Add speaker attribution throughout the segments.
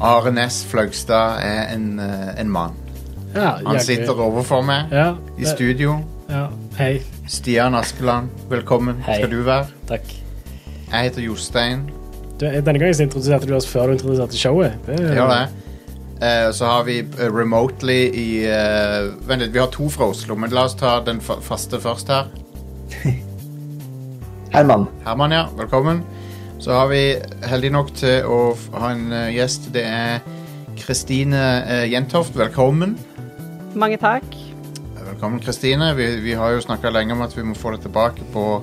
Speaker 1: Are Næss Flaugstad er en, eh, en mann.
Speaker 2: Ja,
Speaker 1: Han
Speaker 2: jævlig.
Speaker 1: sitter overfor meg
Speaker 2: ja,
Speaker 1: i
Speaker 2: det-
Speaker 1: studio.
Speaker 2: Ja. Hei.
Speaker 1: Stian Askeland, velkommen
Speaker 3: Hei.
Speaker 1: skal du være.
Speaker 3: Takk.
Speaker 1: Jeg heter Jostein.
Speaker 2: Du, denne gangen så introduserte du oss før du introduserte showet. Det,
Speaker 1: Gjør det. Eh, så har vi eh, remotely i eh, Vent litt, vi har to fra Oslo, men la oss ta den fa faste først her.
Speaker 3: Herman.
Speaker 1: Herman, ja. Velkommen. Så har vi heldig nok til å f- ha en eh, gjest. Det er Kristine eh, Jentoft. Velkommen.
Speaker 4: Mange takk.
Speaker 1: Velkommen, Kristine. Vi, vi har jo snakka lenge om at vi må få deg tilbake på,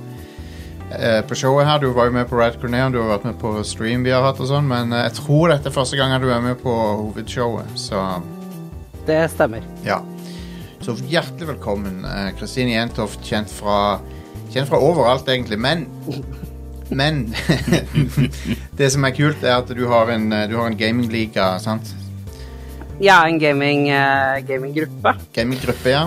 Speaker 1: eh, på showet her. Du var jo med på Rad Corneon, du har vært med på stream vi har hatt og sånn, men eh, jeg tror dette er første gangen du er med på hovedshowet, så
Speaker 4: Det stemmer.
Speaker 1: ja. Så hjertelig velkommen, eh, Kristine Jentoft, kjent fra Kjent fra overalt, egentlig, men Men det som er kult, er at du har en, eh, du har en gamingliga, sant?
Speaker 4: Jeg er en gaming, eh, gaminggruppe.
Speaker 1: Gaminggruppe, ja.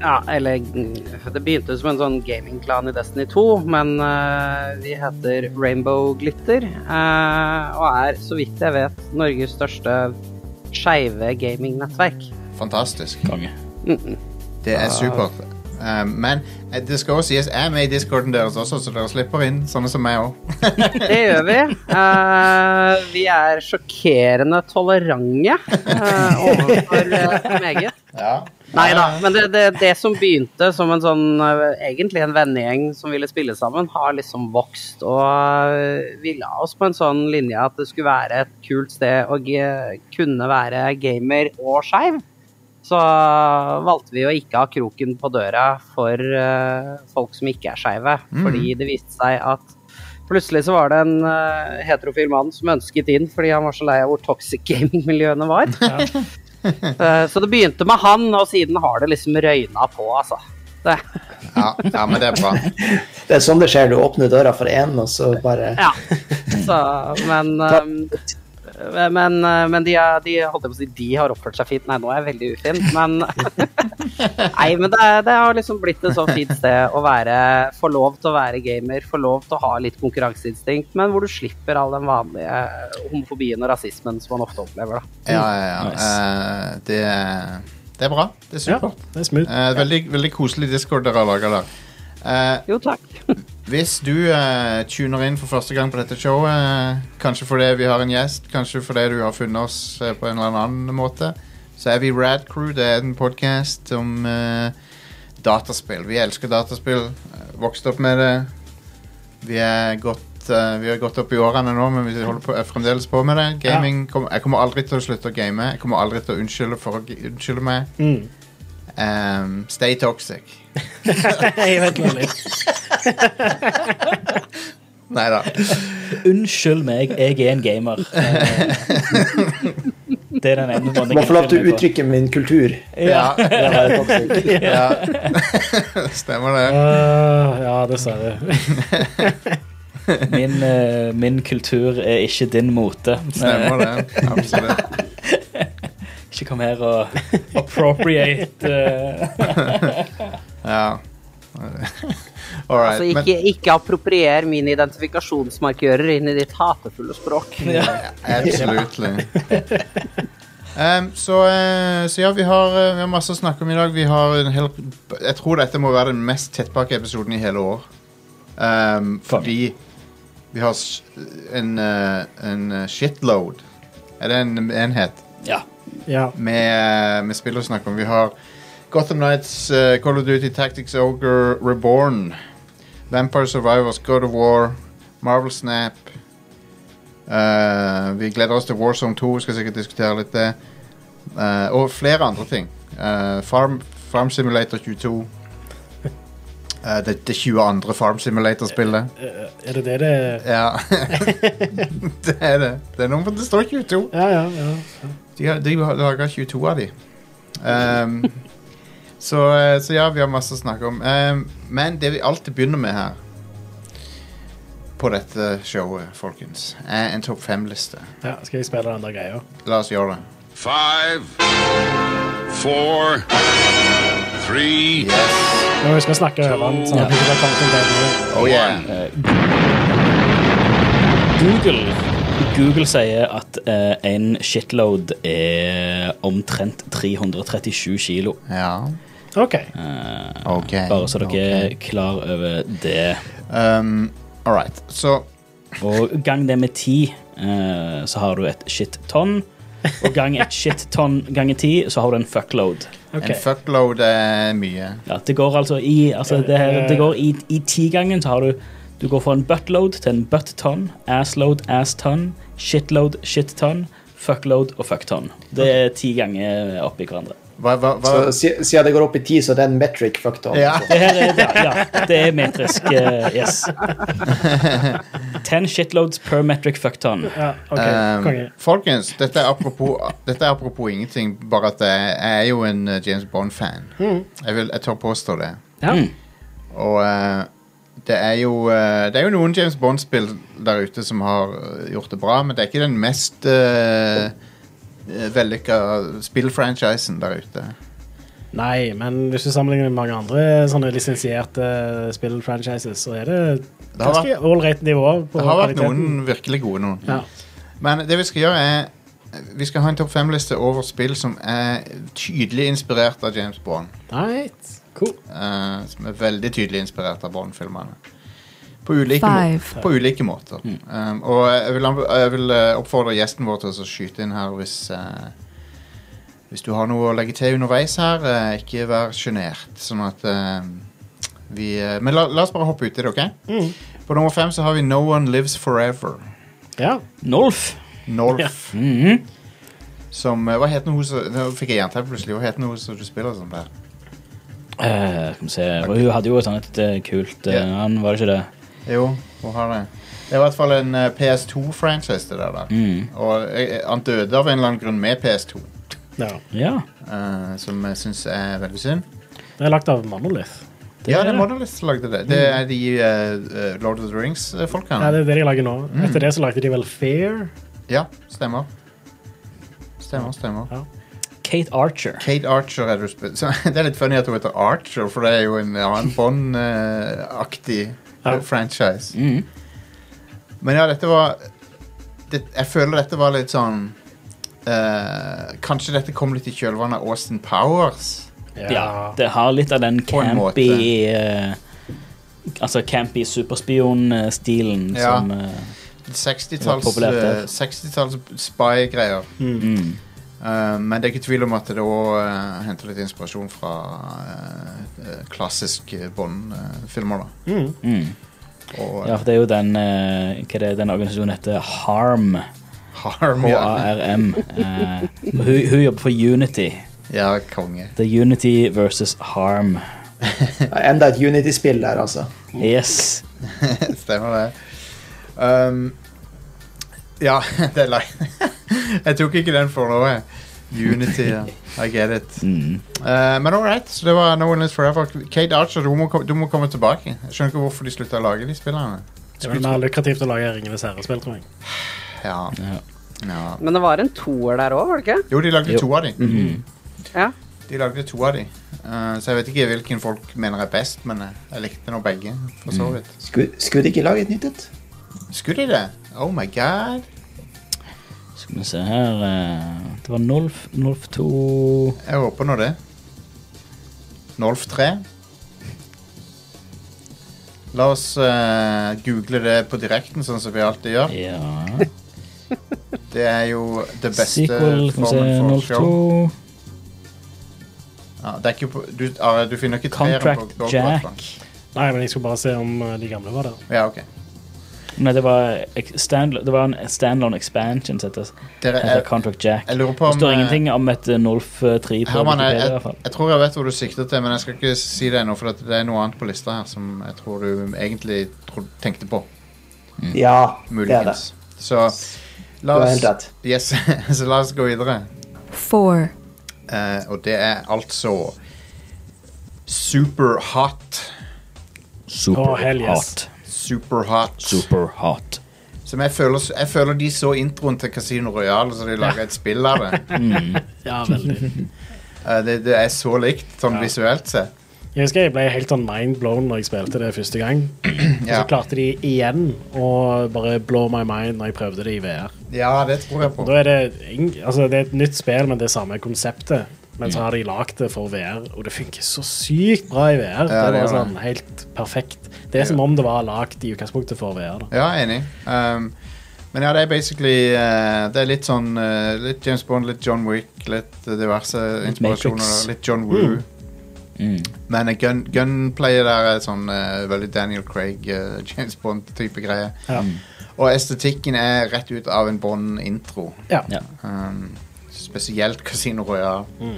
Speaker 4: Ja, eller mm, Det begynte som en sånn gamingklan i Destiny 2, men eh, vi heter Rainbow Glitter. eh, og er, så vidt jeg vet, Norges største skeive gamingnettverk.
Speaker 1: Fantastisk.
Speaker 3: Konge.
Speaker 1: Det er supert. Eh, men eh, det skal også sies, jeg er med i discorden deres også, så dere slipper inn sånne som meg òg.
Speaker 4: Det gjør vi. Eh, vi er sjokkerende tolerante eh, overfor eh, meget.
Speaker 1: Ja.
Speaker 4: Nei da, men det, det, det som begynte som en sånn eh, egentlig en vennegjeng som ville spille sammen, har liksom vokst. Og eh, vi la oss på en sånn linje at det skulle være et kult sted å ge- kunne være gamer og skeiv. Så valgte vi å ikke ha kroken på døra for eh, folk som ikke er skeive, fordi det viste seg at Plutselig så var det en eh, heterofil mann som ønsket inn fordi han var så lei av hvor toxic gamingmiljøene var. Eh, Så det begynte med han, og siden har det liksom røyna på, altså. Det,
Speaker 1: Ja, ja, men det er bra.
Speaker 5: Det er sånn det skjer. Du åpner døra for én, og så bare
Speaker 4: ja. Så, men ehm, men, eh, men de, er- de, holdt jeg på å si, de har oppført seg fint. Nei, nå er jeg veldig ufin, men Nei, men det, er- det har liksom blitt et så fint sted å være Få lov til å være gamer, få lov til å ha litt konkurranseinstinkt, men hvor du slipper all den vanlige homofobien og rasismen som man ofte opplever, da.
Speaker 1: Ja, ja, ja.
Speaker 3: Nice.
Speaker 1: Eh, det, er- det er bra. Det er
Speaker 2: Ja,
Speaker 1: supert.
Speaker 2: det er smooth.
Speaker 1: Eh, veldig, veldig koselig discord dere har laga der. Eh,
Speaker 4: Jo, takk.
Speaker 1: hvis du eh, tuner inn for første gang på dette showet, eh, kanskje fordi vi har en gjest, kanskje fordi du har funnet oss eh, på en eller annen måte, så er vi Rad Crew. Det er en podkast om eh, dataspill. Vi elsker dataspill. eh, Vokste opp med det. Vi er godt eh, vi har gått opp i årene nå, men vi holder på, er fremdeles på med det. Gaming, kom, Jeg kommer aldri til å slutte å game. Jeg kommer aldri til å unnskylde for å g- unnskylde meg.
Speaker 2: Mm.
Speaker 1: Ehm, stay toxic.
Speaker 2: Jeg vet noe litt.
Speaker 1: Nei da.
Speaker 3: Unnskyld meg, jeg er en gamer. Eh, Det er den ene måten
Speaker 5: Må få lov til å
Speaker 3: meg på.
Speaker 5: uttrykke min kultur.
Speaker 3: Ja.
Speaker 1: Ja.
Speaker 5: Det er toxic.
Speaker 1: ja. Stemmer det.
Speaker 2: Øh, ja, dessverre.
Speaker 3: Min, eh, min kultur er ikke din mote. Eh,
Speaker 1: Stemmer det. Absolutt.
Speaker 3: Ikke kom her og appropriate eh,
Speaker 1: Ja. All right.
Speaker 4: Altså, ikke, ikke approprier mine identifikasjonsmarkører inn i ditt hatefulle språk.
Speaker 1: Men, absolutely. Em, så, eh, så ja, vi har, eh, vi har masse å snakke om i dag. Vi har en hel, jeg tror dette må være den mest tettpakke episoden i hele år. Em, fordi vi har s- en, eh, en eh, shitload. Er det en enhet?
Speaker 3: Ja.
Speaker 2: Ja.
Speaker 1: med, med spill å snakke om. Vi har Gotham Nights, eh, Call of Duty Tactics Ogre Reborn, Vampire Survivors, God of War, Marvel Snap. Eh, vi gleder oss til Warzone 2, skal sikkert diskutere litt det. Eh, og flere andre ting. Eh, Farm, Farm Simulator 22. Eh, det, det 22. Farm Simulator-spillet.
Speaker 2: Øh, Er det det det
Speaker 1: Ja. det er det. Det, er nummer, det står 22.
Speaker 2: Ja, ja. ja.
Speaker 1: De har, de har laga 22 av de. Ehm, så, eh, så ja, vi har masse å snakke om. Ehm, men det vi alltid begynner med her på dette showet, folkens, er en topp fem-liste.
Speaker 2: ja skal jeg spille den andre greia?
Speaker 1: La oss gjøre det.
Speaker 6: Five, four, three,
Speaker 1: Yes.
Speaker 2: Nå skal vi snakke over den. Sånn at vi ikke bare kommer til det nå.
Speaker 1: Oh yeah.
Speaker 3: Google Google sier at eh, en shitload er omtrent 337 kilo. Eh,
Speaker 1: Ja,
Speaker 2: OK.
Speaker 1: ok.
Speaker 3: Bare så dere
Speaker 1: ok.
Speaker 3: er klar over det.
Speaker 1: um, All right, så
Speaker 3: Og gang det med ti, eh, så har du et shit-tonn. Og gang et shit-tonn ganger ti, så har du en fuckload.
Speaker 2: ok.
Speaker 1: en fuckload er mye.
Speaker 3: Ja, det går altså i altså det, her- det går i, i ti-gangen, så har du Du går fra en buttload til en butt-tonn, assload, ass-tonn, shitload, shit-tonn, fuckload og fuck-tonn. Det er ti ganger oppi hverandre.
Speaker 1: Hva, hva, hva?
Speaker 5: Så si- Siden det går opp i ti, så er det en metric fucked
Speaker 1: Ja.
Speaker 3: Det her er, ja, ja, det er metrisk. eh, yes. Ten shitloads per metric fuck-tonn.
Speaker 2: Ja, ok,
Speaker 1: Um,
Speaker 2: Konge.
Speaker 1: folkens, dette er, apropos, dette er apropos ingenting, bare at jeg jeg er jo en eh, James Bond-fan. Jeg, vil- jeg tør påstå det.
Speaker 2: Mm. Ja.
Speaker 3: Mm.
Speaker 1: Og eh, det er jo eh, Det er jo noen James Bond-spill der ute som har eh, gjort det bra, men det er ikke den mest uh, vellykka spillfranchisen der ute.
Speaker 2: Nei, men hvis du sammenligner med mange andre sånne lisensierte spillfranchises, så er det
Speaker 1: har
Speaker 2: ganske ålreit nivå på
Speaker 1: Det har vært
Speaker 2: kvaliteten.
Speaker 1: noen virkelig gode noen.
Speaker 2: Ja.
Speaker 1: Men det vi skal gjøre, er Vi skal ha en topp fem-liste over spill som er tydelig inspirert av James Bond.
Speaker 2: Right. Cool.
Speaker 1: eh, som er veldig tydelig inspirert av Bond-filmene. På, ulike må-
Speaker 7: Five.
Speaker 1: på ulike måter. Um, og jeg vil, anbe- jeg vil eh, oppfordre gjesten vår til å skyte inn her hvis eh, Hvis du har noe å legge til underveis her, eh, ikke vær sjenert. Sånn at eh, vi eh, Men la, la oss bare hoppe uti det, OK? På nummer fem så har vi No One Lives Forever.
Speaker 2: Ja.
Speaker 3: Nolf.
Speaker 1: North.
Speaker 3: Mhm.
Speaker 1: Som eh, Hva heter hun som Nå fikk jeg jernteppe plutselig. Hva heter hun som du spiller som der?
Speaker 3: Eh, skal vi se. Hun hadde jo et sånt eh, kult eh,
Speaker 1: Ja.
Speaker 3: navn, var det ikke det?
Speaker 1: Jo, hun har det. Det er i hvert fall en eh, PS2-franchise, det der. da. Og eh, han døde av en eller annen grunn med PS2,
Speaker 2: ja.
Speaker 3: Ja.
Speaker 1: eh, som jeg syns er veldig synd.
Speaker 2: Det er lagt av Monolith.
Speaker 1: ja, det
Speaker 3: er
Speaker 1: er
Speaker 3: det.
Speaker 1: Monolith som lagde det. Det er de eh, eh, Lord of the
Speaker 2: Ja,
Speaker 1: Rings-folkene.
Speaker 2: det er det de lager nå. Etter det så lagde de vel Fair.
Speaker 1: ja, stemmer. Stemmer, stemmer.
Speaker 2: Ja.
Speaker 3: Kate Archer.
Speaker 1: Kate Archer er det du spiller så, Det er litt funny at hun heter Archer, for det er jo en annen Bond-aktig
Speaker 2: Ja.
Speaker 1: franchise.
Speaker 3: Mhm.
Speaker 1: Men ja, dette var det, Jeg føler dette var litt sånn eh, Kanskje dette kom litt i kjølvannet av Austin Powers.
Speaker 3: Ja, det har litt av den
Speaker 1: På en
Speaker 3: campy eh, Altså campy superspion-stilen
Speaker 1: Ja.
Speaker 3: som eh,
Speaker 1: 60-talls
Speaker 3: Det var populært der.
Speaker 1: eh, 60-talls spy-greier.
Speaker 3: mm.
Speaker 1: Eh, men det er ikke tvil om at det òg henter litt inspirasjon fra eh, eh, klassiske Bond-filmer. da
Speaker 2: Mm.
Speaker 3: Mm.
Speaker 1: Og
Speaker 3: Ja, for det er jo den eh, Hva det er den organisasjonen heter? Harm.
Speaker 1: Harm. Ja,
Speaker 3: H-a-r-m. Eh, og hun, hun jobber for Unity.
Speaker 1: ja konge.
Speaker 3: Det er Unity versus Harm.
Speaker 5: Enda et Unity-spill der, altså.
Speaker 3: Yes.
Speaker 1: Stemmer det. Um, ja, det er lei. jeg tok ikke den for noe. Unity, ja. I get it.
Speaker 3: Mm.
Speaker 1: Eh, men all right, så det var No One Lives Forever. Kate Archer, du må, kom- du må komme tilbake. Jeg skjønner ikke hvorfor de slutta å lage de spillene.
Speaker 2: Det blir mer lukrativt å lage Ringenes herre-spill, tror jeg.
Speaker 1: Ja.
Speaker 3: Ja.
Speaker 1: ja.
Speaker 4: Men det var en toer der òg, var det ikke?
Speaker 1: Jo, de lagde
Speaker 3: Jo. Mm.
Speaker 1: to av de.
Speaker 4: Ja.
Speaker 1: De lagde to av de. Eh, så jeg vet ikke hvilken folk mener er best, men jeg, jeg likte nå begge. For så
Speaker 3: Mm.
Speaker 1: vidt.
Speaker 5: Skulle, skulle de ikke lage et nytt et?
Speaker 1: Skulle de det? Oh my god.
Speaker 3: Skal vi se her eh, Det var Nolf, Nolf 2
Speaker 1: Jeg håper nå det. Nolf 3. La oss eh, google det på direkten, sånn som vi alltid gjør.
Speaker 3: Ja.
Speaker 1: Det er jo det beste
Speaker 3: Sequel, skal vi se.
Speaker 1: formen for
Speaker 3: Nolf
Speaker 1: show.
Speaker 3: 2.
Speaker 1: Ja, det er ikke på, du, Are, du finner ikke treeren på
Speaker 3: Contract
Speaker 1: Gold Platform.
Speaker 3: Jack.
Speaker 2: Nei, men jeg skulle bare se om eh, de gamle var der.
Speaker 1: Ja, ok.
Speaker 3: Nei, det var, ek- stand, det var en standalone expansion. som heter-
Speaker 1: Dere,
Speaker 3: heter
Speaker 1: jeg,
Speaker 3: Contract Jack.
Speaker 1: jeg lurer på
Speaker 3: Det
Speaker 1: om
Speaker 3: står
Speaker 1: eh,
Speaker 3: ingenting om et eh, Nolf eh, 3 på
Speaker 1: Herman, jeg,
Speaker 3: Wikipedia. i hvert
Speaker 1: jeg,
Speaker 3: fall.
Speaker 1: jeg tror jeg vet hvor du sikter til, men jeg skal ikke si det ennå, for at det er noe annet på lista her som jeg tror du egentlig tro, tenkte på.
Speaker 5: Ja, det er det.
Speaker 1: Mm. Muligens. Så
Speaker 5: Du
Speaker 1: la
Speaker 5: har helt
Speaker 1: oss,
Speaker 5: rett.
Speaker 1: yes, så la oss gå videre.
Speaker 7: four,
Speaker 1: Eh, og det er altså Superhot.
Speaker 3: Super
Speaker 2: Åh, hell yes.
Speaker 3: hot.
Speaker 1: Superhot.
Speaker 3: Super hot.
Speaker 1: Som jeg føler, jeg føler de så introen til Casino Royale, så de lager et spill av det.
Speaker 2: Ja, veldig.
Speaker 1: Eh, det. Det er så likt, sånn
Speaker 2: Ja.
Speaker 1: visuelt sett.
Speaker 2: Jeg husker jeg ble helt sånn mindblown når jeg spilte det første gang. Og
Speaker 1: Ja.
Speaker 2: så klarte de igjen å bare blow my mind når jeg prøvde det i VR.
Speaker 1: Ja, det tror jeg på.
Speaker 2: Da er det, ing- altså, det er et nytt spill, men det er samme konseptet. Men
Speaker 3: Mm.
Speaker 2: så har de lagd det for VR, og det funker så sykt bra i
Speaker 1: Ja,
Speaker 2: VR.
Speaker 1: det
Speaker 2: det var
Speaker 1: gjør det.
Speaker 2: sånn helt perfekt. Det er som om det var lagd i utgangspunktet for VR. Da.
Speaker 1: Ja, enig. Um, men ja, det er basically eh, Det er litt sånn eh, Litt James Bond, litt John Wick, litt eh, diverse inspirasjoner.
Speaker 3: Matrix.
Speaker 1: og Litt John Woo.
Speaker 3: Mm.
Speaker 1: Men eh, gun, gunplayet der er sånn eh, veldig Daniel Craig, eh, James Bond-type greie.
Speaker 2: Ja.
Speaker 1: Og estetikken er rett ut av en Bond-intro.
Speaker 2: Ja.
Speaker 3: Ja.
Speaker 1: Um, spesielt Casino Royale.
Speaker 2: Mm.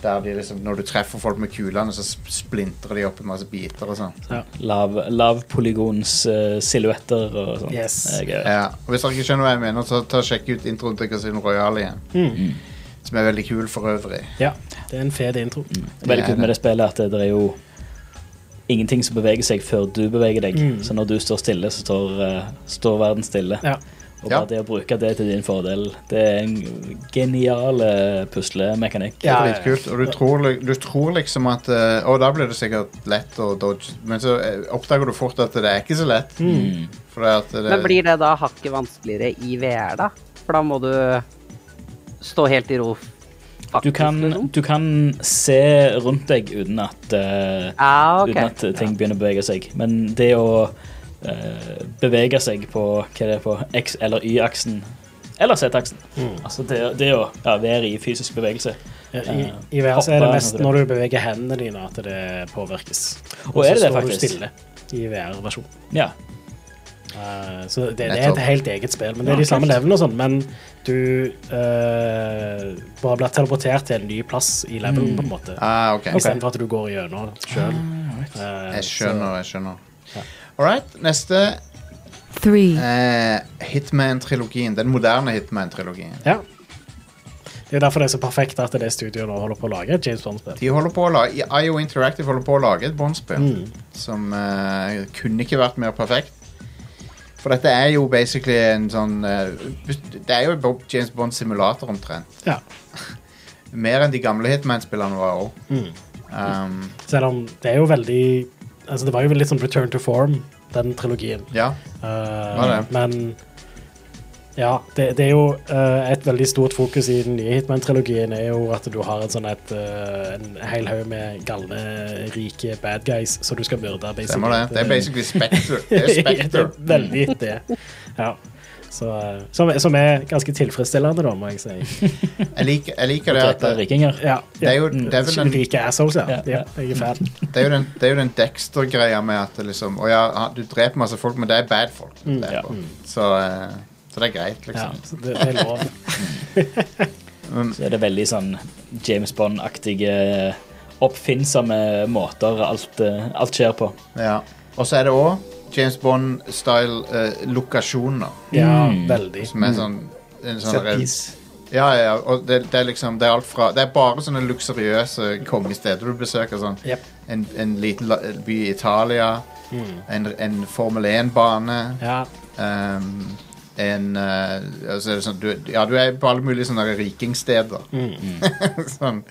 Speaker 1: Der de liksom, når du treffer folk med kulene, så sp- splintrer de opp i masse biter og sånn.
Speaker 3: Lav, lavpolygons eh, silhuetter og sånt.
Speaker 2: Yes.
Speaker 3: Jeg, eh,
Speaker 1: Ja. Og hvis dere ikke skjønner hva jeg mener, så ta og sjekk ut introen til Casino Royale igjen.
Speaker 3: Mm.
Speaker 1: Mm. Som er veldig kul for øvrig.
Speaker 2: ja. Det er en fet intro.
Speaker 3: Veldig
Speaker 1: Det er
Speaker 3: kult med det spillet at det, det er jo ingenting som beveger seg før du beveger deg.
Speaker 2: Mm.
Speaker 3: Så når du står stille, så står, eh, står verden stille.
Speaker 2: Ja.
Speaker 3: Og
Speaker 1: Ja.
Speaker 3: bare det å bruke det til din fordel, det er en genial eh, puslemekanikk.
Speaker 1: Det
Speaker 2: Ja,
Speaker 1: er
Speaker 2: ja,
Speaker 1: dritkult. Og du tror, li- du tror liksom at eh, Å, da blir det sikkert lett å dodge. Men så eh, oppdager du fort at det er ikke så lett.
Speaker 3: Mm.
Speaker 1: For det at eh, det,
Speaker 4: Men blir det da hakket vanskeligere i VR, da? For da må du stå helt i ro.
Speaker 3: Du
Speaker 4: Faktisk,
Speaker 3: kan,
Speaker 4: liksom.
Speaker 3: du kan se rundt deg uten at, eh,
Speaker 4: Ja, Ah, ok.
Speaker 3: uten at ting begynner å bevege seg. Men det å eh, bevege seg på, hva det er på X- eller Y-aksen eller Z-aksen altså det, det å ja, være i fysisk bevegelse.
Speaker 2: I, I VR så er det
Speaker 3: Hopper,
Speaker 2: mest
Speaker 3: heter det.
Speaker 2: når du beveger hendene dine at det påvirkes.
Speaker 3: Og er det
Speaker 2: så står
Speaker 3: det
Speaker 2: du
Speaker 3: faktisk?
Speaker 2: stille i VR-versjon.
Speaker 3: Ja.
Speaker 2: Eh, så det, det er
Speaker 1: Nettopp.
Speaker 2: et helt eget spill. Men Det
Speaker 3: Ja,
Speaker 2: er de samme
Speaker 3: kult.
Speaker 2: levelene og sånn, men du eh, bare blir teleportert til en ny plass i levelen,
Speaker 3: Mm.
Speaker 2: på en måte.
Speaker 1: Ah, ok.
Speaker 2: Istedenfor at du går gjennom sjøl. Uh,
Speaker 1: Jeg skjønner, jeg skjønner. All right, neste.
Speaker 7: three,
Speaker 1: eh, Hitman-trilogien. Den moderne Hitman-trilogien.
Speaker 2: Ja. Det er derfor det er så perfekt at det studioet nå holder på å lage et James Bond-spill.
Speaker 1: De holder på å lage, IO Interactive holder på å lage et båndspill
Speaker 2: Mm.
Speaker 1: som eh, kunne ikke vært mer perfekt. For dette er jo basically en sånn eh, Det er jo en Bob- James Bond-simulator omtrent.
Speaker 2: Ja.
Speaker 1: Mer enn de gamle Hitman-spillene var òg.
Speaker 2: Mm.
Speaker 1: Um,
Speaker 2: Selv om det er jo veldig Altså, det var jo litt sånn return to form, den trilogien.
Speaker 1: ja.
Speaker 2: Eh,
Speaker 1: Var det?
Speaker 2: Men ja, det, det er jo eh, et veldig stort fokus i den nye Hitman-trilogien er jo at du har en sånn et, eh, en hel haug med galne, rike bad guys som du skal myrde. basically.
Speaker 1: Stemmer det. Det er basically Spekter. Det er
Speaker 2: Det
Speaker 1: Spekter.
Speaker 2: er veldig det. Ja. Så, eh, som, som er ganske tilfredsstillende, da, må jeg si.
Speaker 1: Jeg liker, jeg liker det at
Speaker 3: Drepte
Speaker 1: det,
Speaker 3: rikinger.
Speaker 2: Ja, Mm.
Speaker 1: Det er jo- det er vel den-
Speaker 2: Rike assholes, ja.
Speaker 3: Ja, ja.
Speaker 2: ja. Jeg er fan.
Speaker 1: det er jo den, det er jo den Dexter-greia med at det liksom Å ja, du dreper masse folk, men det er bad folk. du
Speaker 3: ja.
Speaker 1: dreper. Så, eh, så det er greit,
Speaker 2: Ja,
Speaker 1: liksom.
Speaker 2: så det, det er lov.
Speaker 3: Så er det veldig sånn James Bond-aktige oppfinnsomme måter alt, eh, alt skjer på.
Speaker 1: Ja. Og så er det òg James Bond-style eh, lokasjoner.
Speaker 2: Ja, veldig.
Speaker 1: Som er sånn, en sånn
Speaker 5: Set piece.
Speaker 1: Ja, ja, ja, og det, det er liksom Det er alt fra Det er bare sånne luksuriøse kongesteder du besøker. Sånn
Speaker 2: Jep. Mm.
Speaker 1: en, en liten la- by i Italia, en, en Formel 1-bane
Speaker 2: Ja,
Speaker 1: ehm, En eh, altså er det sånn, du, Ja, du er på alle mulige sånne rikingsteder.
Speaker 2: Mm.
Speaker 3: Mm.
Speaker 1: sånn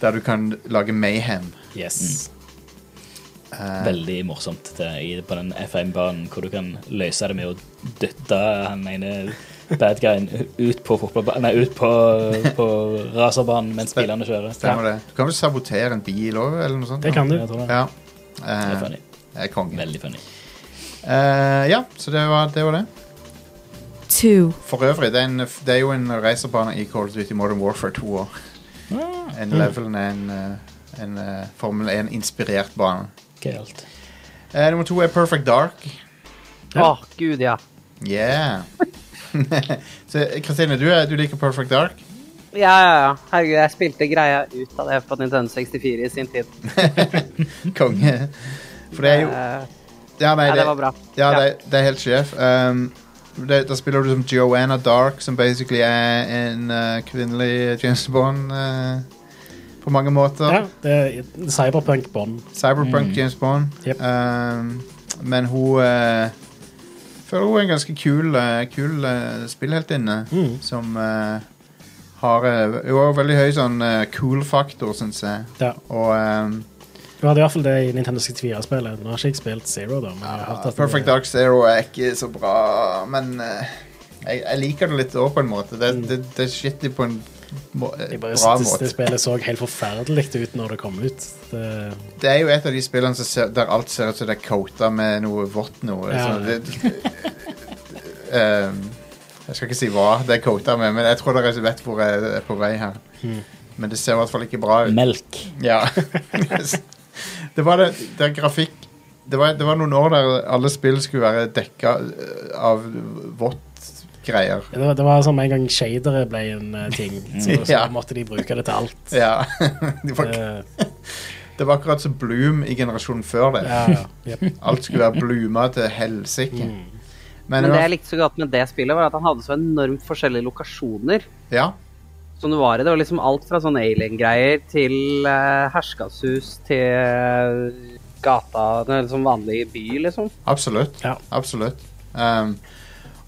Speaker 1: Der du kan lage mayhem.
Speaker 2: yes.
Speaker 1: Mm.
Speaker 3: Veldig morsomt det, i- på den FM-banen hvor du kan løse det med å dytte han ene bad guyen ut på, fotballba- nei, ut på, på racerbanen mens bilene kjører.
Speaker 1: Stemmer det? Du kan vel sabotere en bil òg, eller noe sånt?
Speaker 2: Det kan du.
Speaker 3: Jeg tror det.
Speaker 1: Ja.
Speaker 3: Det er
Speaker 1: Eh,
Speaker 3: funny.
Speaker 1: jeg er konge.
Speaker 3: Veldig funny.
Speaker 1: Eh, ja, så det var, det var det.
Speaker 7: two,
Speaker 1: For øvrig, det er, en, det er jo en racerbane i Call of Duty Modern Warfare 2 år. En level er en, eh, en eh, Formel 1-inspirert bane.
Speaker 3: Gøyalt.
Speaker 1: Eh, nummer to er Perfect Dark.
Speaker 4: Å, gud, ja.
Speaker 1: Yeah. så Kristine, du, er- du liker Perfect Dark?
Speaker 4: Ja, ja, ja. Herregud, jeg spilte greia ut av det på Nintendo 64 i sin tid.
Speaker 1: Konge. For det er jo
Speaker 4: Eh,
Speaker 1: Ja, nei,
Speaker 4: ja, det var bra.
Speaker 1: Ja,
Speaker 4: Ja.
Speaker 1: det, det er helt sjef. Um, det, da spiller du som Joanna Dark, som basically er en eh, kvinnelig James Bond eh, på mange måter.
Speaker 2: Ja, det er Cyberpunk Bond.
Speaker 1: Cyberpunk James Bond.
Speaker 2: Mm. Yep.
Speaker 1: Um, men hun eh, føler hun er en ganske kul, eh, kul eh, spillheltinne.
Speaker 2: Mm.
Speaker 1: Som eh, har eh, Hun har veldig høy sånn eh, cool-faktor, syns jeg.
Speaker 2: Ja.
Speaker 1: Og ehm,
Speaker 2: Du hadde i hvert fall det i Nintendo 64-spillet. Nå har ikke jeg spilt Zero, da. Men jeg har hørt at
Speaker 1: Perfect Dark Zero er ikke så bra, men eh, Jeg, jeg liker det litt òg, på en måte. Det, det, det er shitty på en må, eh,
Speaker 2: Jeg Mm. bare
Speaker 1: bra
Speaker 2: synes
Speaker 1: måte.
Speaker 2: det spillet så helt forferdelig ut når det kom ut. Det,
Speaker 1: Det er jo et av de spillene som ser, der alt ser ut som det er coata med noe vått noe.
Speaker 2: Ja.
Speaker 1: sånn, det, um, jeg skal ikke si hva det er coata med, men jeg tror dere vet hvor jeg er på vei her. Men det ser i hvert fall ikke bra ut.
Speaker 3: Melk.
Speaker 1: Ja. det var det, det er grafikk det var, det var noen år der alle spill skulle være dekka eh, av vått greier.
Speaker 2: det, var- det var som en gang shadere ble en eh, ting, så, så
Speaker 1: Ja.
Speaker 2: måtte de bruke det til alt.
Speaker 1: Ja. Det var,
Speaker 2: Eh,
Speaker 1: det var akkurat som Bloom i generasjonen før det.
Speaker 2: ja, ja. Jep.
Speaker 1: Alt skulle være blooma til helsike. Men,
Speaker 4: Men det
Speaker 1: uansett-
Speaker 4: jeg likte så godt med det spillet, var at han hadde så enormt forskjellige lokasjoner.
Speaker 1: ja.
Speaker 4: som det var i. Det var liksom alt fra sånne alien-greier til uh, herskashus til eh, gata Eller liksom vanlig by, liksom.
Speaker 1: Absolutt.
Speaker 2: Ja.
Speaker 1: Absolutt. Ehm,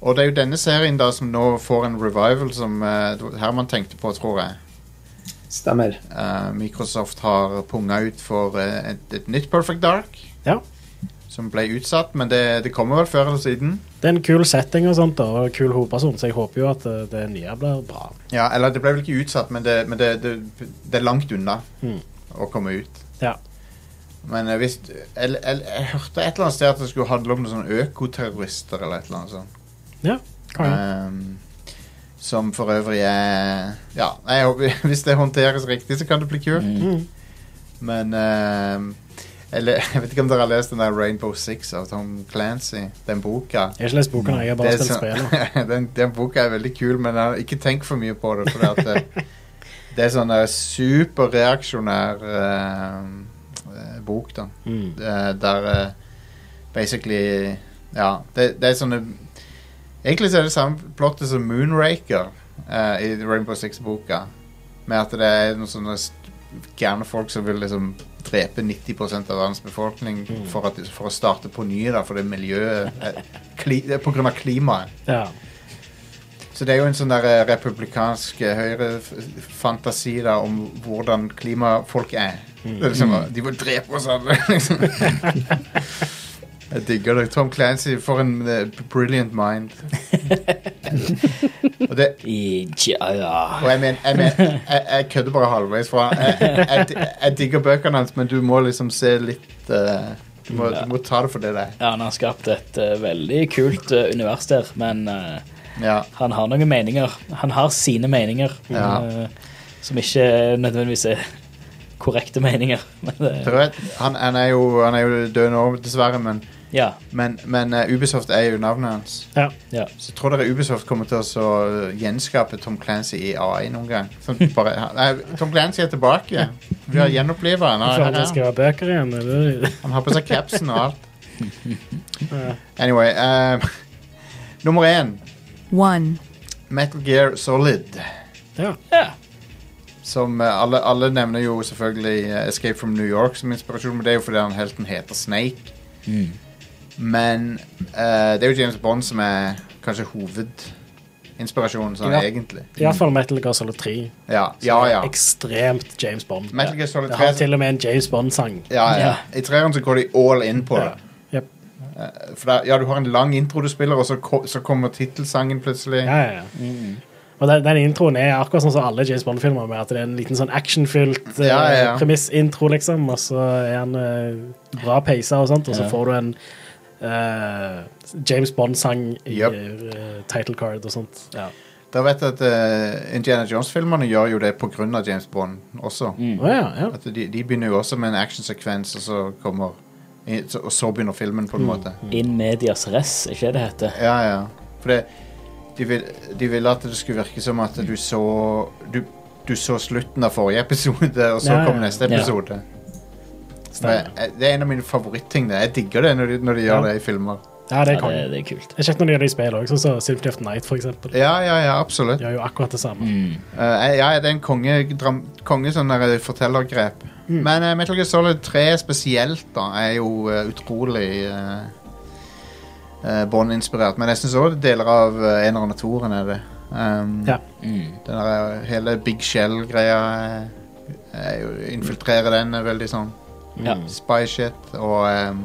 Speaker 1: og det er jo denne serien da som nå får en revival, som eh, det var Herman tenkte på, tror jeg.
Speaker 5: Stemmer.
Speaker 1: Eh, Microsoft har punga ut for eh, et, et nytt Perfect Dark,
Speaker 2: ja.
Speaker 1: som ble utsatt, men det, det kommer vel før eller siden.
Speaker 2: Det er en kul setting og sånt, da, og kul hovedperson, så jeg håper jo at eh, det nye blir bra.
Speaker 1: Ja, Eller det ble vel ikke utsatt, men det, men det, det, det er langt unna
Speaker 2: Mm.
Speaker 1: å komme ut.
Speaker 2: Ja.
Speaker 1: Men eh, hvis jeg, jeg, jeg hørte et eller annet sted at det skulle handle om noen sånne økoterrorister eller et eller annet sånt.
Speaker 2: ja. Konge.
Speaker 1: Ehm, som for øvrig er Ja, jeg håper, hvis det håndteres riktig, så kan det bli kult.
Speaker 2: Mm.
Speaker 1: Men ehm, eller, jeg vet ikke om dere har lest den der Rainbow Six av Tom Clancy, den boka.
Speaker 2: Jeg har ikke lest boken, jeg
Speaker 1: Det
Speaker 2: har bare
Speaker 1: er
Speaker 2: spilt
Speaker 1: sånn-
Speaker 2: spillet.
Speaker 1: den, den boka er veldig kul, men jeg, ikke tenk for mye på det. For det, at det, det er sånn eh, superreaksjonær ehm, eh, bok, da.
Speaker 2: Mm.
Speaker 1: Eh, der eh, basically Ja, det, det er sånne Egentlig så er det samme plottet som Moonraker eh, i Rainbow Six-boka. Med at det er noen sånne st- gærne folk som vil liksom drepe 90 av verdens befolkning for, at, for å starte på nye, da, for det miljøet eh, kli, det er På grunn av klimaet.
Speaker 2: Ja.
Speaker 1: Så det er jo en sånn der eh, republikansk eh, høyrefantasi da, om hvordan klimafolk er. Det er liksom, eh, De vil drepe oss alle, liksom. Jeg digger det. Tom Clancy, for en eh, brilliant mind. og det,
Speaker 3: I, ja,
Speaker 1: og
Speaker 3: ja.
Speaker 1: jeg mener, jeg, mener jeg, jeg kødder bare halvveis fra jeg, jeg, jeg, jeg digger bøkene hans, men du må liksom se litt eh, du, må, du må ta det for det det er.
Speaker 3: Ja, Han har skapt et eh, veldig kult eh, univers der, men eh,
Speaker 1: Ja.
Speaker 3: han har noen meninger. Han har sine meninger,
Speaker 1: Ja.
Speaker 3: eh, som ikke nødvendigvis er korrekte meninger. Men, eh,
Speaker 1: Det
Speaker 3: det-
Speaker 1: er et- Han, han, er jo, han er jo død nå, dessverre, men,
Speaker 3: ja,
Speaker 1: men, men eh, Ubisoft er jo navnet hans.
Speaker 2: ja.
Speaker 3: ja.
Speaker 1: Så tror dere Ubisoft kommer til å så gjenskape Tom Clancy i AI noen gang? Sånn bare, nei, Tom Clancy er tilbake. Vi har gjenopplivet han.
Speaker 2: Jeg
Speaker 1: Han, er
Speaker 2: føler at jeg
Speaker 1: her.
Speaker 2: skal ha bøker igjen. Eller?
Speaker 1: han har på seg capsen og alt. Anyway eh, Nummer én.
Speaker 7: one,
Speaker 1: Metal Gear Solid.
Speaker 2: Ja.
Speaker 3: ja.
Speaker 1: Som eh, alle, alle nevner jo selvfølgelig eh, Escape from New York som inspirasjon, men det er jo fordi han helten heter Snake.
Speaker 2: Mm.
Speaker 1: Men eh, det er jo James Bond som er kanskje hovedinspirasjonen sånn
Speaker 2: Ja.
Speaker 1: egentlig.
Speaker 2: I hvert fall Metal Gear Solid 3.
Speaker 1: Ja, ja. ja.
Speaker 2: Ekstremt James Bond.
Speaker 1: Metal Gear Solid
Speaker 2: Det har
Speaker 1: 3
Speaker 2: til og med en James Bond-sang.
Speaker 1: Ja, ja. I treeren så går de all in på det.
Speaker 2: Jep.
Speaker 1: For der, ja, du har en lang intro du spiller, og så, ko så kommer tittelsangen plutselig.
Speaker 2: Ja, ja, ja. Mm. Og den, den introen er akkurat sånn som alle James Bond-filmer, med at det er en liten sånn actionfylt eh,
Speaker 1: Ja, ja, ja.
Speaker 2: premissintro, liksom, og så er han eh, bra peisa og sånt, og så
Speaker 3: Ja.
Speaker 2: får du en eh, James Bond-sang i
Speaker 1: Jep.
Speaker 2: eh, title card og sånt. Ja.
Speaker 1: Da vet jeg at eh, Indiana Jones-filmerne gjør jo det pga. James Bond også.
Speaker 2: Å, ja, ja.
Speaker 1: At de, de begynner jo også med en actionsekvens, og så kommer i- så- Og så begynner filmen,
Speaker 2: Mm.
Speaker 1: på en måte.
Speaker 3: In medias res, er ikke det det heter?
Speaker 1: Ja, ja. For det, de, vil, de ville at det skulle virke som at du så Du, du så slutten av forrige episode, og så
Speaker 2: Ja, ja.
Speaker 1: kom neste
Speaker 3: Ja.
Speaker 1: episode.
Speaker 2: Stemmer.
Speaker 1: Men, eh, Det er en av mine favorittting. det. Jeg digger det når de, når de gjør
Speaker 2: Ja.
Speaker 1: det i filmer.
Speaker 2: ja, det er
Speaker 3: Ja, det,
Speaker 2: konge.
Speaker 3: det er kult.
Speaker 2: Det er kjekt når de gjør det i spill òg, sånn som Symphony of the Night, for eksempel.
Speaker 1: Ja, ja, ja, absolutt.
Speaker 2: Gjør jo akkurat det samme.
Speaker 3: Mm.
Speaker 1: Eh, ja, det er en konge, dram, konge sånn der fortellergrep. Men eh, Metal Gear Solid 3 spesielt da, er jo eh, utrolig uh, Bond-inspirert. Men jeg syns òg deler av uh, eneren og toeren er det. Um,
Speaker 2: Ja.
Speaker 3: Mm.
Speaker 1: Den der eh, hele Big Shell-greia eh, er jo- eh, infiltrerer den er veldig sånn
Speaker 3: Ja.
Speaker 1: spy shit. Og um,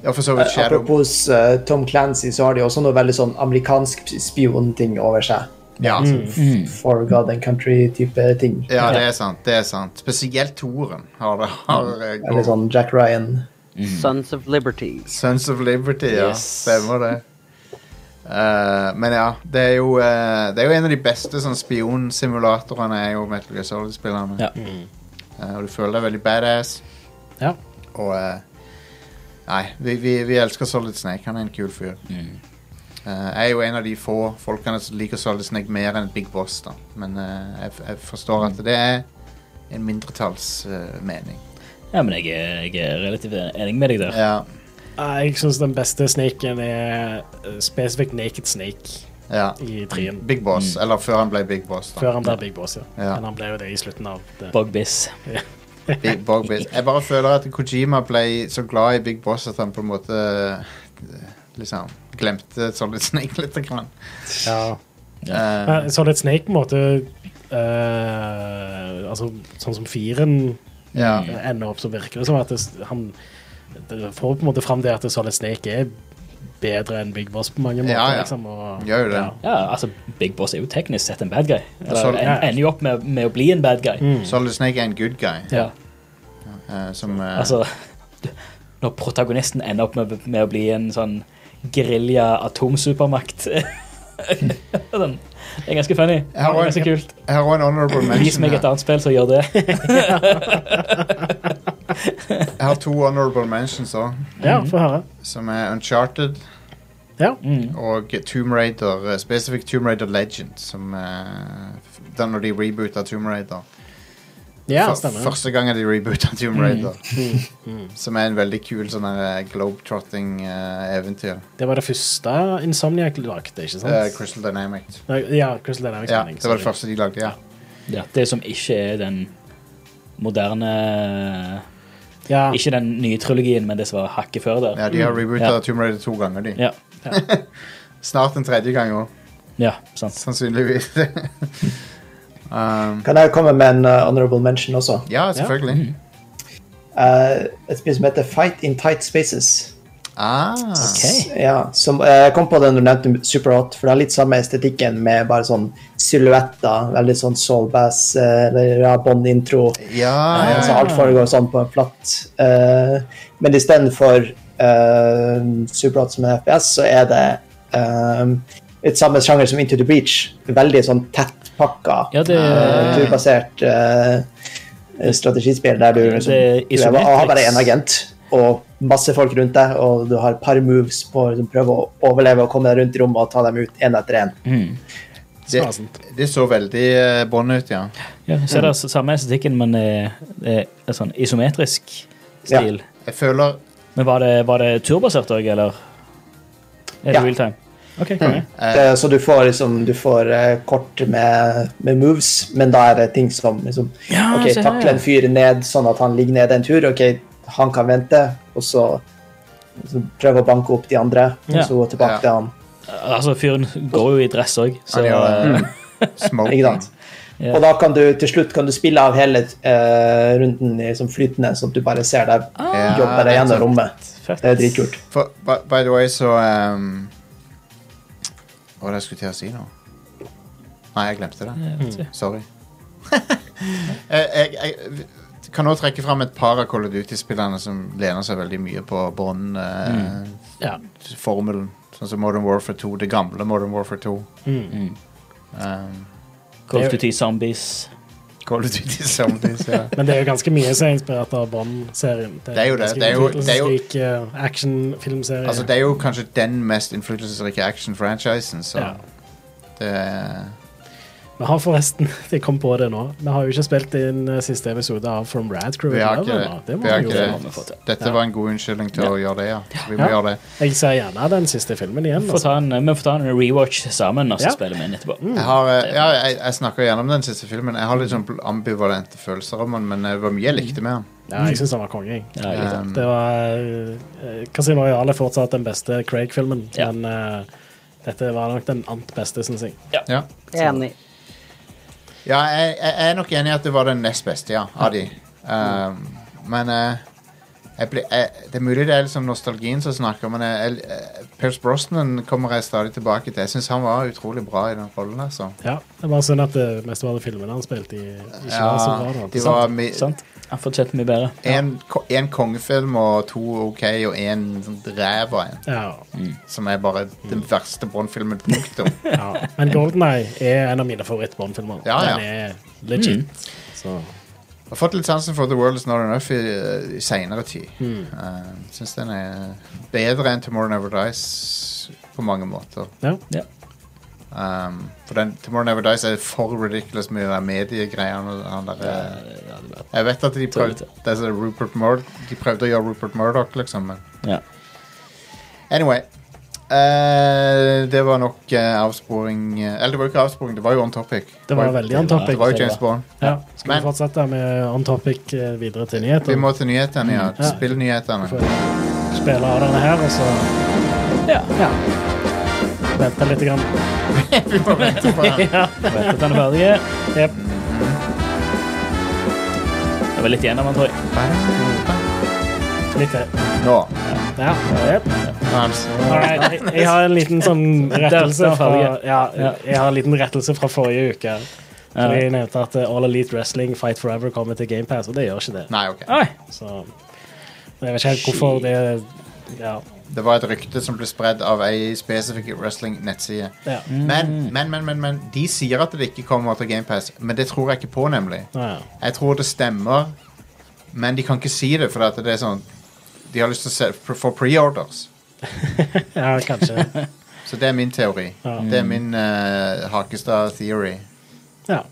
Speaker 1: Ja, for så vidt Shadow.
Speaker 5: Apropos eh, Tom Clancy, så har de også noe veldig sånn amerikansk spionting over seg.
Speaker 1: Ja,
Speaker 5: For God and Country-type ting.
Speaker 1: Mm. ja, det er sant. det er sant Spesielt Toren har det. Har, eh,
Speaker 5: Eller
Speaker 1: god-
Speaker 5: sånn Jack Ryan.
Speaker 3: Mm.
Speaker 4: Sons of Liberty.
Speaker 1: Sons of Liberty, ja.
Speaker 3: Yes.
Speaker 1: Stemmer det. Eh, men ja, det er, jo, eh, det er jo en av de beste sånn, spionsimulatorene er jo Metal Gear Solid-spillerne.
Speaker 3: Ja.
Speaker 1: Eh, og du føler deg veldig badass.
Speaker 2: Ja.
Speaker 1: Og eh, Nei, vi, vi, vi elsker Solid Snake. Han er en kul fyr. Eh, jeg er jo en av de få folkene som liker Solid Snake mer enn Big Boss, da. Men eh, jeg, f- jeg forstår at det er en mindretallsmening.
Speaker 3: Ja, men jeg, er- jeg er relativt enig med deg der.
Speaker 1: ja.
Speaker 2: Nei, Jeg syns den beste snaken er eh, spesifikt Naked Snake
Speaker 1: ja.
Speaker 2: i trien.
Speaker 1: Big Boss. Eller før han ble Big Boss, da.
Speaker 2: Før han ble Big Boss, ja.
Speaker 1: Ja.
Speaker 2: Men han ble jo det i slutten av det.
Speaker 3: Bogbiz.
Speaker 1: Big Bog Biz. Jeg bare føler at Kojima ble så glad i Big Boss at han på en måte eh, liksom glemte Solid Snake litt. Grann.
Speaker 2: Ja.
Speaker 1: Eh,
Speaker 2: Men Solid Snake på en måte eh, Altså, sånn som firen eh,
Speaker 1: ja.
Speaker 2: ender opp, så virker det som at det, han det får på en måte fram det at Solid Snake er bedre enn Big Boss på mange måter.
Speaker 1: Ja, ja.
Speaker 2: Liksom, og,
Speaker 1: Gjør jo det.
Speaker 2: Ja.
Speaker 3: Ja, altså, Big Boss er jo teknisk sett en bad guy.
Speaker 1: så-
Speaker 3: Eller, en, ender jo opp med, med å bli en bad guy.
Speaker 2: Mm.
Speaker 1: Solid Snake er en good guy.
Speaker 3: Ja,
Speaker 1: eh, som, eh,
Speaker 3: altså du- Når protagonisten ender opp med, med å bli en sånn gerilja-atomsupermakt Den- Sånn. Det er ganske funny. Det
Speaker 1: Jeg
Speaker 3: er
Speaker 1: har
Speaker 3: ganske
Speaker 1: en-
Speaker 3: kult.
Speaker 1: jeg har også en honorable
Speaker 3: Vis
Speaker 1: mention.
Speaker 3: meg et
Speaker 1: Her.
Speaker 3: annet spill som gjør det.
Speaker 1: Jeg har to honorable mentions òg,
Speaker 2: ja, få høre.
Speaker 1: som er Uncharted
Speaker 2: Ja.
Speaker 1: Mm.
Speaker 3: Mm.
Speaker 1: og Tomb Raider. eh, Spesifikt Tomb Raider Legend, som eh, f- den når de rebooter Tomb Raider.
Speaker 2: ja,
Speaker 1: Før-
Speaker 2: stemmer.
Speaker 1: Første gang de reboota Tomb Raider. Som er en veldig kul sånn her, eh, globetrotting-eventyr.
Speaker 2: Det var det første Insomniac lagde, ikke sant?
Speaker 1: Eh, Crystal Dynamics.
Speaker 2: Nei, Ja, Crystal Dynamics.
Speaker 1: Ja,
Speaker 2: mening,
Speaker 1: det var det
Speaker 2: sorry.
Speaker 1: første de lagde, ja.
Speaker 3: Ja, det som ikke er den moderne
Speaker 2: Ja,
Speaker 3: Ikke den nye trilogien, men det som var hakket før der.
Speaker 1: ja de har rebootet
Speaker 3: Ja.
Speaker 1: Tomb Raider to ganger, de.
Speaker 3: Ja,
Speaker 1: Snart en tredje gang òg,
Speaker 3: ja sant.
Speaker 1: sannsynligvis. um,
Speaker 5: Kan jeg komme med en eh, honorable mention også?
Speaker 1: ja, selvfølgelig.
Speaker 5: Eh, et spill som heter Fight in Tight Spaces.
Speaker 1: Ah,
Speaker 3: Ok.
Speaker 5: Ja, som, eh, jeg kom på det når du nevnte Superhot, for det er litt samme estetikken med bare sånn silhuetter. Veldig sånn Saul Bass, eh, eller ja, Bond-intro.
Speaker 1: Ja, ja,
Speaker 5: Altså,
Speaker 1: ja.
Speaker 5: alt foregår sånn på en flatt. eh, men istedenfor uh, Superhot som en FPS, så er det eh, et samme sjanger som Into the Breach. Veldig sånn tettpakka,
Speaker 3: Ja, det-
Speaker 5: eh, turbasert eh, strategispill der du
Speaker 3: Det er
Speaker 5: liksom, du er,
Speaker 3: isometrics.
Speaker 5: har bare én agent og masse folk rundt deg, og du har et par moves på å liksom, prøve å overleve og komme deg rundt i rommet og ta dem ut én etter én.
Speaker 1: Det, det så veldig eh, bånd ut, ja.
Speaker 3: Ja, så er det samme estetikken, men eh, det er sånn isometrisk
Speaker 5: Ja.
Speaker 3: stil.
Speaker 1: Jeg føler
Speaker 3: Men var det, var det turbasert òg, eller? Er det
Speaker 5: Ja.
Speaker 3: real time? OK, konge.
Speaker 5: Eh, Så du får, liksom, du får eh, kort med, med moves, men da er det ting som liksom,
Speaker 3: Ja,
Speaker 5: Ok,
Speaker 3: se her,
Speaker 5: takle en
Speaker 3: ja.
Speaker 5: fyr ned sånn at han ligger nede en tur. Ok, han kan vente, og så, så prøve å banke opp de andre,
Speaker 3: Ja.
Speaker 5: og så gå tilbake
Speaker 1: Ja.
Speaker 5: til han.
Speaker 3: Altså, fyren går jo i dress òg, så
Speaker 1: Han gjør eh, smoking.
Speaker 5: Ikke sant?
Speaker 3: Ja.
Speaker 5: Og da kan du til slutt kan du spille av hele eh, runden i sånn flytende, sånn at du bare ser deg
Speaker 1: Ah. Ja,
Speaker 5: jobbe
Speaker 1: det
Speaker 5: deg
Speaker 1: er
Speaker 5: gjennom
Speaker 1: sant.
Speaker 5: rommet.
Speaker 3: Fett.
Speaker 5: Det er dritkult.
Speaker 1: For, by, by the way, så um, Hva var det jeg skulle til å si nå? Nei, jeg glemte det. Sorry. jeg, jeg, jeg vi kan også trekke fram et par av Call of Duty-spillerne som lener seg veldig mye på
Speaker 2: ja.
Speaker 1: Bond-formelen. Sånn som Modern Warfare 2, det gamle Modern Warfare 2.
Speaker 2: Mm.
Speaker 1: Um,
Speaker 3: Mm. Call of Duty Zombies.
Speaker 1: Call of Duty Zombies, ja.
Speaker 2: Men det er jo ganske mye som er inspirert av Bond-serien.
Speaker 1: Det er jo det.
Speaker 2: ganske
Speaker 1: Det er jo- det er jo-
Speaker 2: innflytelsesrik, eh, actionfilmserie.
Speaker 1: Altså, det er jo kanskje den mest innflytelsesrike action-franchisen, så
Speaker 2: Ja.
Speaker 1: det er
Speaker 2: Vi har forresten Jeg kom på det nå. Vi har jo ikke spilt inn eh, siste episode av From Rad Crew.
Speaker 1: Vi har ikke
Speaker 2: Eleven,
Speaker 1: det.
Speaker 2: da. det. må
Speaker 1: Vi har
Speaker 2: vi jo
Speaker 1: ikke
Speaker 2: få.
Speaker 3: Har vi fått, ja.
Speaker 1: Dette var en god unnskyldning til å gjøre det, ja. Så vi må
Speaker 2: Ja.
Speaker 1: gjøre det.
Speaker 2: Jeg ser gjerne den siste filmen igjen.
Speaker 3: Får
Speaker 2: Altså.
Speaker 3: ta en, eh, vi får ta en rewatch sammen, og så
Speaker 2: Ja.
Speaker 3: spiller vi inn etterpå.
Speaker 1: Jeg, har, eh, ja, jeg, jeg snakker gjennom den siste filmen. Jeg har litt sånn bl- ambivalente følelser om den, men det var mye jeg likte med den.
Speaker 2: Ja, jeg syns han var konge. jeg.
Speaker 3: Ja, jeg liker det.
Speaker 2: Det var eh, Casino Royale er fortsatt den beste Craig-filmen,
Speaker 3: Ja.
Speaker 2: men eh, dette var nok den ant beste, syns jeg.
Speaker 1: Ja,
Speaker 4: Enig.
Speaker 1: ja jeg, jeg er nok enig i at det var den nest beste, ja, av de. Um, men Ehm, eh, jeg blir- jeg, Det er mulig det er liksom nostalgien som snakker, men eh, jeg, jeg, Pierce Brosnan kommer jeg stadig tilbake til. Jeg syns han var utrolig bra i den rollen. altså.
Speaker 2: Ja, det var synd at det meste av de filmene han spilte i, ikke var sånn. så bra.
Speaker 1: Ja,
Speaker 2: da.
Speaker 1: Ah, de var mi-
Speaker 3: Sant? Han fortjente mye bedre.
Speaker 1: en, ko- en kongefilm og to OK og en sånn ræva en.
Speaker 2: Ja,
Speaker 1: Som er bare den verste Bond-filmen. Punktum.
Speaker 2: ja. Men Golden Eye er en av mine favoritt-Bond-filmer.
Speaker 1: Ja, ja.
Speaker 2: Den er legit.
Speaker 3: Mm.
Speaker 2: Så
Speaker 1: Jeg har fått litt sansen for The World Is Not Enough i, eh, i senere tid. Mm. Syns den er bedre enn Tomorrow Never Dies på mange måter.
Speaker 2: ja.
Speaker 3: Ja.
Speaker 1: Um, for den, Tomorrow Never Dies er for ridiculous med de mediegreiene. og han der, eh, Jeg vet at de prøvde,
Speaker 3: Tullete.
Speaker 1: det er så Rupert Mur de prøvde å gjøre Rupert Murdoch, liksom, men
Speaker 3: ja.
Speaker 1: Anyway. eh, det var nok eh, avsporing eh, Eller det var jo ikke avsporing, det var jo on topic.
Speaker 2: Det var
Speaker 1: jo-
Speaker 2: veldig on
Speaker 1: Det
Speaker 2: topic.
Speaker 1: var jo James Bond.
Speaker 2: Ja. Skal
Speaker 1: Men-
Speaker 2: vi fortsette med on topic eh, videre til nyheter?
Speaker 1: Vi må til nyhetene, ja.
Speaker 2: Ja.
Speaker 1: Spillnyhetene.
Speaker 2: Får spille av denne her, og så
Speaker 3: Ja.
Speaker 2: ja. vente litt. Grann.
Speaker 1: Vi må vente på den.
Speaker 2: Ja.
Speaker 3: Vet at han er ferdig.
Speaker 2: Jep.
Speaker 3: Det var litt igjen av han, tror jeg.
Speaker 2: Litt til.
Speaker 1: Nå.
Speaker 2: Ja. Jep. All right. Jeg- Jeg har en liten sånn rettelse
Speaker 3: Der- der
Speaker 2: fra,
Speaker 3: ferdig.
Speaker 2: ja,
Speaker 3: Ja.
Speaker 2: jeg har en liten rettelse fra forrige uke.
Speaker 3: Ja.
Speaker 2: Fordi Jeg nevnte at eh, All Elite Wrestling Fight Forever kommer til GamePass, og det gjør ikke det.
Speaker 1: Nei, OK.
Speaker 3: Oi.
Speaker 2: Så jeg vet ikke helt hvorfor det Ja.
Speaker 1: Det var et rykte som ble spredd av ei spesifikk wrestling-nettside.
Speaker 2: ja.
Speaker 1: Men, men, men, men, men de sier at det ikke kommer til GamePass, men det tror jeg ikke på, nemlig.
Speaker 2: Ja, ja.
Speaker 1: Jeg tror det stemmer, men de kan ikke si det, for at det er sånn De har lyst til å se, for- få pre-orders.
Speaker 2: ja, kanskje.
Speaker 1: Så det er min teori.
Speaker 2: Ja.
Speaker 1: Det er min eh, Hakestad-theory.
Speaker 2: Ja.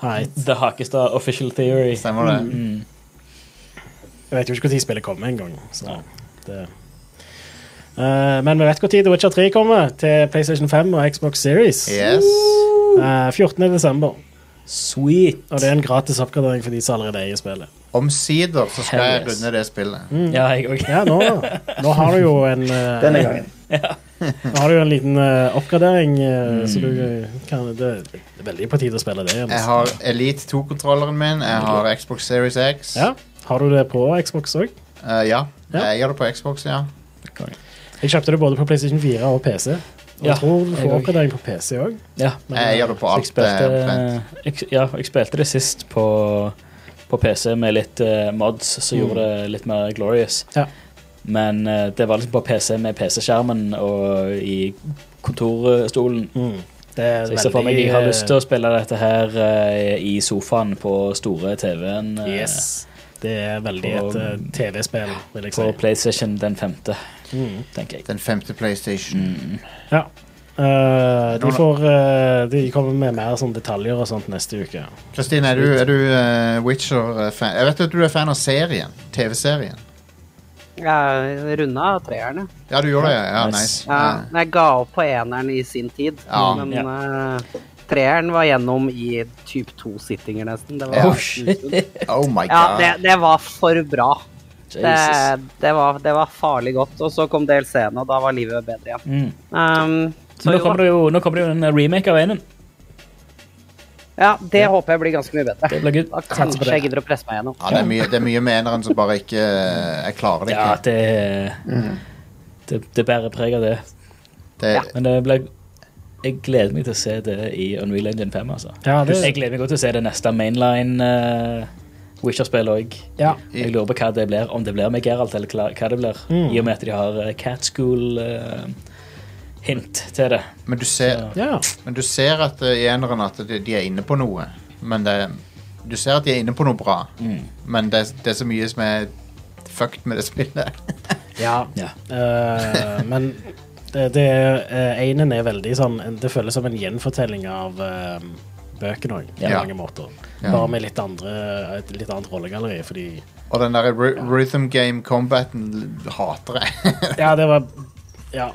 Speaker 2: Right.
Speaker 3: The Hakestad Official Theory.
Speaker 1: Stemmer det?
Speaker 2: Jeg vet jo ikke når spillet kommer engang. så det- Eh, Men vi vet når The Witcher 3 kommer til PlayStation 5 og Xbox Series.
Speaker 1: Yes.
Speaker 2: Eh, 14. desember
Speaker 3: Sweet.
Speaker 2: Og det er en gratis oppgradering for de som allerede eier spillet.
Speaker 1: Omsider så skal jeg
Speaker 3: Hell yes. Mm.
Speaker 1: runde det spillet.
Speaker 2: Mm.
Speaker 3: Ja, jeg òg.
Speaker 2: Ja, nå, nå har du jo en eh,
Speaker 5: Denne gangen.
Speaker 2: Nå har du jo en liten eh, oppgradering, eh, så du kan det, det er veldig på tide å spille det.
Speaker 1: Jeg
Speaker 2: Jens.
Speaker 1: har Elite 2-kontrolleren min, jeg har Xbox Series X.
Speaker 2: Ja. Har du det på Xbox òg?
Speaker 1: Eh, ja.
Speaker 2: Ja.
Speaker 1: Jeg gjør det på Xbox, ja.
Speaker 2: Jeg kjøpte det både på PlayStation 4 og PC. Og
Speaker 3: Ja,
Speaker 2: jeg tror du
Speaker 3: jeg
Speaker 2: får
Speaker 3: også.
Speaker 2: oppgradering på PC òg.
Speaker 3: Ja.
Speaker 1: Jeg gjør det på
Speaker 3: Så
Speaker 1: alt.
Speaker 3: jeg spilte,
Speaker 1: eh, omtrent.
Speaker 3: jeg, ja, jeg spilte det sist på, på PC med litt eh, mods som gjorde det litt mer glorious.
Speaker 2: Mm. Ja.
Speaker 3: Men eh, det var liksom på PC med PC-skjermen og i kontorstolen.
Speaker 2: Det er
Speaker 3: Så jeg ser for meg jeg har
Speaker 2: Mm. eh,
Speaker 3: lyst til å spille dette her eh, i sofaen på store TV-en eh,
Speaker 2: Yes. Det er veldig
Speaker 3: På-
Speaker 2: et eh, TV-spill, vil jeg
Speaker 3: på
Speaker 2: si.
Speaker 3: PlayStation den femte,
Speaker 2: Mm.
Speaker 3: tenker jeg.
Speaker 1: Den femte PlayStation.
Speaker 4: Mm.
Speaker 2: Ja. Eh, de, får, eh, de kommer med mer sånn detaljer og sånt neste uke.
Speaker 1: Kristin, er du, er du eh, Witcher-fan? Jeg vet at du er fan av serien. TV-serien.
Speaker 4: Jeg runda treeren, jeg.
Speaker 1: Ja, du gjorde det? ja. Ja,
Speaker 3: Nice.
Speaker 1: nice.
Speaker 4: Ja,
Speaker 1: Ja.
Speaker 4: Jeg ga opp på eneren i sin tid,
Speaker 1: Ja.
Speaker 4: men eh, treeren var gjennom i typ to sittinger, nesten. Det var,
Speaker 1: Ja. Oh my
Speaker 4: ja,
Speaker 1: god.
Speaker 4: det, det var for bra. Det,
Speaker 3: Jesus.
Speaker 4: det, var, det var farlig godt. Og så kom DLC-en, og da var livet bedre igjen.
Speaker 3: Mm.
Speaker 4: Um, så
Speaker 3: Men nå
Speaker 4: jo da.
Speaker 3: kommer det jo, nå kommer det jo en eh, remake av enen.
Speaker 4: Ja, det håper jeg blir ganske mye bedre.
Speaker 3: Det blir good.
Speaker 4: Da kanskje jeg gidder å presse meg gjennom.
Speaker 1: Ja, det, er mye, det er mye med eneren som bare ikke eh, Jeg klarer det
Speaker 3: Ja,
Speaker 1: ikke.
Speaker 3: det, det, det bærer preg av det.
Speaker 1: Det,
Speaker 3: Men det blir Jeg gleder meg til å se det i Unreal Engine 5, altså.
Speaker 2: Ja, det-
Speaker 3: Jeg gleder meg godt til å se det neste mainline eh, Witcher-spill òg.
Speaker 2: Ja.
Speaker 3: Jeg lurer på hva det blir, om det blir med Geralt, eller hva- hva det blir.
Speaker 2: Mm.
Speaker 3: I og med at de har eh, Cat School-hint til det.
Speaker 1: men, du ser,
Speaker 2: Ja.
Speaker 1: men du ser at eh, i eneren at de, de er inne på noe. Men det Du ser at de er inne på noe bra,
Speaker 2: Mm.
Speaker 1: men det, det er så mye som er fucked med det spillet.
Speaker 2: ja.
Speaker 3: Ja.
Speaker 2: Eh, men det, det eh, Einen er veldig sånn Det føles som en gjenfortelling av eh, bøkene òg, på
Speaker 1: Ja.
Speaker 2: mange måter.
Speaker 1: Ja.
Speaker 2: Bare med litt andre et litt annet rollegalleri, fordi
Speaker 1: Og den der ry- rhythm game combaten l- hater jeg.
Speaker 2: Ja, det var Ja.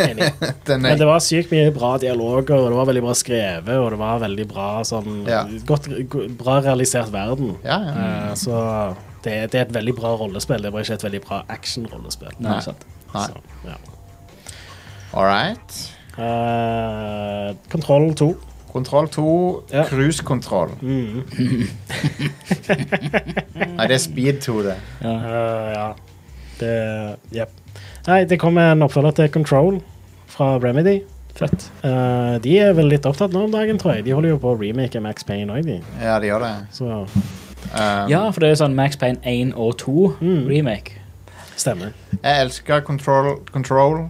Speaker 2: Enig.
Speaker 1: Den
Speaker 2: Men det
Speaker 1: er,
Speaker 2: var sykt mye bra dialoger, og det var veldig bra skrevet, og det var veldig bra sånn
Speaker 1: Ja.
Speaker 2: godt, go- Bra realisert verden.
Speaker 1: ja, ja.
Speaker 2: Eh, så det, det er et veldig bra rollespill. Det var ikke et veldig bra actionrollespill.
Speaker 3: Nei, sant.
Speaker 1: Nei.
Speaker 2: Så, ja.
Speaker 1: All right.
Speaker 2: Eh, Kontroll 2
Speaker 1: Kontroll 2,
Speaker 2: Ja. Mm.
Speaker 1: cruisekontroll. Nei, det er speed 2, det.
Speaker 2: Eh, ja. Det Jepp. Nei, det kommer en oppfølger til Control fra Remedy.
Speaker 3: Fett.
Speaker 2: Eh, de er vel litt opptatt nå om dagen, tror jeg. De holder jo på å remake Max Payne òg, de.
Speaker 1: Ja, det gjør det.
Speaker 2: Så
Speaker 1: Um,
Speaker 3: Ja, for det er sånn Max Payne 1 og 2
Speaker 2: Mm.
Speaker 3: remake.
Speaker 2: stemmer.
Speaker 1: Jeg elsker Control. control.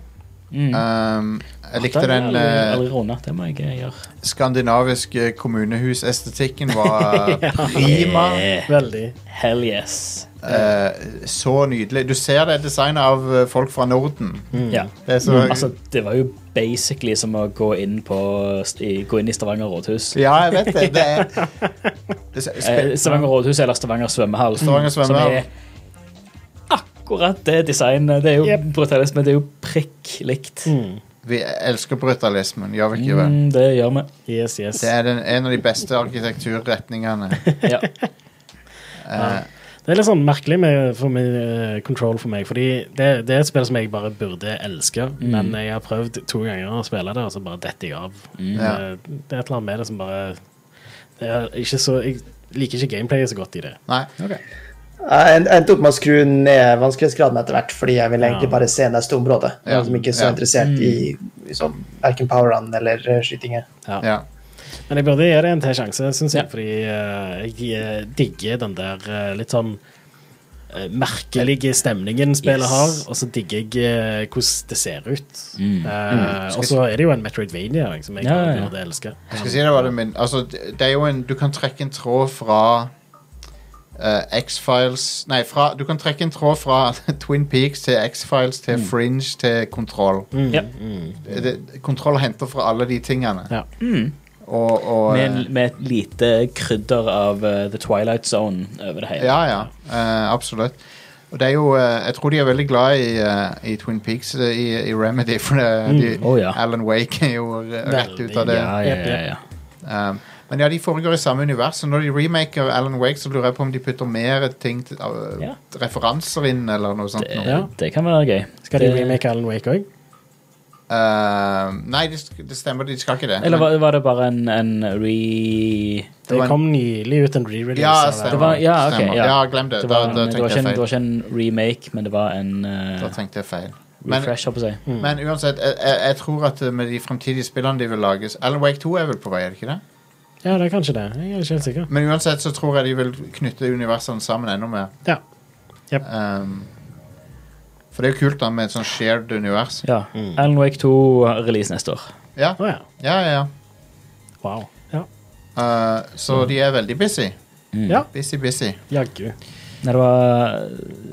Speaker 3: Mm.
Speaker 1: Um, jeg likte
Speaker 3: Den
Speaker 1: den
Speaker 3: har jeg aldri-
Speaker 1: eh,
Speaker 3: aldri rundet. Det må jeg eh, gjøre.
Speaker 1: skandinaviske kommunehusestetikken var prima.
Speaker 3: Yeah.
Speaker 2: Veldig.
Speaker 3: Hell yes.
Speaker 1: Eh, så nydelig. Du ser det er designet av eh, folk fra Norden.
Speaker 3: Ja.
Speaker 1: Det er Mm. så
Speaker 3: Mm. Altså, det var jo basically som å gå inn, på, st- i- gå inn i Stavanger rådhus.
Speaker 1: Ja, jeg vet det. Det er, det er
Speaker 3: Eh,
Speaker 1: spe-
Speaker 3: Stavanger rådhus eller Stavanger svømmehall.
Speaker 1: Stavanger svømmehall.
Speaker 3: Som er akkurat det designet. Det er jo
Speaker 2: Yep.
Speaker 3: brutalisme. Det er jo prikk likt.
Speaker 2: Mm.
Speaker 1: Vi elsker brutalismen, gjør vi ikke det?
Speaker 3: Mm, det gjør vi.
Speaker 2: Yes, yes.
Speaker 1: Det er den, en av de beste arkitekturretningene.
Speaker 3: Ja.
Speaker 1: Eh,
Speaker 2: Det er litt sånn merkelig med, for meg, eh, Control for meg, fordi det, det er et spill som jeg bare burde elske, men jeg har prøvd to ganger å spille det, og så bare detter jeg av.
Speaker 1: Ja.
Speaker 2: Eh, Det er et eller annet med det som bare det er ikke så, Jeg liker ikke gameplayet så godt i det.
Speaker 1: nei.
Speaker 5: Jeg endte opp med å skru ned vanskelighetsgraden etter hvert, fordi jeg ville egentlig
Speaker 2: Ja. Mm.
Speaker 5: bare se neste område.
Speaker 1: Ja.
Speaker 5: Som ikke er så
Speaker 1: Ja.
Speaker 5: interessert i liksom, verken powerene eller eh, skytinger.
Speaker 1: Ja.
Speaker 2: Men jeg burde gi det en til sjanse, syns jeg,
Speaker 3: Ja.
Speaker 2: fordi eh, jeg eh, digger den der eh, litt sånn eh, merkelige stemningen spillet
Speaker 3: Yes.
Speaker 2: har, og så digger jeg eh, hvordan det ser ut.
Speaker 3: Mm.
Speaker 2: Eh, og så er det jo en Metroidvania jeg, som jeg
Speaker 3: Ja, ja, ja.
Speaker 2: burde elske.
Speaker 1: Jeg skal si deg hva det min. Altså, det det er jo en Du kan trekke en tråd fra eh, X-Files Nei, fra, du kan trekke en tråd fra Twin Peaks til X-Files til Fringe til Kontroll.
Speaker 2: Mm,
Speaker 3: Ja.
Speaker 2: mm.
Speaker 1: Det- Kontroll henter fra alle de tingene.
Speaker 2: Ja.
Speaker 3: Mm.
Speaker 1: Og, og
Speaker 3: Med,
Speaker 1: eh,
Speaker 3: en- med et lite krydder av eh, The Twilight Zone over det hele.
Speaker 1: Ja, ja. eh, absolutt. Og det er jo eh, Jeg tror de er veldig glad i, eh, i Twin Peaks, eh, i, i Remedy, for det, de,
Speaker 3: Å, ja.
Speaker 1: Alan Wake er jo eh, rett
Speaker 2: Veldig,
Speaker 1: ut av det.
Speaker 3: ja, ja, ja, ja.
Speaker 1: Um, men ja, de foregår i samme univers. Så når de remaker Alan Wake, så lurer jeg på om de putter mer ting til, av-
Speaker 3: Ja.
Speaker 1: referanser inn, eller noe sånt.
Speaker 3: Det,
Speaker 1: noe.
Speaker 2: Ja.
Speaker 3: det kan være gøy.
Speaker 2: Skal de
Speaker 3: Det-
Speaker 2: remake Alan Wake òg?
Speaker 1: Um, nei, det, sk- det stemmer, de skal ikke det.
Speaker 3: Eller
Speaker 1: Men-
Speaker 3: var, var det bare en, en re...
Speaker 2: Det,
Speaker 1: var en-
Speaker 2: kom nylig ut en re-release.
Speaker 1: ja,
Speaker 2: av
Speaker 1: stemmer.
Speaker 3: Det var- ja, ok,
Speaker 1: stemmer.
Speaker 3: ja.
Speaker 1: glem det.
Speaker 3: Det var,
Speaker 1: da, da
Speaker 3: det, var
Speaker 1: tenkte
Speaker 3: ikke
Speaker 1: jeg
Speaker 3: en, det var
Speaker 1: feil.
Speaker 3: ikke en remake, men det var en eh,
Speaker 1: Da tenkte jeg feil. Men, Mm.
Speaker 3: refresh, holdt på å si.
Speaker 1: men uansett, jeg, jeg, jeg tror at eh, med de fremtidige spillene de vil lage så- Alan Wake 2 er vel på vei, er det ikke det?
Speaker 2: Ja, det er kanskje det. Jeg er ikke helt sikker.
Speaker 1: Men uansett så tror jeg de vil knytte universene sammen enda mer.
Speaker 2: Ja.
Speaker 1: Um, for det er jo kult da med et sånn shared univers.
Speaker 3: Ja. Alan Wake 2 release neste år.
Speaker 1: Ja,
Speaker 2: Å ja.
Speaker 1: ja, ja. ja.
Speaker 2: Wow. Ja.
Speaker 1: Eh, så de er veldig busy.
Speaker 2: Ja.
Speaker 1: Busy, busy.
Speaker 2: Jaggu.
Speaker 3: Nei, det var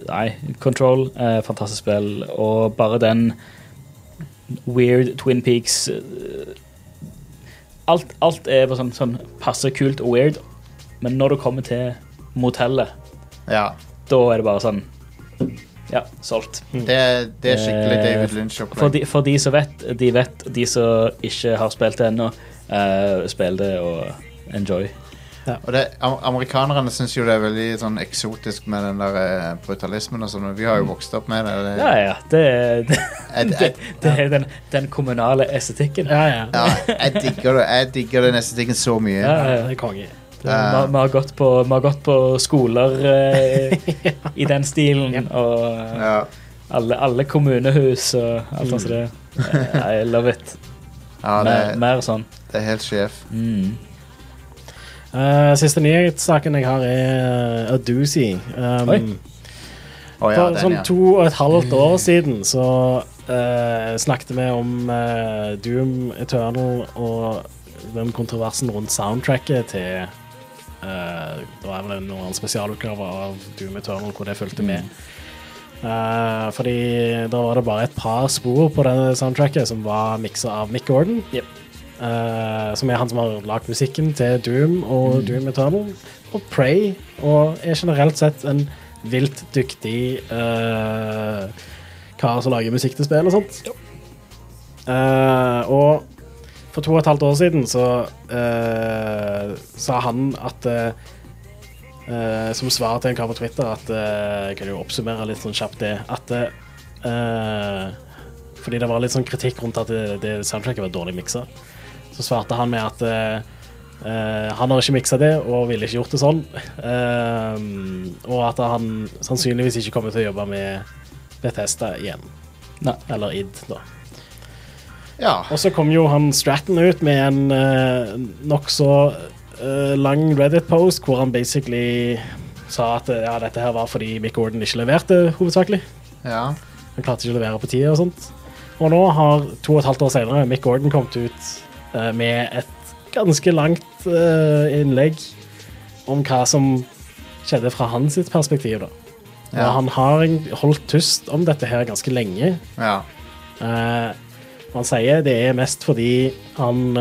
Speaker 3: Nei, Control, eh, fantastisk spill. Og bare den weird Twin Peaks eh, Alt, alt er bare sånn, sånn passe kult og weird, men når du kommer til motellet,
Speaker 1: Ja.
Speaker 3: da er det bare sånn Ja, solgt.
Speaker 1: Det, er- det er skikkelig
Speaker 3: Eh,
Speaker 1: David Lynch-opplegg.
Speaker 3: For de, for de som vet, de vet. De som ikke har spilt det ennå, eh, spill det og enjoy.
Speaker 1: Og det, am- amerikanerne syns jo det er veldig sånn eksotisk med den der eh, brutalismen og sånn, men vi har jo vokst opp med det. det
Speaker 3: Ja, ja. Det, det,
Speaker 1: Jeg,
Speaker 3: det,
Speaker 1: jeg,
Speaker 3: det er den, den kommunale estetikken.
Speaker 2: Ja, ja.
Speaker 1: ja, jeg digger det. Jeg digger den estetikken så mye.
Speaker 3: Ja, ja.
Speaker 2: Eh, Det er konge.
Speaker 3: Vi har, vi har, gått, på, vi har gått på skoler eh, i den stilen, og eh,
Speaker 1: Ja.
Speaker 3: alle, alle kommunehus og alt sånt. som det. Eh, I love it.
Speaker 1: Ja, det,
Speaker 3: Mer, mer sånn.
Speaker 1: det er helt sjef.
Speaker 3: Mm.
Speaker 2: Eh, siste nyhetssaken jeg har, er A Doozy. Um,
Speaker 3: Oi.
Speaker 1: Å ja,
Speaker 2: For
Speaker 1: den,
Speaker 2: sånn
Speaker 1: ja.
Speaker 2: to og et halvt år siden så eh, snakket vi om eh, Doom Eternal og den kontroversen rundt soundtracket til eh, Det var vel noen spesialutgaver av Doom Eternal hvor det fulgte
Speaker 1: Mm.
Speaker 2: med. Eh, fordi da var det bare et par spor på det soundtracket som var miksa av Mick Gordon.
Speaker 3: Yep.
Speaker 2: eh, som er han som har lagd musikken til Doom og Doom Eternal og Prey, og er generelt sett en vilt dyktig eh, kar som lager musikk til spill og sånt. Eh, og for to og et halvt år siden så eh, sa han at eh, eh, Som svar til en kar på Twitter at eh, Jeg kan jo oppsummere litt sånn kjapt det. At eh, Fordi det var litt sånn kritikk rundt at det, det soundtracket var dårlig miksa. Så Så svarte han med at eh, eh, han har ikke miksa det og ville ikke gjort det sånn. Eh, og at han sannsynligvis ikke kommer til å jobbe med Bethesda igjen.
Speaker 3: Nei.
Speaker 2: Eller ID, da.
Speaker 1: Ja.
Speaker 2: Og så kom jo han Stratton ut med en uh, nokså eh, lang Reddit-post hvor han basically sa at eh, ja, dette her var fordi Mick Gordon ikke leverte, hovedsakelig.
Speaker 1: ja.
Speaker 2: Han klarte ikke å levere på tida og sånt. Og nå har to og et halvt år senere Mick Gordon kommet ut eh, med et ganske langt eh, innlegg om hva som skjedde fra hans sitt perspektiv. da. Og
Speaker 1: Ja.
Speaker 2: Han har en- holdt tyst om dette her ganske lenge.
Speaker 1: ja.
Speaker 2: Eh, han sier det er mest fordi han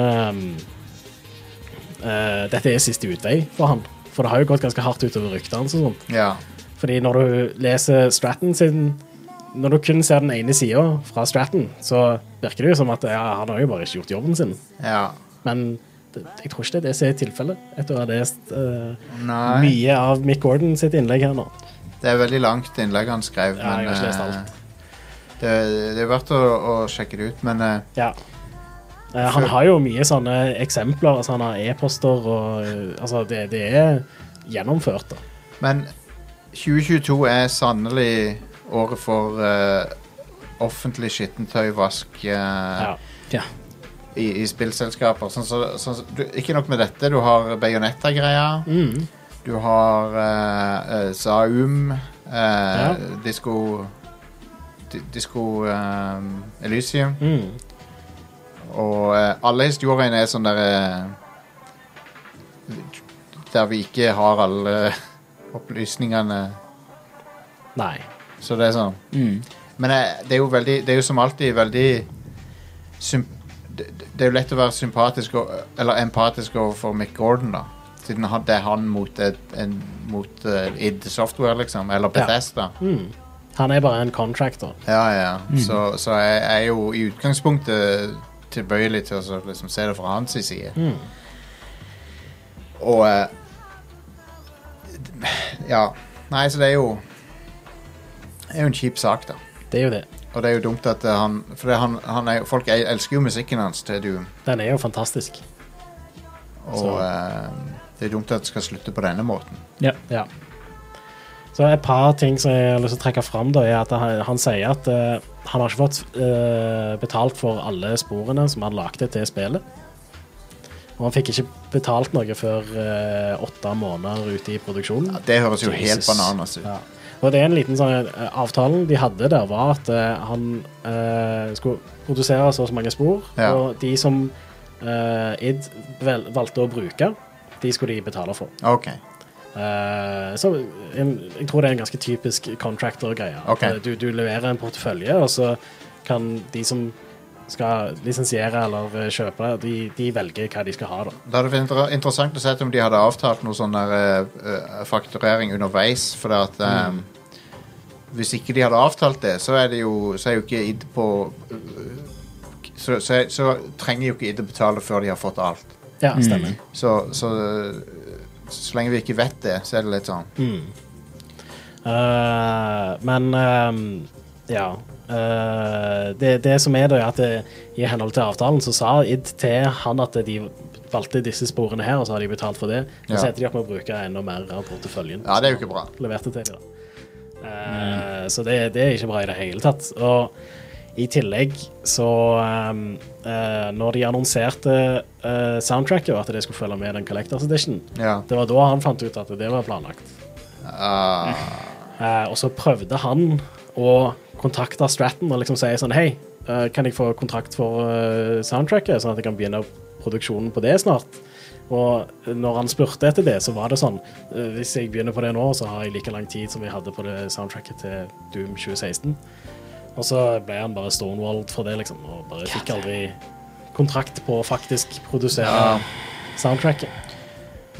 Speaker 2: eh, eh, Dette er siste utvei for han. For det har jo gått ganske hardt utover ryktet hans. og sånt.
Speaker 1: ja.
Speaker 2: Fordi når du leser Stratton sin Når du kun ser den ene sida fra Stratton, så virker det jo som at ja, han har jo bare ikke gjort jobben sin.
Speaker 1: Ja.
Speaker 2: Men det, jeg tror ikke det er det som er tilfellet, etter å ha lest eh,
Speaker 1: Nei.
Speaker 2: mye av Mick Gordon sitt innlegg her nå.
Speaker 1: Det er veldig langt innlegg han skrev,
Speaker 2: Ja, jeg har
Speaker 1: men
Speaker 2: ikke lest
Speaker 1: eh,
Speaker 2: alt.
Speaker 1: det, det er verdt å, å sjekke det ut, men eh,
Speaker 2: Ja. Eh, han har jo mye sånne eksempler. Altså han har e-poster og eh, Altså, det, det er gjennomført, da.
Speaker 1: Men 2022 er sannelig året for eh, offentlig skittentøyvask eh,
Speaker 2: Ja.
Speaker 1: i, i spillselskaper. Sånn, så, sånn, så- du, ikke nok med dette, du har Bayonetta-greia.
Speaker 2: Mm.
Speaker 1: Du har eh, eh, Zaum, eh, Disko Di- Disko eh, Elysium.
Speaker 2: Mm.
Speaker 1: Og eh, alle historiene er sånn der eh, Der vi ikke har alle opplysningene.
Speaker 2: Nei.
Speaker 1: Så det er sånn.
Speaker 3: Mm.
Speaker 1: Men eh, det er jo veldig Det er jo som alltid veldig sym det, det er jo lett å være sympatisk og, eller empatisk overfor Mick Gordon, da. Siden han, det er han mot, et, en, mot eh, id Software, liksom. Eller
Speaker 2: Ja.
Speaker 1: Bethesda.
Speaker 2: Mm. Han er bare en contractor.
Speaker 1: Ja, ja.
Speaker 2: Mm.
Speaker 1: Så, så jeg jeg er jo i utgangspunktet tilbøyelig til å så liksom, se det fra hans side.
Speaker 2: Mm.
Speaker 1: Og eh, Ja. Nei, så det er jo Det er jo en kjip sak, da.
Speaker 2: Det er jo det.
Speaker 1: Og det er jo dumt at eh, han For det, han, han er, jo- folk el- elsker jo musikken hans til Doom.
Speaker 2: Den er jo fantastisk.
Speaker 1: Og
Speaker 2: Så-
Speaker 1: eh, det er dumt at det skal slutte på denne måten.
Speaker 3: Ja.
Speaker 2: Ja. Så et par ting som jeg har lyst til å trekke fram, da, er at han, han sier at eh, han har ikke fått eh, betalt for alle sporene som han lagde til spillet. Og han fikk ikke betalt noe før eh, åtte måneder ute i produksjonen.
Speaker 1: Ja, det høres jo helt
Speaker 3: Jesus.
Speaker 1: bananas ut.
Speaker 2: Ja. Og det er en liten sånn eh, Avtalen de hadde der, var at eh, han eh, skulle produsere så og så mange spor,
Speaker 1: Ja.
Speaker 2: og de som eh, ID vel, valgte å bruke, de skulle de betale for.
Speaker 1: OK.
Speaker 2: Eh, så en, jeg tror det er en ganske typisk contractor-greie. At,
Speaker 1: Ok.
Speaker 2: eh, Du, du leverer en portefølje, og så kan de som skal lisensiere eller eh, kjøpe, de, de velger hva de skal ha. da.
Speaker 1: Da hadde det vært inter interessant å se om de hadde avtalt noe sånn der eh, eh, fakturering underveis, for det at eh,
Speaker 2: Mm.
Speaker 1: Hvis ikke de hadde avtalt det, så er det jo Så er jo ikke ID på eh, så, så, er- så trenger jo ikke ID å betale før de har fått alt.
Speaker 2: Ja, stemmer.
Speaker 1: Så, så eh, Så lenge vi ikke vet det, så er det litt sånn
Speaker 2: Eh, men ehm, ja. Eh, det, det som er, da, er at det, i henhold til avtalen så sa ID til han at de valgte disse sporene her, og så har de betalt for det. Så
Speaker 1: Ja.
Speaker 2: endte de opp med å bruke enda mer av porteføljen.
Speaker 1: Ja, det er jo ikke bra.
Speaker 2: leverte til dem. da. Eh, Så det, det er ikke bra i det hele tatt. Og i tillegg så ehm, eh, Når de annonserte eh, soundtracket, og at det skulle følge med den Collectors Edition,
Speaker 1: Ja.
Speaker 2: det var da han fant ut at det var planlagt.
Speaker 1: Ah,
Speaker 2: Eh, og så prøvde han å kontakte Stratton og liksom si sånn Hei, eh, kan jeg få kontrakt for eh, soundtracket, sånn at jeg kan begynne produksjonen på det snart? Og når han spurte etter det, så var det sånn eh, Hvis jeg begynner på det nå, så har jeg like lang tid som jeg hadde på det soundtracket til Doom 2016. Og så ble han bare stonewalled for det, liksom, og bare fikk aldri kontrakt på å faktisk produsere soundtracket.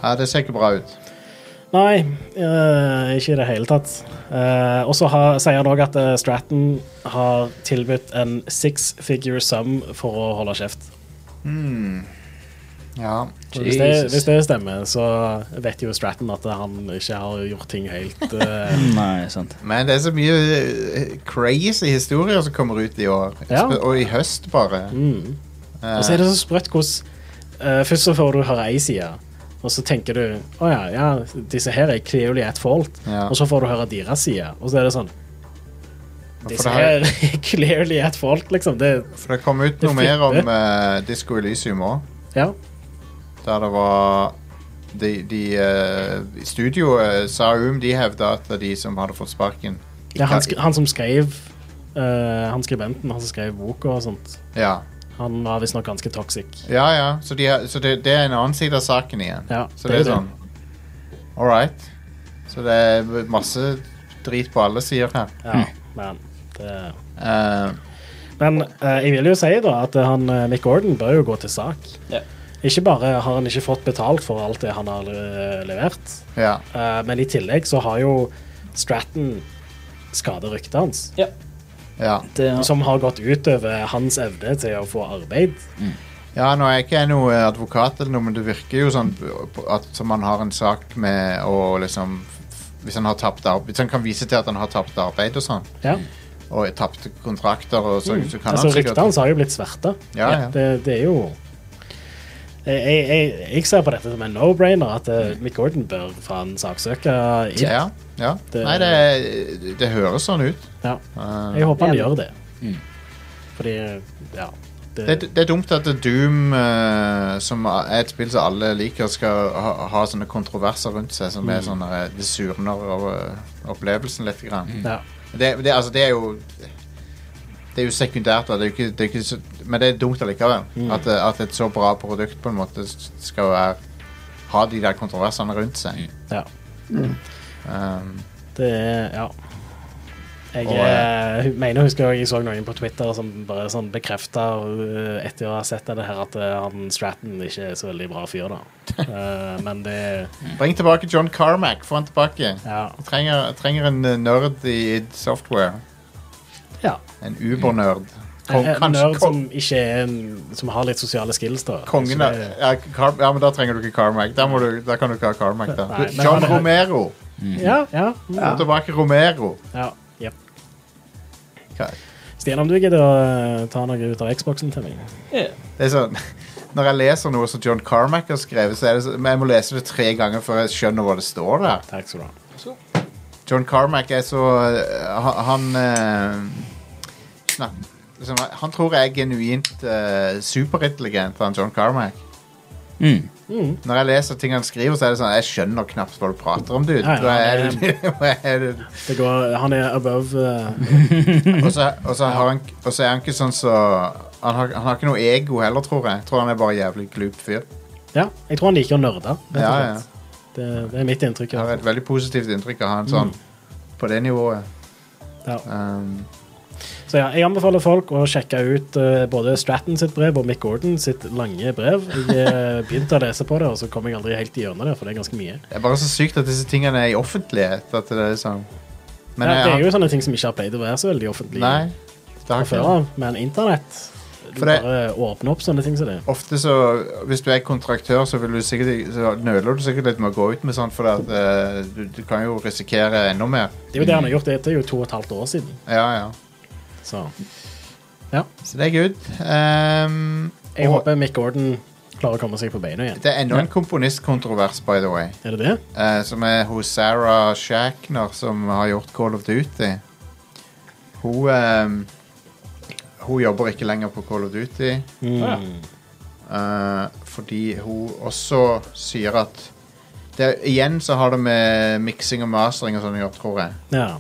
Speaker 1: ja, det ser ikke bra ut.
Speaker 2: Nei, eh, ikke i det hele tatt. Eh, og så har- sier han òg at eh, Stratton har tilbudt en six figure sum for å holde kjeft.
Speaker 1: Ja.
Speaker 2: Og Hvis det, hvis det stemmer, så vet jo Stratton at han ikke har gjort ting helt eh,
Speaker 3: Nei, sant.
Speaker 1: Men det er så mye eh, crazy historier som kommer ut i år.
Speaker 2: Ja.
Speaker 1: Og i høst, bare. Eh,
Speaker 2: mm. Og så er det så sprøtt hvordan eh, først så får du høre ei side, og så tenker du å ja, ja, disse her er clearly at fault,
Speaker 1: Ja.
Speaker 2: og så får du høre deres side, og så er det sånn
Speaker 1: For
Speaker 2: Disse
Speaker 1: det, har,
Speaker 2: her er clearly at fault, liksom. Det,
Speaker 1: for det kom ut
Speaker 2: Det
Speaker 1: noe mer om
Speaker 2: flipper.
Speaker 1: eh, Disco Elysium òg.
Speaker 2: ja.
Speaker 1: Der det var De, de eh, Studioet Saum de hevda at de som hadde fått sparken
Speaker 2: ja han, sk
Speaker 1: ikke-
Speaker 2: han som skrev eh, Han skribenten, han som skrev boka og sånt,
Speaker 1: ja.
Speaker 2: han var visstnok ganske toxic.
Speaker 1: ja, ja. Så, de, har- så det, det er en annen side av saken igjen.
Speaker 2: Ja,
Speaker 1: så det
Speaker 2: det er
Speaker 1: er
Speaker 2: det.
Speaker 1: sånn All right. Så det er masse drit på alle sider her.
Speaker 2: Ja, men det
Speaker 1: Eh,
Speaker 2: Men eh, jeg vil jo si da at eh, han, eh, Mick Gordon bør jo gå til sak.
Speaker 3: Ja.
Speaker 2: Ikke bare har han ikke fått betalt for alt det han har eh, levert,
Speaker 1: ja.
Speaker 2: eh, men i tillegg så har jo Stratton skadet ryktet hans,
Speaker 1: ja.
Speaker 3: Det,
Speaker 2: som har gått ut over hans evne til å få arbeid.
Speaker 1: Ja, nå er jeg ikke jeg noe advokat eller noe, men det virker jo sånn at som han har en sak med å liksom Hvis han har tapt arbeid Hvis han kan vise til at han har tapt arbeid og sånn,
Speaker 2: Ja.
Speaker 1: og tapte kontrakter og så, så kan
Speaker 2: Altså,
Speaker 1: han
Speaker 2: ryktet
Speaker 1: sikkert
Speaker 2: hans har jo blitt sverta.
Speaker 1: Ja, ja.
Speaker 2: Det, det er jo jeg, jeg, jeg, jeg ser på dette som en no-brainer, at eh, Mick Gordon bør faen saksøke. Ip.
Speaker 1: Mm. Ja, ja.
Speaker 2: Det-
Speaker 1: Nei, det, det høres sånn ut.
Speaker 2: Ja.
Speaker 1: Eh,
Speaker 2: Jeg håper han
Speaker 4: Enig.
Speaker 2: gjør det. Fordi, ja
Speaker 1: det, det er dumt at Doom, eh, som er et spill som alle liker, skal ha, ha sånne kontroverser rundt seg som er sånne eh, Det surner over opplevelsen litt. Grann.
Speaker 2: Ja.
Speaker 1: Det, det, altså, det er jo Det er jo sekundært, da. Det er jo ikke, det er ikke så, men det er dumt allikevel. At, eh, at et så bra produkt på en måte s- skal være ha de der kontroversene rundt seg.
Speaker 2: ja.
Speaker 1: Um,
Speaker 2: Det er Ja. Jeg
Speaker 1: Og,
Speaker 2: eh, hu- mener husker jeg, jeg så noen på Twitter som bare sånn bekrefta etter å ha sett det her at eh, han Stratton ikke er så veldig bra fyr, da. Eh, men det
Speaker 1: bring tilbake John Carmack. Få han tilbake.
Speaker 2: Ja.
Speaker 1: Trenger, trenger en eh, nerd i id software.
Speaker 2: ja.
Speaker 1: En ubernerd.
Speaker 2: En,
Speaker 1: Kong,
Speaker 2: en
Speaker 1: kanskje
Speaker 2: Eh,
Speaker 1: kong,
Speaker 2: nerd som ikke er en, Som har litt sosiale skills, da.
Speaker 1: kongen
Speaker 2: Så
Speaker 1: av
Speaker 2: Altså, det-
Speaker 1: ja, Car, ja, men da trenger du ikke Carmack. Da, må du, da kan du ikke ha Carmack. Da.
Speaker 2: Nei, men
Speaker 1: John
Speaker 2: han er-
Speaker 1: Romero.
Speaker 2: Ja, ja. mm,
Speaker 1: Få tilbake Romero.
Speaker 2: ja. Jep.
Speaker 1: Hva-
Speaker 2: Stian, om du gidder å eh, ta noe ut av Xboxen til meg?
Speaker 3: ja.
Speaker 1: Det er sånn Når jeg leser noe som John Carmack har skrevet, så er det så, men jeg må lese det tre ganger før jeg skjønner hva det står der.
Speaker 2: Takk skal du ha.
Speaker 1: John Carmack er så øh, ha- Han øh, snak, liksom, Han tror jeg er genuint øh, superintelligent, han John Carmack.
Speaker 3: Mm.
Speaker 1: Når jeg leser ting han skriver, så er det sånn Jeg skjønner knapt hva du prater om, dude.
Speaker 2: Ja, ja,
Speaker 1: Hva er
Speaker 2: han
Speaker 1: det, hva er det?
Speaker 2: Det går, han er above eh,
Speaker 1: Og så og så har han Og så er han ikke sånn så han har, han har ikke noe ego heller, tror jeg. Jeg tror han er bare jævlig glup fyr.
Speaker 2: Ja, jeg tror han liker å nerde. rett og
Speaker 1: Ja, ja.
Speaker 2: slett. Mhm. Det, det er mitt inntrykk. i
Speaker 1: Jeg har
Speaker 2: hvert
Speaker 1: et veldig positivt inntrykk av han sånn på det nivået.
Speaker 2: fall. Ja.
Speaker 1: Um,
Speaker 2: Så ja, jeg anbefaler folk å sjekke ut eh, både Stratton sitt brev og Mick Gordon sitt lange brev. Jeg eh, begynte å lese på det, og så kom jeg aldri helt gjennom det, for det er ganske mye.
Speaker 1: det er bare så sykt at disse tingene er i offentlighet. At det er sånn Men
Speaker 2: ja, det er
Speaker 1: jeg,
Speaker 2: jo sånne ting som ikke har pleid å være så veldig offentlig
Speaker 1: Nei. Det
Speaker 2: fra
Speaker 1: har
Speaker 2: før
Speaker 1: ikke
Speaker 2: av, men internett Du
Speaker 1: For det-
Speaker 2: bare åpner opp sånne ting som det.
Speaker 1: Ofte så Hvis du er kontraktør, så, vil du sikkert, så nøler du sikkert litt med å gå ut med sånt, for at, eh, du, du kan jo risikere enda mer.
Speaker 2: Det er jo det han har gjort, det er jo to og et halvt år siden.
Speaker 1: Ja, ja.
Speaker 2: Så
Speaker 1: Så det er good. Um,
Speaker 2: jeg
Speaker 1: og
Speaker 2: håper Mick Gordon klarer å komme seg på beina igjen.
Speaker 1: det er enda en komponistkontrovers, by the way,
Speaker 2: Er det det?
Speaker 1: eh, som er hos Sarah Shackner, som har gjort Call of Duty. Hun ehm, Hun jobber ikke lenger på Call of Duty.
Speaker 2: Mm.
Speaker 1: Eh, fordi hun også sier at det, Igjen så har det med miksing og mastering og sånn å gjøre, tror jeg.
Speaker 2: Ja.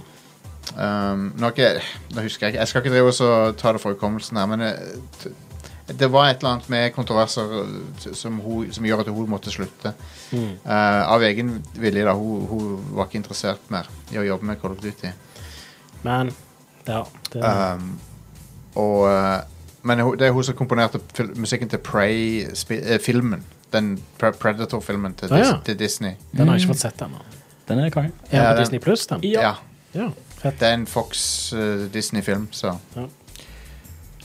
Speaker 1: Um, nå, har ikke, jeg- nå husker jeg ikke Jeg skal ikke drive og så ta det fra hukommelsen her, men eh, t- det var et eller annet med kontroverser eh, t- som, hun, som gjør at hun måtte slutte.
Speaker 2: Mm.
Speaker 1: Eh, av egen vilje, da. Hun, hun var ikke interessert mer i å jobbe med Call of Duty.
Speaker 2: Men ja, det,
Speaker 1: Um, og, eh, men hun- det er hun som komponerte fil musikken til Prey-filmen. Den Pre- Predator-filmen til,
Speaker 2: Ah,
Speaker 1: Dis
Speaker 2: ja.
Speaker 1: til Disney.
Speaker 2: den har jeg ikke fått sett ennå.
Speaker 3: Den er konge.
Speaker 2: Er
Speaker 1: Ja,
Speaker 2: den
Speaker 1: den-
Speaker 2: på Disney Pluss, den?
Speaker 1: Ja.
Speaker 2: Ja, fett.
Speaker 1: Det er en Fox-Disney-film, så
Speaker 2: Ja.
Speaker 1: eh,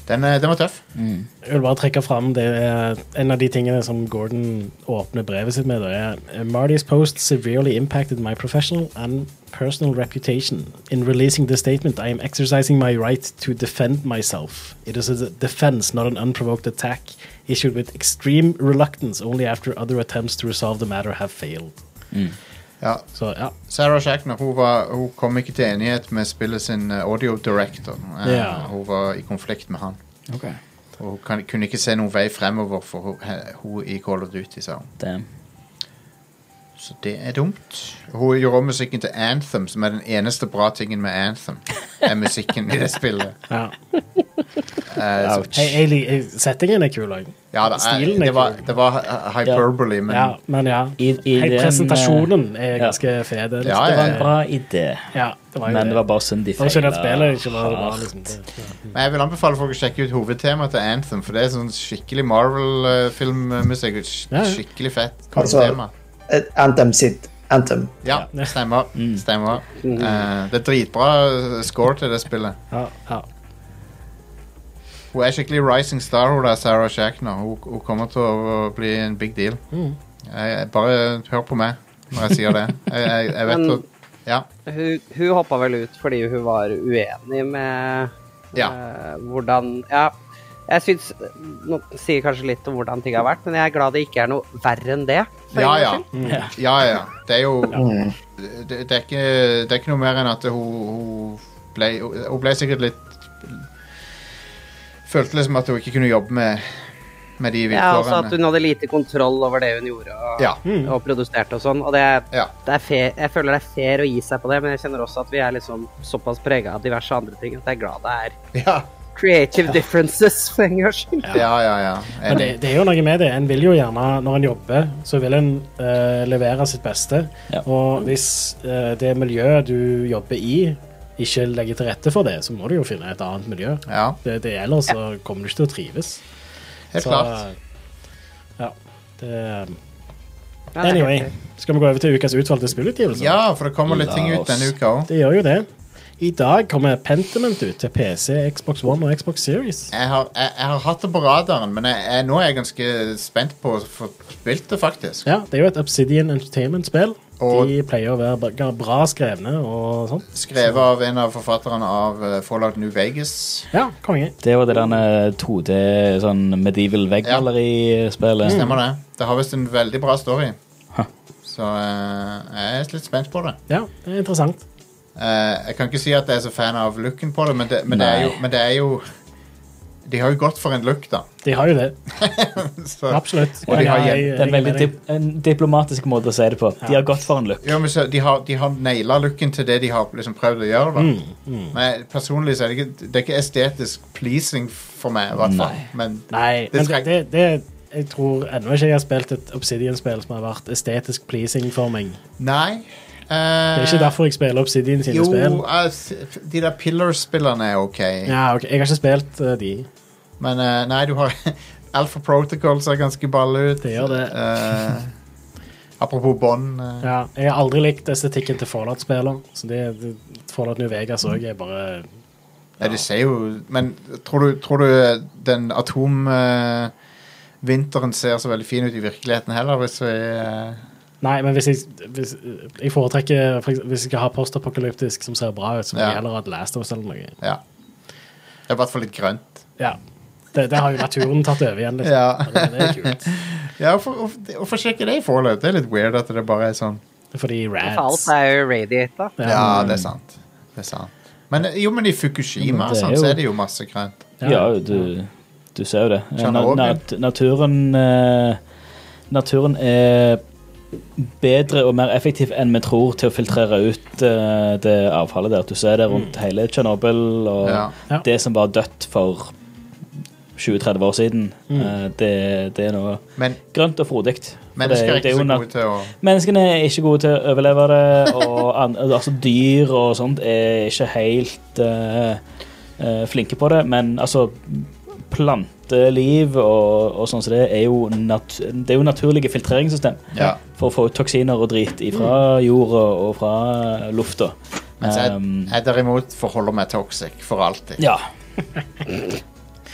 Speaker 1: Den, eh, den var tøff.
Speaker 2: Mm. Jeg vil bare trekke fram det er en av de tingene som Gordon åpner brevet sitt med. Det er eh, Marty's post severely impacted my professional and personal reputation. In releasing this statement, I am exercising my right to defend myself. It is a defense, not an unprovoked attack, issued with extreme reluctance only after other attempts to resolve the matter have failed.
Speaker 1: Ja.
Speaker 2: Så ja,
Speaker 1: Sarah Shackner hun, var, hun kom ikke til enighet med spillet sin eh, audio director. Eh,
Speaker 2: Ja.
Speaker 1: Hun var i konflikt med han. Og hun kan, kunne ikke se noen vei fremover for hun, he- hun i Call of Duty, sa hun.
Speaker 3: Damn.
Speaker 1: Så det er dumt. Hun gjorde om musikken til Anthem, som er den eneste bra tingen med Anthem. Er musikken i det spillet.
Speaker 2: ja.
Speaker 1: Eh, så-
Speaker 2: Jeg, jeg, lik- jeg, settingen er kul òg.
Speaker 1: ja, det, er-
Speaker 2: Stilen er
Speaker 1: det, var,
Speaker 2: kul.
Speaker 1: det var eh, hyperbole, men
Speaker 2: Ja, men ja.
Speaker 3: I- i
Speaker 2: Helt
Speaker 3: den,
Speaker 2: presentasjonen er
Speaker 3: ja.
Speaker 2: ganske fet.
Speaker 1: eh, Ja,
Speaker 3: Det var
Speaker 1: Eh.
Speaker 3: en bra idé,
Speaker 2: ja, det var jo
Speaker 3: men det var bare synd de
Speaker 2: Det var synd at
Speaker 3: feilet
Speaker 2: spillet ikke var bra.
Speaker 3: hardt.
Speaker 2: Liksom. Det-
Speaker 1: Men jeg vil anbefale folk å sjekke ut hovedtemaet til Anthem, for det er sånn skikkelig Marvel-filmmusikk.
Speaker 2: Ja, ja.
Speaker 1: Skikkelig fett.
Speaker 5: Altså-
Speaker 1: Hovedtema.
Speaker 5: Eh, Anthem sitt Anthem.
Speaker 1: Ja, stemmer.
Speaker 2: Mm.
Speaker 1: stemmer.
Speaker 4: Mm-hmm.
Speaker 1: Eh, det er dritbra eh, score til det spillet.
Speaker 2: Ja, ja.
Speaker 1: Hun er skikkelig rising star, hun der Sarah Shackner. Hun, hun kommer til å bli en big deal.
Speaker 2: Mm.
Speaker 1: Jeg, bare eh, hør på meg når jeg sier det. Jeg, jeg, jeg vet
Speaker 4: Men-
Speaker 1: jo Ja.
Speaker 4: Hun, hun hoppa vel ut fordi hun var uenig med
Speaker 1: Ja.
Speaker 4: eh, hvordan Ja. Jeg syns Nå sier kanskje litt om hvordan ting har vært, men jeg er glad det ikke er noe verre enn det. for
Speaker 1: Ja
Speaker 4: en
Speaker 1: ja.
Speaker 4: gangs skyld.
Speaker 2: Mm.
Speaker 3: Ja.
Speaker 1: ja, ja. Det er jo det, det, er ikke, det er ikke noe mer enn at hun, hun, ble, hun ble sikkert litt Følte liksom at hun ikke kunne jobbe med, med de
Speaker 4: Ja, også at
Speaker 1: vilkårene.
Speaker 4: hun hadde lite kontroll over det hun gjorde og,
Speaker 1: Ja.
Speaker 2: Mm.
Speaker 4: og produserte og sånn. Og det,
Speaker 1: Ja.
Speaker 4: det er fair, jeg føler det er fair å gi seg på det, men jeg kjenner også at vi er liksom såpass prega av diverse andre ting at jeg er glad det er
Speaker 1: Ja,
Speaker 4: creative differences for en gangs skyld.
Speaker 1: ja, ja. ja.
Speaker 2: Men
Speaker 1: Enig.
Speaker 2: det, det er jo noe med det. En vil jo gjerne, når en jobber, så vil en eh, levere sitt beste.
Speaker 3: Ja.
Speaker 2: Og hvis eh, det miljøet du jobber i, ikke legger til rette for det, så må du jo finne et annet miljø.
Speaker 1: Ja,
Speaker 2: Det, det Ellers så kommer du ikke til å trives.
Speaker 1: helt
Speaker 2: så, eh,
Speaker 1: klart.
Speaker 2: Ja. Det,
Speaker 4: Ja, det er
Speaker 2: anyway,
Speaker 4: helt
Speaker 2: skal vi gå over til ukas utvalgte spillutgivelser?
Speaker 1: Ja, for det kommer litt
Speaker 3: La
Speaker 1: ting ut
Speaker 3: oss.
Speaker 1: denne uka òg.
Speaker 2: Det gjør jo det. I dag kommer Pentiment ut til PC, Xbox One og Xbox Series.
Speaker 1: Jeg, har- jeg, jeg har hatt det på radaren, men jeg, jeg, nå er jeg ganske spent på å få spilt det, faktisk.
Speaker 2: Ja, det er jo et Obsidian Entertainment-spill.
Speaker 1: Og-
Speaker 2: De pleier å være bra- bra skrevne og sånn.
Speaker 1: Skrevet av en av forfatterne av eh, Fallout New Vegas.
Speaker 2: Ja, konge.
Speaker 3: Det var det der 2D sånn medieval veggmalerispillet.
Speaker 1: Stemmer det? Det har visst en veldig bra story. Så eh, jeg er litt spent på det.
Speaker 2: Ja, det er interessant.
Speaker 1: Eh, jeg kan ikke si at jeg er så fan av looken på det, men det, men det, er, jo,
Speaker 3: Nei.
Speaker 1: men det er jo De har jo gått for en look, da.
Speaker 2: De har jo det.
Speaker 1: Så,
Speaker 2: Absolutt.
Speaker 1: Og de har
Speaker 2: Ja,
Speaker 1: hjem-
Speaker 2: jeg-
Speaker 3: Det er en
Speaker 2: jeg er
Speaker 3: veldig
Speaker 2: med deg.
Speaker 3: dip en diplomatisk måte å si det på. De har gått for en look.
Speaker 1: jo, men så, de har, de har naila looken til det de har liksom prøvd å gjøre. Da.
Speaker 2: Mm,
Speaker 1: Men personlig så er det ikke, det er ikke estetisk pleasing for meg, i hvert fall.
Speaker 3: Nei.
Speaker 1: Men
Speaker 2: Nei,
Speaker 1: Det
Speaker 2: men
Speaker 1: skal-
Speaker 2: det, det, det Jeg tror ennå ikke jeg har spilt et Obsidian-spill som har vært estetisk pleasing for meg.
Speaker 1: nei eh,
Speaker 2: Det er ikke derfor jeg spiller Obsidian sine
Speaker 1: Jo,
Speaker 2: spill.
Speaker 1: eh, s- de der Pillars-spillerne er ok,
Speaker 2: Ja, ok, Jeg har ikke spilt eh, de.
Speaker 1: men eh, nei, du har Alpha Protocol ser ganske balle ut.
Speaker 2: Det gjør det.
Speaker 1: Eh, apropos bånd. eh,
Speaker 2: Ja, jeg har aldri likt estetikken til Fallout-spiller. Så det, det, Fallout New Vegas òg er bare
Speaker 1: nei, Det ser jo Men tror du, tror du den atomvinteren Vinteren ser så veldig fin ut i virkeligheten heller, hvis vi eh,
Speaker 2: Nei, men hvis jeg, hvis jeg foretrekker for eksempel, Hvis jeg skal ha postapokalyptisk som ser bra ut, så vil
Speaker 1: Ja.
Speaker 2: jeg heller ha et Last of Us eller noe.
Speaker 1: Ja. Det er i hvert fall litt grønt.
Speaker 2: Ja. Det, det har jo naturen tatt over igjen, liksom.
Speaker 1: Ja.
Speaker 2: Og Det, det er kult.
Speaker 1: Ja, og for- og- Hvorfor skjer ikke det i Fallout? Det er litt weird at det bare er sånn.
Speaker 2: Fordi
Speaker 4: greit. Alt
Speaker 2: rats
Speaker 4: er jo radiata.
Speaker 1: Ja, det er sant. Det er sant. Men eh, jo, men i Fukushima
Speaker 3: Men det er
Speaker 1: sånn, så
Speaker 3: jo-
Speaker 1: er det jo masse grønt.
Speaker 3: Ja, du, du ser jo det.
Speaker 1: Chernobyl.
Speaker 3: Na- nat- naturen eh, Naturen er bedre og mer effektiv enn vi tror til å filtrere ut eh, det avfallet der. Du ser det rundt hele Tsjernobyl og
Speaker 1: Mm. Ja.
Speaker 2: Ja.
Speaker 3: det som var dødt for 20-30 år siden.
Speaker 1: Mm.
Speaker 3: eh, det, det er noe
Speaker 1: Men
Speaker 3: grønt og frodig. For det
Speaker 1: mennesker
Speaker 3: jo-
Speaker 1: er
Speaker 3: det
Speaker 1: ikke
Speaker 3: jo
Speaker 1: så
Speaker 3: nat-
Speaker 1: gode til å
Speaker 3: Menneskene er ikke gode til å overleve det, og an, altså dyr og sånt er ikke helt eh, eh, flinke på det, men altså planteliv og, og sånn som det er jo, nat det er jo naturlige filtreringssystem
Speaker 1: Ja.
Speaker 3: for å få ut toksiner og drit fra
Speaker 1: Mm.
Speaker 3: jorda og fra lufta.
Speaker 1: Mens jeg,
Speaker 3: Um,
Speaker 1: jeg derimot forholder meg toxic for alltid.
Speaker 3: ja.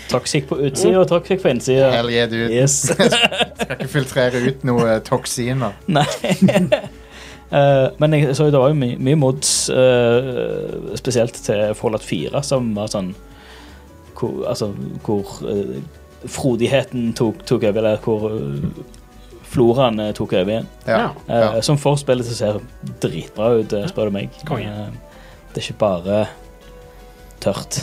Speaker 3: Toxic på utsida og toxic på innsida.
Speaker 1: Hell yeah, dude.
Speaker 3: Yes.
Speaker 1: Skal ikke filtrere ut noe toksiner.
Speaker 3: Nei. Eh, men jeg så jo det var jo my mye mods, eh, spesielt til Fallout 4, som var sånn Hvor, altså, hvor eh, frodigheten tok, tok over, eller hvor uh, floraen eh, tok over igjen.
Speaker 1: Ja.
Speaker 3: Eh,
Speaker 1: Ja.
Speaker 3: Som får spillet til å se dritbra ut, eh, spør du meg.
Speaker 2: Konge.
Speaker 3: Eh, det er ikke bare tørt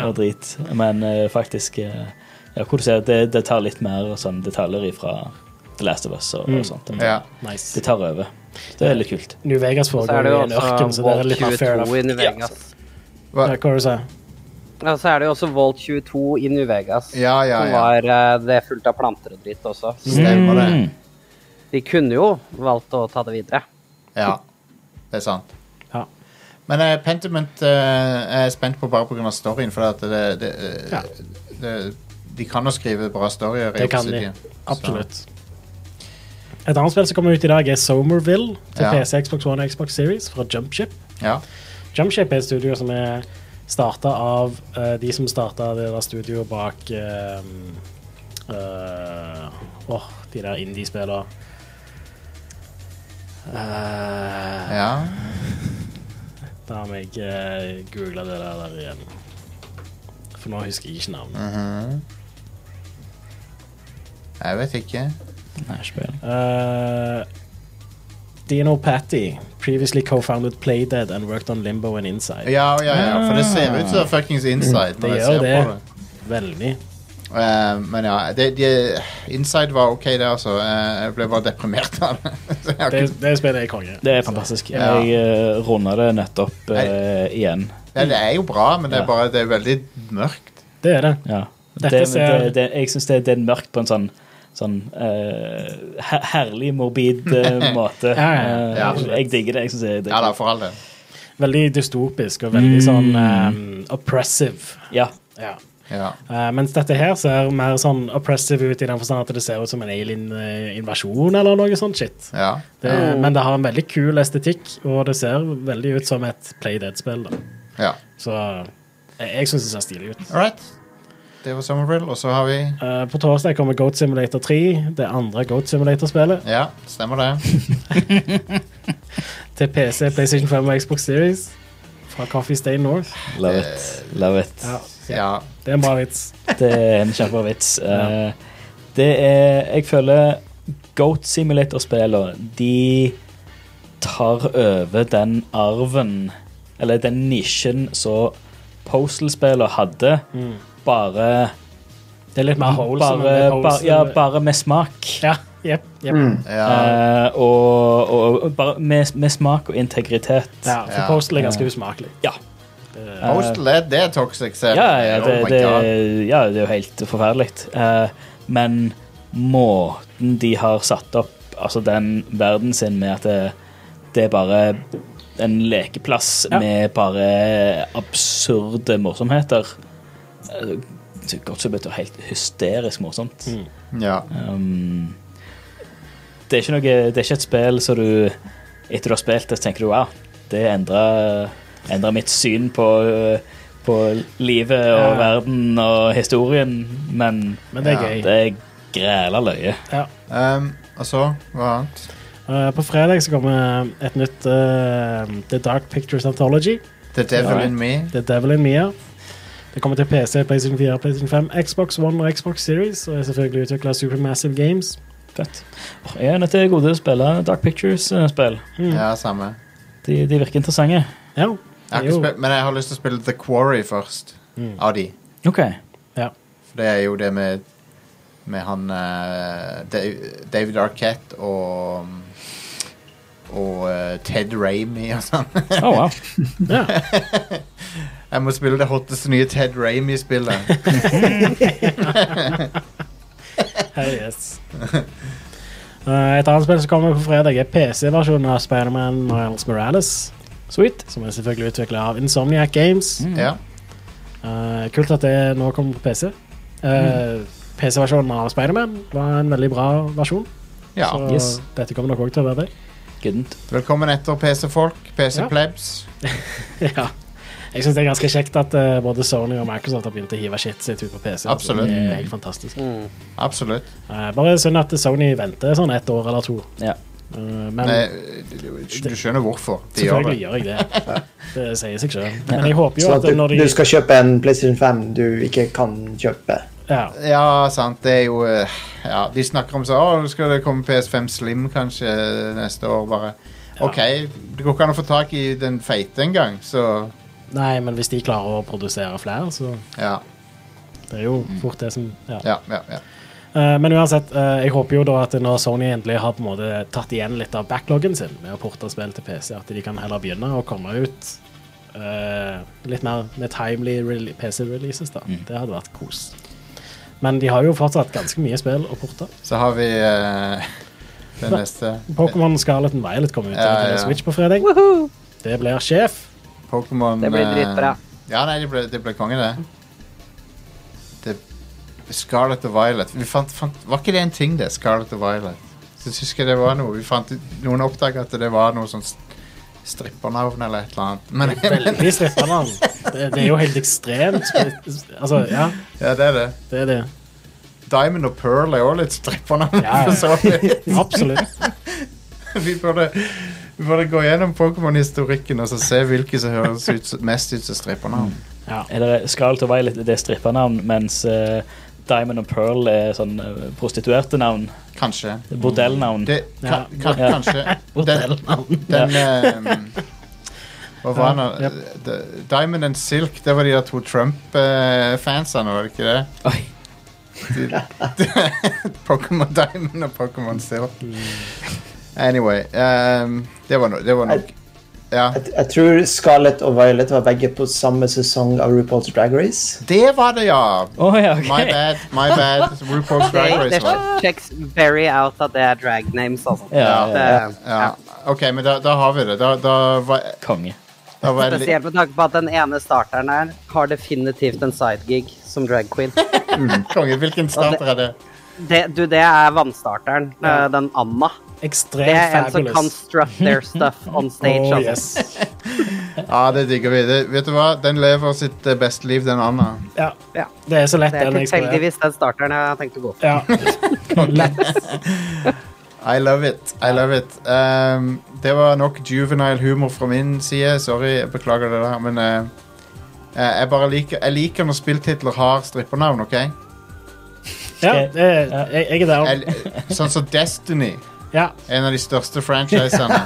Speaker 3: og drit, men eh, faktisk eh, ja, hvor du ser, det, det tar litt mer sånn, detaljer fra The Last of Us og,
Speaker 2: Mm.
Speaker 3: og sånt.
Speaker 1: ja.
Speaker 2: Nice.
Speaker 3: Det tar over. Det er litt kult.
Speaker 2: New Vegas
Speaker 4: Så er
Speaker 2: foregår
Speaker 4: det
Speaker 2: i
Speaker 4: jo
Speaker 2: en ørken, så
Speaker 4: også
Speaker 2: det er litt mer
Speaker 4: Vault
Speaker 2: fair
Speaker 4: 22 i
Speaker 2: enough.
Speaker 4: New Vegas.
Speaker 2: Ja,
Speaker 1: Hva?
Speaker 2: hva var det du sa?
Speaker 4: Ja, så er det jo også Volt 22 i New Vegas.
Speaker 1: Ja, ja,
Speaker 4: Som
Speaker 1: ja.
Speaker 4: var eh, det er fullt av planter og dritt også. Så
Speaker 1: Stemmer det.
Speaker 3: Mm.
Speaker 4: de kunne jo valgt å ta det videre.
Speaker 1: Ja, det er sant.
Speaker 2: Ja.
Speaker 1: Men eh, Pentiment eh, er jeg spent på bare pga. storyen, for at det, det, eh,
Speaker 2: Ja.
Speaker 1: det, de kan jo skrive bra storyer. i
Speaker 2: Det kan de.
Speaker 1: Obsidian.
Speaker 2: Absolutt. Et annet spill som kommer ut i dag, er Somerville til
Speaker 1: Ja.
Speaker 2: PC, Xbox One og Xbox Series fra Jumpship.
Speaker 1: Så, ja.
Speaker 2: Jumpship er et studio som er starta av eh, de som starta det der studioet bak eh, eh, Åh, de der indie-spillene. Eh,
Speaker 1: ja.
Speaker 2: Da må jeg uh, google det der, der igjen. For nå husker jeg ikke navnet.
Speaker 3: Mm.
Speaker 1: mhm. Jeg vet ikke.
Speaker 3: Nei, ikke peiling.
Speaker 2: Uh, Dino Patty, previously co-founded Playdead and worked on Limbo and Inside.
Speaker 1: Ja, ja, ja, for det ser ut som fuckings inside.
Speaker 2: Ah. Det
Speaker 1: når jeg
Speaker 2: gjør
Speaker 1: ser
Speaker 2: det.
Speaker 1: På det.
Speaker 2: Veldig.
Speaker 1: Eh, men ja, det, de, Inside var ok, det, altså. Eh, jeg ble bare deprimert av det. Så jeg har
Speaker 2: Det,
Speaker 1: ikke-
Speaker 2: det spillet er konge.
Speaker 3: Det er fantastisk.
Speaker 1: Ja.
Speaker 3: Jeg uh, runda det nettopp eh, igjen.
Speaker 1: ja, det er jo bra, men det er
Speaker 3: Ja.
Speaker 1: bare det er veldig mørkt.
Speaker 2: Det er det.
Speaker 3: Ja.
Speaker 2: Dette
Speaker 3: Det, det,
Speaker 2: ser-
Speaker 3: det, jeg syns det, det er mørkt på en sånn, sånn eh, her- herlig morbid eh, måte.
Speaker 2: Ja, ja,
Speaker 1: ja.
Speaker 3: Eh, jeg digger det. Jeg synes det, det
Speaker 1: Ja da, for all del.
Speaker 2: Veldig dystopisk og veldig sånn um, oppressive.
Speaker 3: Ja.
Speaker 2: Ja.
Speaker 1: Mm. Ja.
Speaker 2: Eh, mens dette her ser mer sånn oppressive ut i den forstand at det ser ut som en alien-invasjon eller noe sånt shit.
Speaker 1: Ja.
Speaker 2: Det, Men det har en veldig kul estetikk, og det ser veldig ut som et Playdead-spill. da.
Speaker 1: ja.
Speaker 2: Så eh, jeg, jeg syns det ser stilig ut.
Speaker 1: All right. Det var Summerville, og så har vi
Speaker 2: Eh, på torsdag kommer Goat Simulator 3, det andre Goat Simulator-spillet,
Speaker 1: Ja, stemmer det.
Speaker 2: til PC, PlayStation 5 og Xbox Series fra Coffee Stay North.
Speaker 3: Love it.
Speaker 1: Eh,
Speaker 3: Love it.
Speaker 1: Ja.
Speaker 2: Det er en bra vits.
Speaker 3: Det er en kjempebra vits. Eh, det er Jeg føler Goat Simulator-spillene, de tar over den arven, eller den nisjen som Postal-spillene hadde, bare
Speaker 2: Mm. Det er litt mer holes. enn
Speaker 3: bare,
Speaker 2: det er holes
Speaker 3: bare, ja,
Speaker 2: enn det-
Speaker 3: bare med smak.
Speaker 2: ja, jep, jep.
Speaker 1: Mm. ja.
Speaker 3: Eh, og, og, og bare med, med smak og integritet.
Speaker 2: ja, for
Speaker 1: Ja.
Speaker 2: Postal er ganske usmakelig.
Speaker 3: Ja.
Speaker 1: Postal, det, det er toxic serie.
Speaker 3: eh. Ja, ja, det,
Speaker 1: oh my
Speaker 3: det,
Speaker 1: god.
Speaker 3: ja, det er jo helt forferdelig. Eh, men måten de har satt opp altså den verden sin med at det, det er bare en lekeplass
Speaker 2: Ja.
Speaker 3: med bare absurde morsomheter eh, det er Godt som betyr helt hysterisk morsomt.
Speaker 1: Mm. Ja.
Speaker 3: Um, det, er ikke noe, det er ikke et spill som du Etter du har spilt det, så tenker du wow, det endra endra mitt syn på, øh, på livet og
Speaker 2: Ja.
Speaker 3: verden og historien, men
Speaker 2: Men det er
Speaker 1: Ja,
Speaker 2: gøy.
Speaker 3: det er græla løye.
Speaker 2: Ja.
Speaker 1: Um, og så, hva annet?
Speaker 2: Eh, på fredag så kommer et nytt eh, The Dark Pictures Anthology.
Speaker 1: The Devil
Speaker 3: Ja.
Speaker 1: in Me.
Speaker 2: The Devil in Mia. Det kommer til PC, PlayStation 4, PlayStation 5, Xbox One og Xbox Series, og er selvfølgelig utvikla av Supermassive Games.
Speaker 3: Fett. Jeg er nødt til gode til å spille Dark Pictures-spill.
Speaker 1: Ja, samme.
Speaker 3: De, de virker interessante.
Speaker 2: Ja,
Speaker 1: Jeg har
Speaker 2: det er
Speaker 1: ikke
Speaker 2: jo-
Speaker 1: spilt, men jeg har lyst til å spille The Quarry først.
Speaker 3: Mm.
Speaker 1: Av de.
Speaker 3: OK.
Speaker 2: ja.
Speaker 1: For det er jo det med Med han eh, Da- David Arquette og Og eh, Ted Ramey og sånn.
Speaker 3: Oh, wow.
Speaker 2: ja.
Speaker 1: Jeg må spille det hotteste nye Ted Ramey-spillet.
Speaker 2: Hell yes. Eh, Et annet spill som kommer på fredag, er PC-versjonen av Spiderman Miles Morales.
Speaker 3: Sweet. Mm.
Speaker 2: Som er selvfølgelig utvikla av Insomniac Games.
Speaker 1: ja.
Speaker 2: Eh, kult at det nå kommer på PC.
Speaker 3: Mm.
Speaker 2: Eh, PC-versjonen av Spiderman var en veldig bra versjon.
Speaker 1: ja.
Speaker 2: så
Speaker 3: yes.
Speaker 2: dette kommer nok òg til å være det.
Speaker 3: Goodent.
Speaker 1: Velkommen etter PC-folk.
Speaker 2: Ja.
Speaker 1: PC-plebs.
Speaker 2: ja. Jeg syns det er ganske kjekt at eh, både Sony og Microsoft har begynt å hive shit sitt ut på PC. altså.
Speaker 1: Absolutt. Mm.
Speaker 2: Det er helt fantastisk.
Speaker 1: Absolutt.
Speaker 2: Eh, bare synd at Sony venter sånn ett år eller to.
Speaker 3: Ja.
Speaker 2: Eh, men
Speaker 1: Nei, du skjønner hvorfor de gjør
Speaker 2: selvfølgelig
Speaker 1: det.
Speaker 2: gjør jeg det. Det sier seg sjøl. Men jeg håper jo
Speaker 5: Sånn at
Speaker 2: at når
Speaker 5: du,
Speaker 2: de
Speaker 5: du skal kjøpe en PlayStation 5 du ikke kan kjøpe.
Speaker 2: ja,
Speaker 1: Ja, sant. Det er jo eh, Ja, de snakker om så Å, nå skal det komme PS5 Slim kanskje neste år, bare. OK, det går ikke an å få tak i den feite engang, så
Speaker 2: Nei, men hvis de klarer å produsere flere, så
Speaker 1: ja,
Speaker 2: det er jo
Speaker 1: Mm.
Speaker 2: fort det som ja.
Speaker 1: ja, ja, ja.
Speaker 2: Eh, men uansett, eh, jeg håper jo da at når Sony endelig har på en måte tatt igjen litt av backloggen sin med å porte spill til PC, at de kan heller begynne å komme ut eh, litt mer med timely rele- PC-releases, da.
Speaker 1: Mm.
Speaker 2: Det hadde vært kos. Men de har jo fortsatt ganske mye spill å porte.
Speaker 1: Så har vi eh, det neste.
Speaker 2: Pokémon Scarlet and Violet kommer ut til
Speaker 1: Ja, ja.
Speaker 2: Nintendo Switch på fredag. Det blir sjef.
Speaker 1: Pokémon
Speaker 4: Det blir
Speaker 1: eh,
Speaker 4: dritbra.
Speaker 1: Ja, nei, det ble, det ble konge, det. det. Scarlet og Violet. Vi fant, fant, var ikke det en ting, det? Scarlet og Violet. Så jeg husker jeg det var noe. Vi fant, ut- noen oppdaga at det var noe sånn st- strippernavn eller et eller annet. Men,
Speaker 2: Veldig strippernavn. Det, det er jo helt ekstremt. sp- Altså, ja,
Speaker 1: ja, det er det.
Speaker 2: det er det.
Speaker 1: Diamond og Pearl er òg litt strippernavn.
Speaker 2: Ja, ja.
Speaker 1: for så vidt.
Speaker 2: Absolutt.
Speaker 1: vi, burde, vi burde gå gjennom Pokémon-historikken og så se hvilke som høres ut, som- mest ut som strippernavn.
Speaker 2: Ja.
Speaker 3: Eller Scarlet og Violet det er strippernavn, mens eh, Diamond og Pearl er sånn eh, prostituerte navn.
Speaker 1: Kanskje.
Speaker 3: Bordellnavn.
Speaker 1: Det, ka, ka,
Speaker 3: Ja.
Speaker 1: Kanskje. Den,
Speaker 2: Bordellnavn.
Speaker 1: Den ehm, Hva var han?
Speaker 2: Ja,
Speaker 1: D- Diamond and Silk, det var de der to Trump-fansene, var det ikke det?
Speaker 3: Oi.
Speaker 1: Pokémon Diamond og Pokémon Silk. Anyway. ehm, det, var no, det var nok. Ja.
Speaker 5: Jeg, jeg tror Scarlett og Violet var begge på samme sesong av RuPaul's Drag Race.
Speaker 1: Det var det, ja!
Speaker 3: Å ja, ok.
Speaker 1: My bad. my bad RuPaul's
Speaker 4: Det,
Speaker 1: Drag Race.
Speaker 4: det
Speaker 1: var det.
Speaker 4: checks very out at det er drag names, altså.
Speaker 3: Ja,
Speaker 4: Det,
Speaker 1: Ja. OK, men da, da har vi det. Da, da var,
Speaker 3: Konge.
Speaker 1: da var jeg litt
Speaker 4: Spesielt med tanke på at den ene starteren her har definitivt en sidegig som drag queen.
Speaker 1: konge. Hvilken starter er det?
Speaker 4: Det, du, det er vannstarteren. eh, Den Anna. Det
Speaker 2: Ekstremt
Speaker 4: er en som kan
Speaker 2: fabulous.
Speaker 4: strut their stuff on stage.
Speaker 2: Oh,
Speaker 4: altså.
Speaker 2: yes.
Speaker 1: Ja, det digger vi. Det, vet du hva? Den lever sitt eh, beste liv, den Anna.
Speaker 2: ja.
Speaker 4: Ja.
Speaker 2: Det er så lett,
Speaker 4: Det er
Speaker 2: den jeg skal
Speaker 4: tilfeldigvis den starteren jeg har tenkt å gå for.
Speaker 2: Ja.
Speaker 1: I love it. I love it. Ehm, det var nok juvenile humor fra min side. Sorry, jeg beklager det der, men eh, eh, jeg bare liker, jeg liker når spilltitler har strippernavn, OK?
Speaker 2: ja det, er- jeg, jeg er der.
Speaker 1: Jeg, sånn som Destiny,
Speaker 2: Ja.
Speaker 1: en av de største franchisene.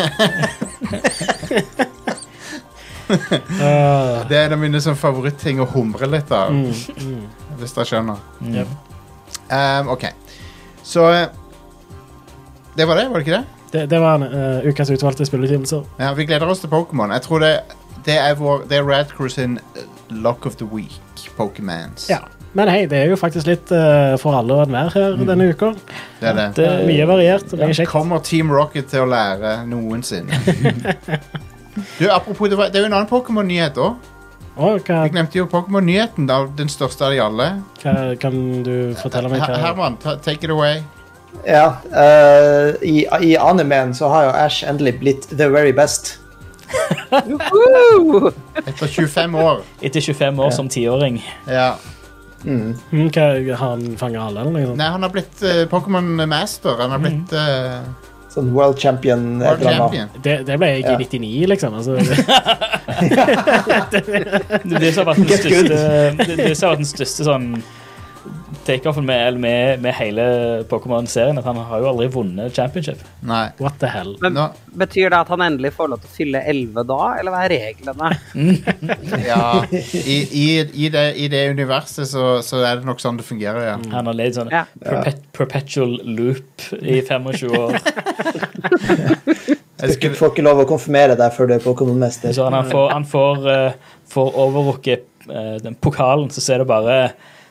Speaker 2: Øh, Ah.
Speaker 1: Det er en av mine sånn favorittting å humre litt av, hvis dere skjønner.
Speaker 2: Jep.
Speaker 1: Ehm, OK. Så eh, Det var det, var det ikke det?
Speaker 2: det, det var en, øh, ukas utvalgte spilleutgivelser.
Speaker 1: Ja, vi gleder oss til Pokémon. Jeg tror det, det er vår Det er Rad Crew sin eh, Lock of the Week, Pokémans.
Speaker 2: Ja. Men hei, det er jo faktisk litt øh, for alle og enhver her denne uka. Eh,
Speaker 1: Det er det.
Speaker 3: Det,
Speaker 2: Mye variert. og Mye kjekt.
Speaker 1: Kommer Team Rocket til å lære noensinne? du, apropos, det, var, det er jo en annen Pokémon-nyhet òg.
Speaker 2: Å, hva,
Speaker 1: Jeg glemte jo Pokémon-nyheten. da, Den største av de alle.
Speaker 2: hva, kan du fortelle meg
Speaker 1: Her-
Speaker 2: hva
Speaker 1: Herman, ta, take it away.
Speaker 5: Ja, eh, i, I animeen så har jo Ash endelig blitt the very best.
Speaker 4: Woo!
Speaker 1: Etter 25 år.
Speaker 3: Etter 25 år som tiåring.
Speaker 1: Ja.
Speaker 2: Mm, hva, Har han fanget alle, eller noe sånt?
Speaker 1: Nei, han har blitt eh, Pokémon Master. Han har blitt eh,
Speaker 5: Sånn world champion. et
Speaker 1: World
Speaker 5: eller annet.
Speaker 1: Champion.
Speaker 2: Det, det ble jeg
Speaker 5: Ja.
Speaker 2: i 99, liksom. Altså,
Speaker 3: Det er det som har vært den
Speaker 5: Get good.
Speaker 3: største, det, det som har vært den største sånn takeoffen med, eller med, med hele Pokémon-serien. At han har jo aldri vunnet championship.
Speaker 1: Nei.
Speaker 2: what the hell.
Speaker 4: Men
Speaker 1: Nå,
Speaker 4: betyr det at han endelig får lov til å fylle 11 da, eller hva er reglene?
Speaker 1: ja. I, i, i, det, I det universet så, så er det nok sånn det fungerer, ja.
Speaker 3: Han har levd sånn
Speaker 4: Ja.
Speaker 3: perpet, perpetual loop i 25 år.
Speaker 1: Jeg
Speaker 5: Du
Speaker 1: skulle,
Speaker 5: får ikke lov å konfirmere deg før du er Pokémon-mester.
Speaker 3: Så han, sånn han får, han får, eh, får overrukket eh, den pokalen, så ser det bare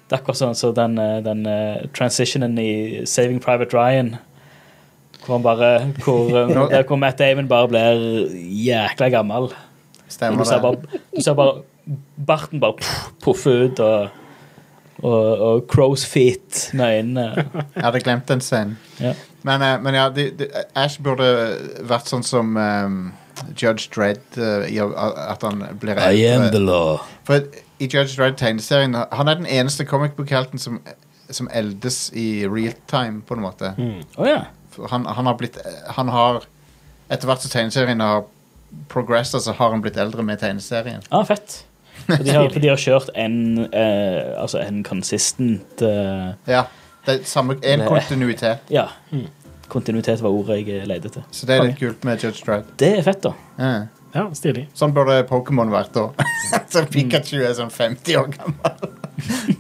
Speaker 3: Det er akkurat sånn som den, eh, den eh, transitionen i Saving Private Ryan. Hvor han bare hvor, eh,
Speaker 1: Nå-
Speaker 3: Der hvor Matt Damon bare blir jækla gammel. Og
Speaker 1: stemmer
Speaker 3: Du ser
Speaker 1: det.
Speaker 3: bare, du ser bare barten bare puff- puffe ut, og, og, og crow's feet med øynene.
Speaker 1: Jeg hadde glemt den scenen.
Speaker 3: Ja.
Speaker 1: Men, eh, men ja, de, de, Ash burde vært sånn som eh, Judge Dredd eh, i at han blir
Speaker 8: I
Speaker 1: eldre.
Speaker 8: am the law.
Speaker 1: For at i Judge Dredd-tegneserien Han er den eneste comic book-helten som, som eldes i real time, på en måte.
Speaker 3: Å ja.
Speaker 1: For Han, han har blitt Han har Etter hvert som tegneserien har progressa, så har han blitt eldre med tegneserien.
Speaker 3: Ah, fett. For de har, for de har kjørt en, eh, altså en consistent eh,
Speaker 1: Ja. Det er samme, en
Speaker 3: Det-
Speaker 1: kontinuitet.
Speaker 3: Ja. Kontinuitet var ordet jeg leide etter.
Speaker 1: Så det er litt
Speaker 3: Konge.
Speaker 1: kult med Judge Dredd.
Speaker 3: Det er fett, da.
Speaker 1: Ja.
Speaker 2: Ja, stilig.
Speaker 1: Sånn burde Pokémon vært da. så Pikachu er sånn 50 år gammel.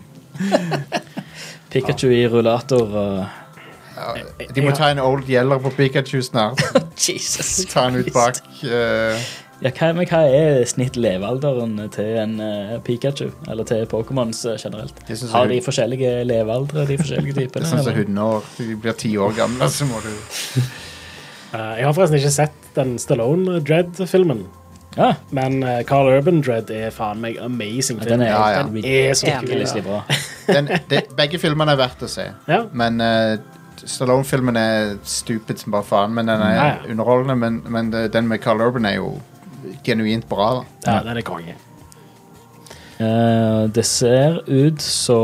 Speaker 3: Pikachu i rullator og
Speaker 1: De må ta en old gjeller på Pikachu snart.
Speaker 3: Jesus
Speaker 1: Ta han ut bak. eh,
Speaker 3: Ja, hva, men hva er snitt levealderen til en eh, Pikachu? Eller til Pokémons eh, generelt?
Speaker 1: Det synes jeg
Speaker 3: Har de
Speaker 1: hun-
Speaker 3: forskjellige levealdre, de forskjellige
Speaker 1: det er
Speaker 3: typene?
Speaker 1: sånn som
Speaker 3: eller?
Speaker 1: hundeår. De blir ti år gamle, så må du
Speaker 2: Eh, jeg har forresten ikke sett den Stallone Dread-filmen,
Speaker 3: Ja,
Speaker 2: men eh, Carl Urban Dread er faen meg amazing.
Speaker 3: ja, den er,
Speaker 1: Ja, ja.
Speaker 3: Den
Speaker 2: er så
Speaker 3: er
Speaker 2: kul.
Speaker 3: virkelig bra.
Speaker 1: den, det, Begge filmene er verdt å se.
Speaker 2: Ja.
Speaker 1: Men eh, Stallone-filmen er stupid som bare faen, men den er
Speaker 2: Ja, ja.
Speaker 1: underholdende. Men, men det- den med Carl Urban er jo genuint bra. da.
Speaker 2: Ja, den er konge.
Speaker 3: Eh, det ser ut så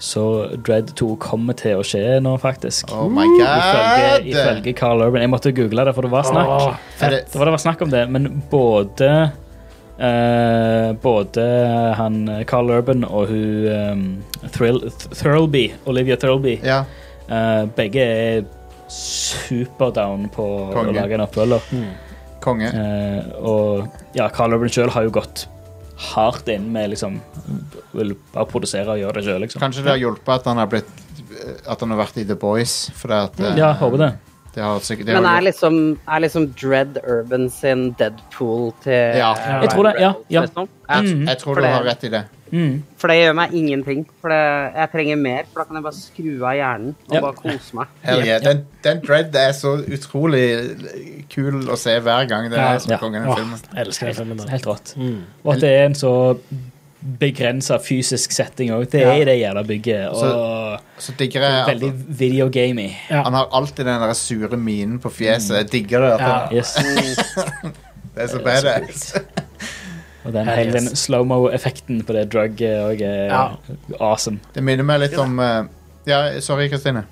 Speaker 3: Så Dread 2 kommer til å skje nå, faktisk.
Speaker 1: Oh my
Speaker 3: Ifølge,
Speaker 1: god!
Speaker 3: ifølge Carl Urban. Jeg måtte google det, for det var snakk.
Speaker 2: Åh,
Speaker 1: Er det,
Speaker 3: Det var, det var snakk om det, men både eh, Både han eh, Carl Urban og hun eh, Thrill, Th- Thirlby, Olivia Thirlby,
Speaker 1: ja.
Speaker 3: eh, begge er superdown på
Speaker 1: Konge. Mm.
Speaker 3: å lage en oppfølger.
Speaker 1: Konge.
Speaker 3: Eh, og ja, Carl Urban sjøl har jo gått hardt inn med liksom Vil bare produsere og gjøre det sjøl, liksom.
Speaker 1: Kanskje det har hjulpet at han har blitt eh, At han har vært i The Boys. For det, at, eh,
Speaker 3: Ja, håper det.
Speaker 1: det har sikkert det
Speaker 4: Men
Speaker 1: har
Speaker 4: er
Speaker 1: hjulpet.
Speaker 4: liksom, er liksom Dread Urban sin Deadpool til
Speaker 1: Ja.
Speaker 4: eh,
Speaker 1: Jeg
Speaker 3: tror det, ja, ja.
Speaker 4: liksom?
Speaker 1: jeg,
Speaker 3: Mm.
Speaker 1: jeg tror
Speaker 4: For
Speaker 1: du
Speaker 4: det-
Speaker 1: har rett i det.
Speaker 3: Mm.
Speaker 4: For det gjør meg ingenting. For det, jeg trenger mer, for da kan jeg bare skru av hjernen og
Speaker 3: Ja.
Speaker 4: bare kose meg.
Speaker 1: Hell yeah. Den, den Dread er så utrolig kul å se hver gang. Det
Speaker 2: Ja.
Speaker 1: er som
Speaker 3: Ja.
Speaker 1: kongen i
Speaker 2: åh,
Speaker 1: filmen.
Speaker 2: jeg elsker den filmen. da. Mm.
Speaker 3: Helt rått. Og at det er en så begrensa fysisk setting òg. Det er i det jævla bygget. Og
Speaker 1: Så digger jeg at-
Speaker 3: Veldig videogamey.
Speaker 2: Ja.
Speaker 1: Han har alltid den der sure minen på fjeset. Jeg digger det. at
Speaker 2: Ja.
Speaker 1: han-
Speaker 3: Yes.
Speaker 1: Det er så
Speaker 3: Det er så
Speaker 1: badass.
Speaker 3: Og den,
Speaker 2: Ja,
Speaker 3: hele den
Speaker 2: yes.
Speaker 3: slow-mo-effekten på det drugget òg er eh,
Speaker 2: Ja.
Speaker 3: awesome.
Speaker 1: Det minner meg litt om eh, Ja, sorry, Kristine.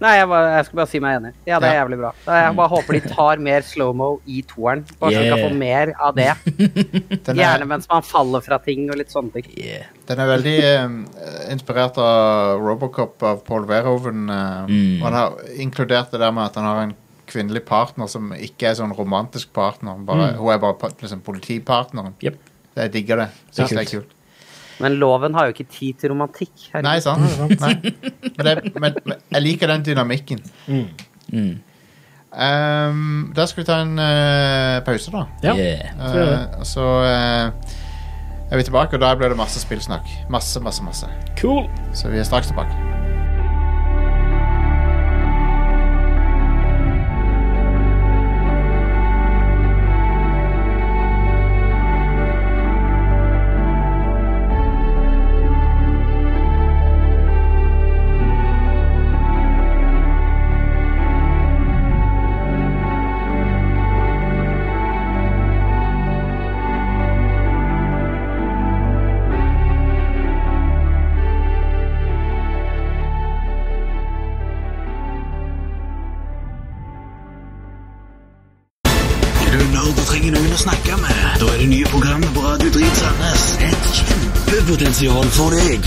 Speaker 4: Nei, jeg, bare, jeg skal bare si meg enig. Ja, det er
Speaker 1: Ja.
Speaker 4: jævlig bra. Jeg bare håper de tar mer slow-mo i toeren. Bare så vi kan
Speaker 3: Yeah.
Speaker 4: få mer av det.
Speaker 1: Den er,
Speaker 4: Gjerne mens man faller fra ting og litt sånne ting.
Speaker 3: Yeah.
Speaker 1: den er veldig eh, inspirert av Robocop av Paul Verhoven. eh, Og
Speaker 3: Mm.
Speaker 1: han har inkludert det der med at han har en kvinnelig partner som ikke er sånn romantisk partner. Bare, Hun er bare pa- liksom, politipartneren.
Speaker 3: Jep.
Speaker 1: Jeg digger det. Synes det er kult.
Speaker 4: Men loven har jo ikke tid til romantikk. herregud.
Speaker 1: Nei, sant? Nei. Men, det, men, men jeg liker den dynamikken.
Speaker 3: Mm.
Speaker 1: Um, da skal vi ta en eh, pause, da.
Speaker 2: Ja.
Speaker 3: Yeah.
Speaker 1: Eh, så eh, er vi tilbake, og da blir det masse spillsnakk. Masse, masse, masse.
Speaker 3: Cool.
Speaker 1: Så vi er straks tilbake.
Speaker 9: Er du nerd og trenger noen å snakke med? Da er det nye programmet på Radio Drit Sandnes. Et kjempepotensial for deg.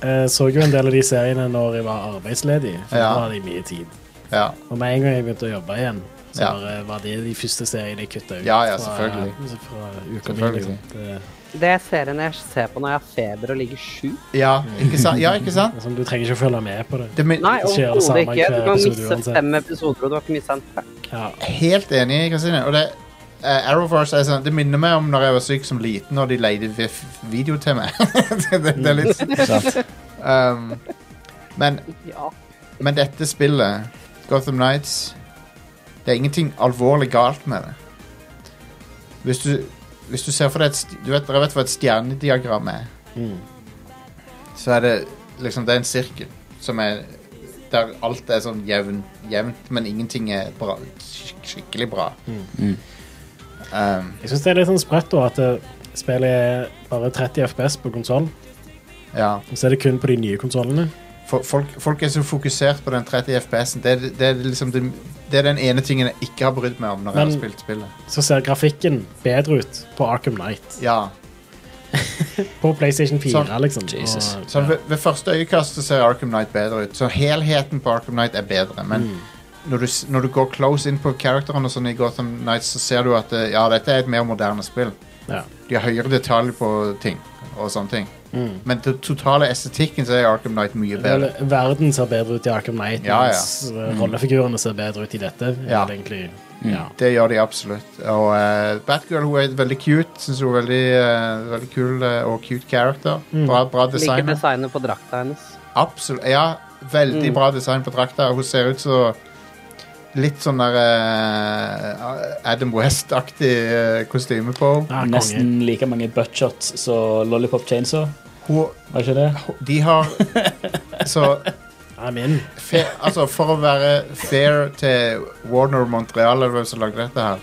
Speaker 2: eh, så jo en del av de seriene når jeg var arbeidsledig. For
Speaker 1: Ja.
Speaker 2: Da hadde jeg mye tid.
Speaker 1: Ja.
Speaker 2: Og med en gang jeg begynte å jobbe igjen, så
Speaker 1: Ja.
Speaker 2: bare var det de første seriene jeg kutta ut.
Speaker 1: Ja, ja,
Speaker 2: fra-
Speaker 1: selvfølgelig.
Speaker 2: Fra, uka mi,
Speaker 1: Selvfølgelig.
Speaker 2: liksom. Det,
Speaker 4: Det er serien jeg ser på når jeg har feber og ligger sjuk.
Speaker 1: Ja, ikke sant? Ja, ikke sant?
Speaker 2: liksom, du trenger ikke å følge med på det.
Speaker 1: Det min,
Speaker 4: Nei,
Speaker 2: Det skjer det
Speaker 4: overhodet
Speaker 2: samme
Speaker 4: ikke. Du
Speaker 2: hver
Speaker 4: kan
Speaker 2: episode
Speaker 4: miste
Speaker 2: uansett.
Speaker 4: fem episoder, og du har ikke mista en fuck.
Speaker 2: Ja.
Speaker 1: helt enig, Kristine. Og det, eh, Arrowverse er sånn, det minner meg om når jeg var syk som liten, og de leide vi- video til meg. det, det, det er litt
Speaker 2: Mm.
Speaker 1: um, men,
Speaker 4: Ja.
Speaker 1: men dette spillet, Gotham Nights Det er ingenting alvorlig galt med det. Hvis du, hvis du ser for deg et, st- du vet, Dere vet hva et stjernediagram er? Så er det liksom Det er en sirkel som er der alt er sånn jevn, jevnt, men ingenting er bra, skik- skikkelig bra. Um,
Speaker 2: Jeg syns det er litt sånn sprøtt da, at eh, spillet er bare 30 FPS på konsoll.
Speaker 1: ja.
Speaker 2: Og så er det kun på de nye konsollene.
Speaker 1: For, folk, folk er så fokusert på den 30 FPS-en. Det, er- det, er liksom det, det er den ene tingen jeg ikke har brydd meg om når jeg har
Speaker 2: Men-
Speaker 1: spilt spillet.
Speaker 2: Så ser grafikken bedre ut på Arkham Knight.
Speaker 1: Ja.
Speaker 2: På PlayStation 4,
Speaker 1: Sånn.
Speaker 2: liksom.
Speaker 3: Jesus.
Speaker 2: Og,
Speaker 1: Så ved, ved første øyekast så ser Arkham Knight bedre ut. Så helheten på Arkham Knight er bedre. Men når, du, s- når du går close inn på characterne og sånn i Gotham Knight, så ser du at eh, ja, dette er et mer moderne spill.
Speaker 2: ja.
Speaker 1: De har høyere detalj på ting og sånne ting. Men den totale estetikken så er Arkham Knight mye
Speaker 2: Vel,
Speaker 1: bedre.
Speaker 2: verden ser bedre ut i Arkham Knight,
Speaker 1: Ja, ja.
Speaker 2: mens eh, rollefigurene ser bedre ut i dette. er
Speaker 1: Ja. Mm.
Speaker 2: det egentlig, ja.
Speaker 1: Det gjør de absolutt. Og eh, Batgirl hun er veldig cute. Synes hun er veldig, eh, veldig kul eh, og cute character. Bra, bra
Speaker 4: Liker
Speaker 1: design.
Speaker 4: designet på drakta hennes.
Speaker 1: Absolutt. Ja, veldig bra design på drakta. Hun ser ut som litt sånn der eh, Adam West-aktig eh, kostyme på henne.
Speaker 2: Ah, konge.
Speaker 3: Nesten like mange buttshots som Lollipop Chainsaw.
Speaker 1: Hun-
Speaker 3: Var ikke det?
Speaker 1: De har Så
Speaker 2: I'm in.
Speaker 1: fair, altså For å være fair til Warner Montreal, eller hvem som lagde dette her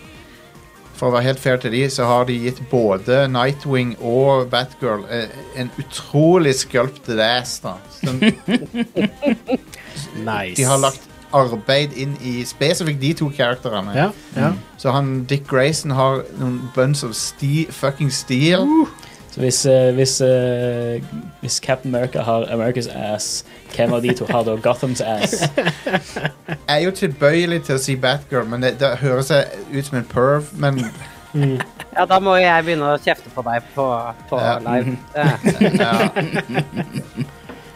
Speaker 1: For å være helt fair til de, så har de gitt både Nightwing og Batgirl eh, en utrolig sculpted ass. da. Som,
Speaker 2: Nice.
Speaker 1: de har lagt arbeid inn i spesifikt de to karakterene.
Speaker 2: Ja, ja.
Speaker 1: Så han Dick Grayson har noen bunch of ste fucking steel.
Speaker 3: Så hvis, eh, hvis, eh, hvis Captain America har America's ass, hvem av de to har da Gothams ass?
Speaker 1: Jeg er jo tilbøyelig til å si Batgirl, men det, det høres jeg ut som en perv. Men
Speaker 4: Ja, da må jeg begynne å kjefte på deg på, på
Speaker 1: Ja.
Speaker 4: live. Eh,
Speaker 1: ja.
Speaker 2: Kan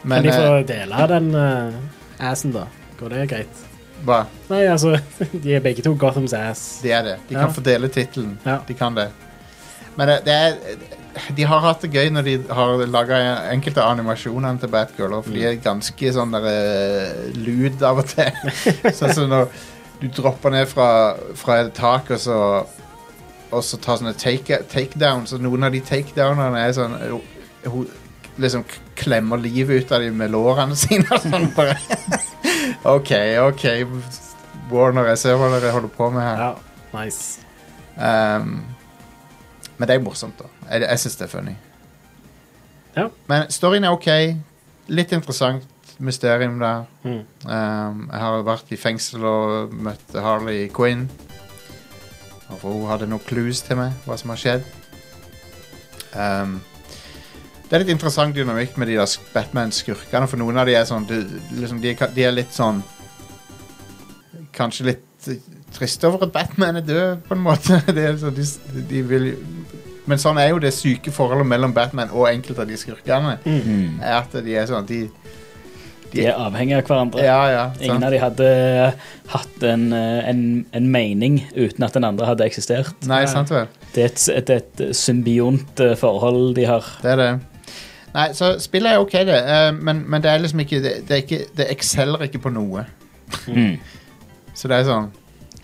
Speaker 1: Men
Speaker 2: de
Speaker 1: eh,
Speaker 2: få dele den eh, assen, da? Går det greit?
Speaker 1: hva?
Speaker 2: Nei, altså, de er begge to Gothams ass.
Speaker 1: De er det. De kan
Speaker 2: Ja.
Speaker 1: fordele tittelen.
Speaker 2: Ja.
Speaker 1: De kan det. Men eh, det, det er De har hatt det gøy når de har laga enkelte animasjoner til Batgirl, for
Speaker 2: Mm.
Speaker 1: de er ganske sånn der eh, lud av og til. sånn som når du dropper ned fra, fra et tak, og så og så tar sånne take, takedown, så noen av de takedownene er sånn eh, Hun liksom k- klemmer livet ut av dem med lårene sine og sånn bare OK, OK, Warner, jeg ser hva dere holder på med her.
Speaker 2: Ja, nice.
Speaker 1: Um, men det er morsomt, da. Jeg, jeg syns det er funny.
Speaker 2: Ja.
Speaker 1: Men storyen er OK. Litt interessant mysterium der.
Speaker 2: Mm.
Speaker 1: Um, jeg har vært i fengsel og møtt Harley Quinn. Og for hun hadde noen clues til meg, hva som har skjedd. Um, det er litt interessant dynamikk med de der sk- Batman-skurkene, for noen av de er sånn du, liksom, de, er ka- de er litt sånn Kanskje litt eh, triste over at Batman er død, på en måte. Det er, så de, s- de vil, jo- men sånn er jo det syke forholdet mellom Batman og enkelte av de skurkene.
Speaker 3: Mhm.
Speaker 1: Er at de er sånn de,
Speaker 3: De er avhengige av hverandre.
Speaker 1: Ja, ja.
Speaker 3: Ingen
Speaker 1: sant?
Speaker 3: av de hadde hatt en, eh, en, en mening uten at den andre hadde eksistert.
Speaker 1: Nei, sant vel.
Speaker 3: Det er et, det er et symbiont eh, forhold de har.
Speaker 1: Det er det. Nei, så spillet er ok, det, eh, men, men det er liksom ikke Det, det, er ikke, det exceller ikke på noe.
Speaker 3: Mhm.
Speaker 1: Så det er sånn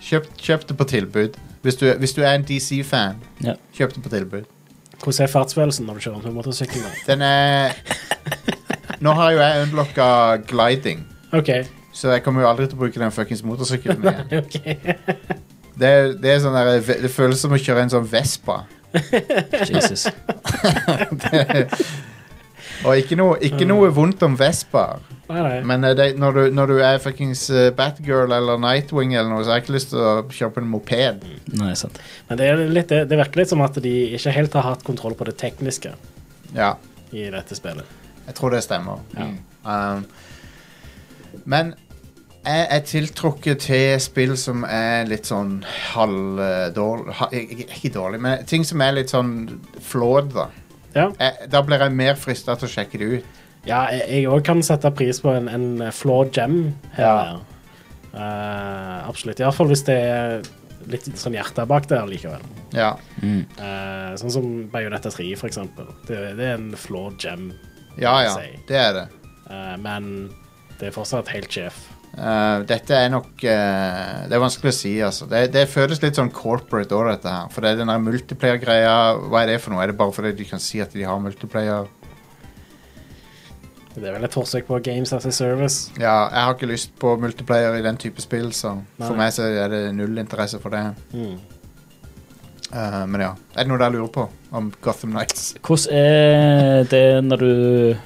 Speaker 1: Kjøp, kjøp det på tilbud. Hvis du, hvis du er en DC-fan,
Speaker 3: Ja.
Speaker 1: kjøp det på tilbud.
Speaker 2: Hvordan er fartsfølelsen når du kjører på motorsykkel? da?
Speaker 1: Den er Nå har jo jeg unlocka gliding,
Speaker 2: OK.
Speaker 1: så jeg kommer jo aldri til å bruke den fuckings motorsykkelen igjen.
Speaker 2: ok.
Speaker 1: Det, er- det, er sånn der, det føles som å kjøre en sånn Vespa.
Speaker 3: Jesus.
Speaker 1: Og ikke noe, ikke noe vondt om Vespaer.
Speaker 2: Nei, nei.
Speaker 1: Men eh, det, når, du, når du er fuckings eh, Batgirl eller Nightwing eller noe, så har jeg ikke lyst til å kjøpe en moped.
Speaker 3: Nei, sant.
Speaker 2: Men det, er litt, det, det virker litt som at de ikke helt har hatt kontroll på det tekniske
Speaker 1: Ja,
Speaker 2: i dette spillet.
Speaker 1: jeg tror det stemmer. Um, men jeg er tiltrukket til spill som er litt sånn halvdårlig Ikke dårlig, men ting som er litt sånn flawed, da.
Speaker 2: Ja,
Speaker 1: Jeg, Eh, da blir jeg mer frista til å sjekke det ut.
Speaker 2: ja jeg òg kan sette pris på en, en flaw gem her.
Speaker 1: Ja.
Speaker 2: Ja. Uh, absolutt. Iallfall hvis det er litt sånn hjerte bak der likevel.
Speaker 1: Ja.
Speaker 2: Eh, sånn som Bayonetta 3, for eksempel. Det, det er en flaw gem,
Speaker 1: ja, ja. Det er det.
Speaker 2: eh, men det er fortsatt helt sjef.
Speaker 1: Uh, dette er nok uh, Det er vanskelig å si, altså. Det, det føles litt sånn corporate òg, dette her. For det er den der multiplayer-greia. Hva er det for noe? Er det bare fordi de kan si at de har multiplayer?
Speaker 2: Det er vel et forsøk på Games as a Service.
Speaker 1: Ja, jeg har ikke lyst på multiplayer i den type spill, så
Speaker 2: Nei.
Speaker 1: for meg så er det null interesse for det.
Speaker 2: Mm.
Speaker 1: Uh, men ja. Er det noe dere lurer på om Gotham Nights?
Speaker 3: Hvordan er det når du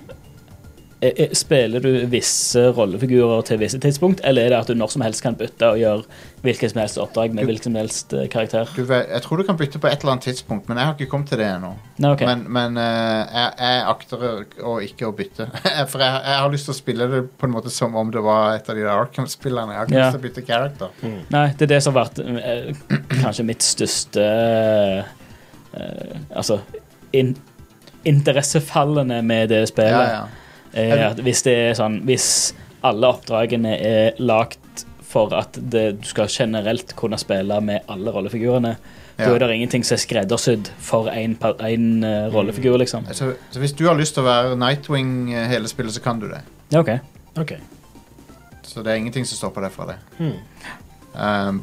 Speaker 3: er- er- Spiller du visse rollefigurer til visse tidspunkt, eller er det at du når som helst kan bytte og gjøre hvilket som helst oppdrag med hvilken som helst eh, karakter?
Speaker 1: Du, vet- jeg tror du kan bytte på et eller annet tidspunkt, men jeg har ikke kommet til det ennå.
Speaker 3: Nei, ok.
Speaker 1: Men, men eh, jeg, jeg akter å, å ikke å bytte. For jeg, jeg har lyst til å spille det på en måte som om det var et av de der Arkham-spillene. Jeg har ikke
Speaker 3: Ja.
Speaker 1: lyst til å bytte character.
Speaker 3: Nei, det er det som har vært eh, kanskje mitt største eh, eh, Altså in interessefallene med det spillet.
Speaker 1: Ja, ja.
Speaker 3: er at hvis det er sånn Hvis alle oppdragene er lagt for at det, du skal generelt kunne spille med alle rollefigurene, da
Speaker 1: Ja. Mm.
Speaker 3: er det ingenting som er skreddersydd for én rollefigur, liksom.
Speaker 1: Så, så hvis du har lyst til å være Nightwing eh, hele spillet, så kan du det.
Speaker 3: Ja, OK.
Speaker 2: OK.
Speaker 1: Så det er ingenting som stopper deg fra det.
Speaker 2: Hmm.
Speaker 1: Um,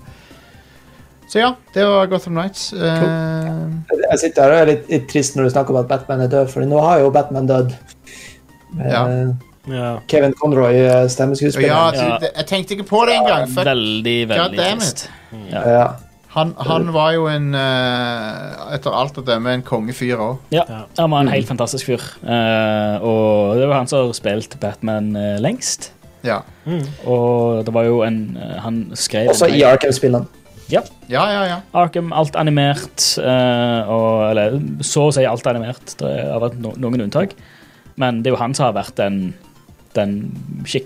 Speaker 1: så ja, det var Gotham Nights. Eh,
Speaker 5: Jeg sitter her og er litt, litt trist når du snakker om at Batman er død, for nå har jo Batman dødd. Eh,
Speaker 1: Ja.
Speaker 2: Ja.
Speaker 5: Kevin Conroy, eh,
Speaker 1: og ja,
Speaker 5: stemmeskuespilleren.
Speaker 1: du, det, jeg tenkte ikke på det engang. Fuck.
Speaker 3: Veldig,
Speaker 1: God
Speaker 3: veldig
Speaker 1: damn
Speaker 3: trist.
Speaker 5: Ja.
Speaker 1: Han, han var jo en eh, Etter alt å dømme en kongefyr òg.
Speaker 3: Ja,
Speaker 2: Ja.
Speaker 3: han var en helt fantastisk fyr. Eh, og det var han som har spilt Batman eh, lengst.
Speaker 1: Ja,
Speaker 3: Og det var jo en eh, Han skrev
Speaker 5: Også
Speaker 3: en
Speaker 5: i Arkham-spillene.
Speaker 1: ja, ja. ja.
Speaker 3: Arkham, alt animert. eh, og, eller så å si alt animert. Det har vært no noen unntak. Men det er jo han som har vært den, den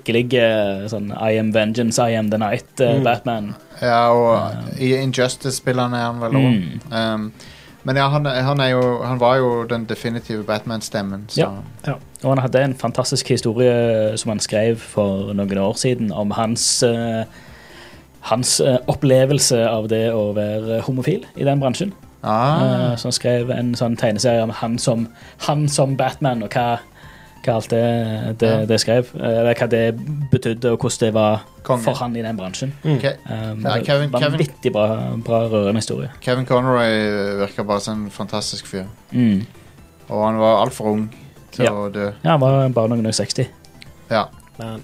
Speaker 3: skikkelige sånn I am vengeance, I am the night, eh, Batman.
Speaker 1: ja og i Injustice-spillene er han vel òg.
Speaker 3: Mm.
Speaker 1: Um, men ja, han, han, er jo, han var jo den definitive Batman-stemmen, så
Speaker 3: Ja. Og han hadde en fantastisk historie som han skrev for noen år siden, om hans eh, hans eh, opplevelse av det å være homofil i den bransjen.
Speaker 1: ah,
Speaker 3: Eh, som skrev en sånn tegneserie om han som, han som Batman, og hva, hva alt det, det,
Speaker 1: Ja.
Speaker 3: det skrev. eh, Eller hva det betydde, og hvordan det var
Speaker 1: Konge.
Speaker 3: for han i den bransjen.
Speaker 1: Ke-
Speaker 3: Um,
Speaker 1: Ja, Kevin-
Speaker 3: det var en
Speaker 1: Kevin-
Speaker 3: vittig bra, bra rørende historie.
Speaker 1: Kevin Conroy eh, virker bare som en fantastisk fyr.
Speaker 3: Mm.
Speaker 1: Og han var altfor ung til
Speaker 3: Ja.
Speaker 1: å dø.
Speaker 3: Ja, han var bare noen og 60.
Speaker 1: Ja.
Speaker 2: Men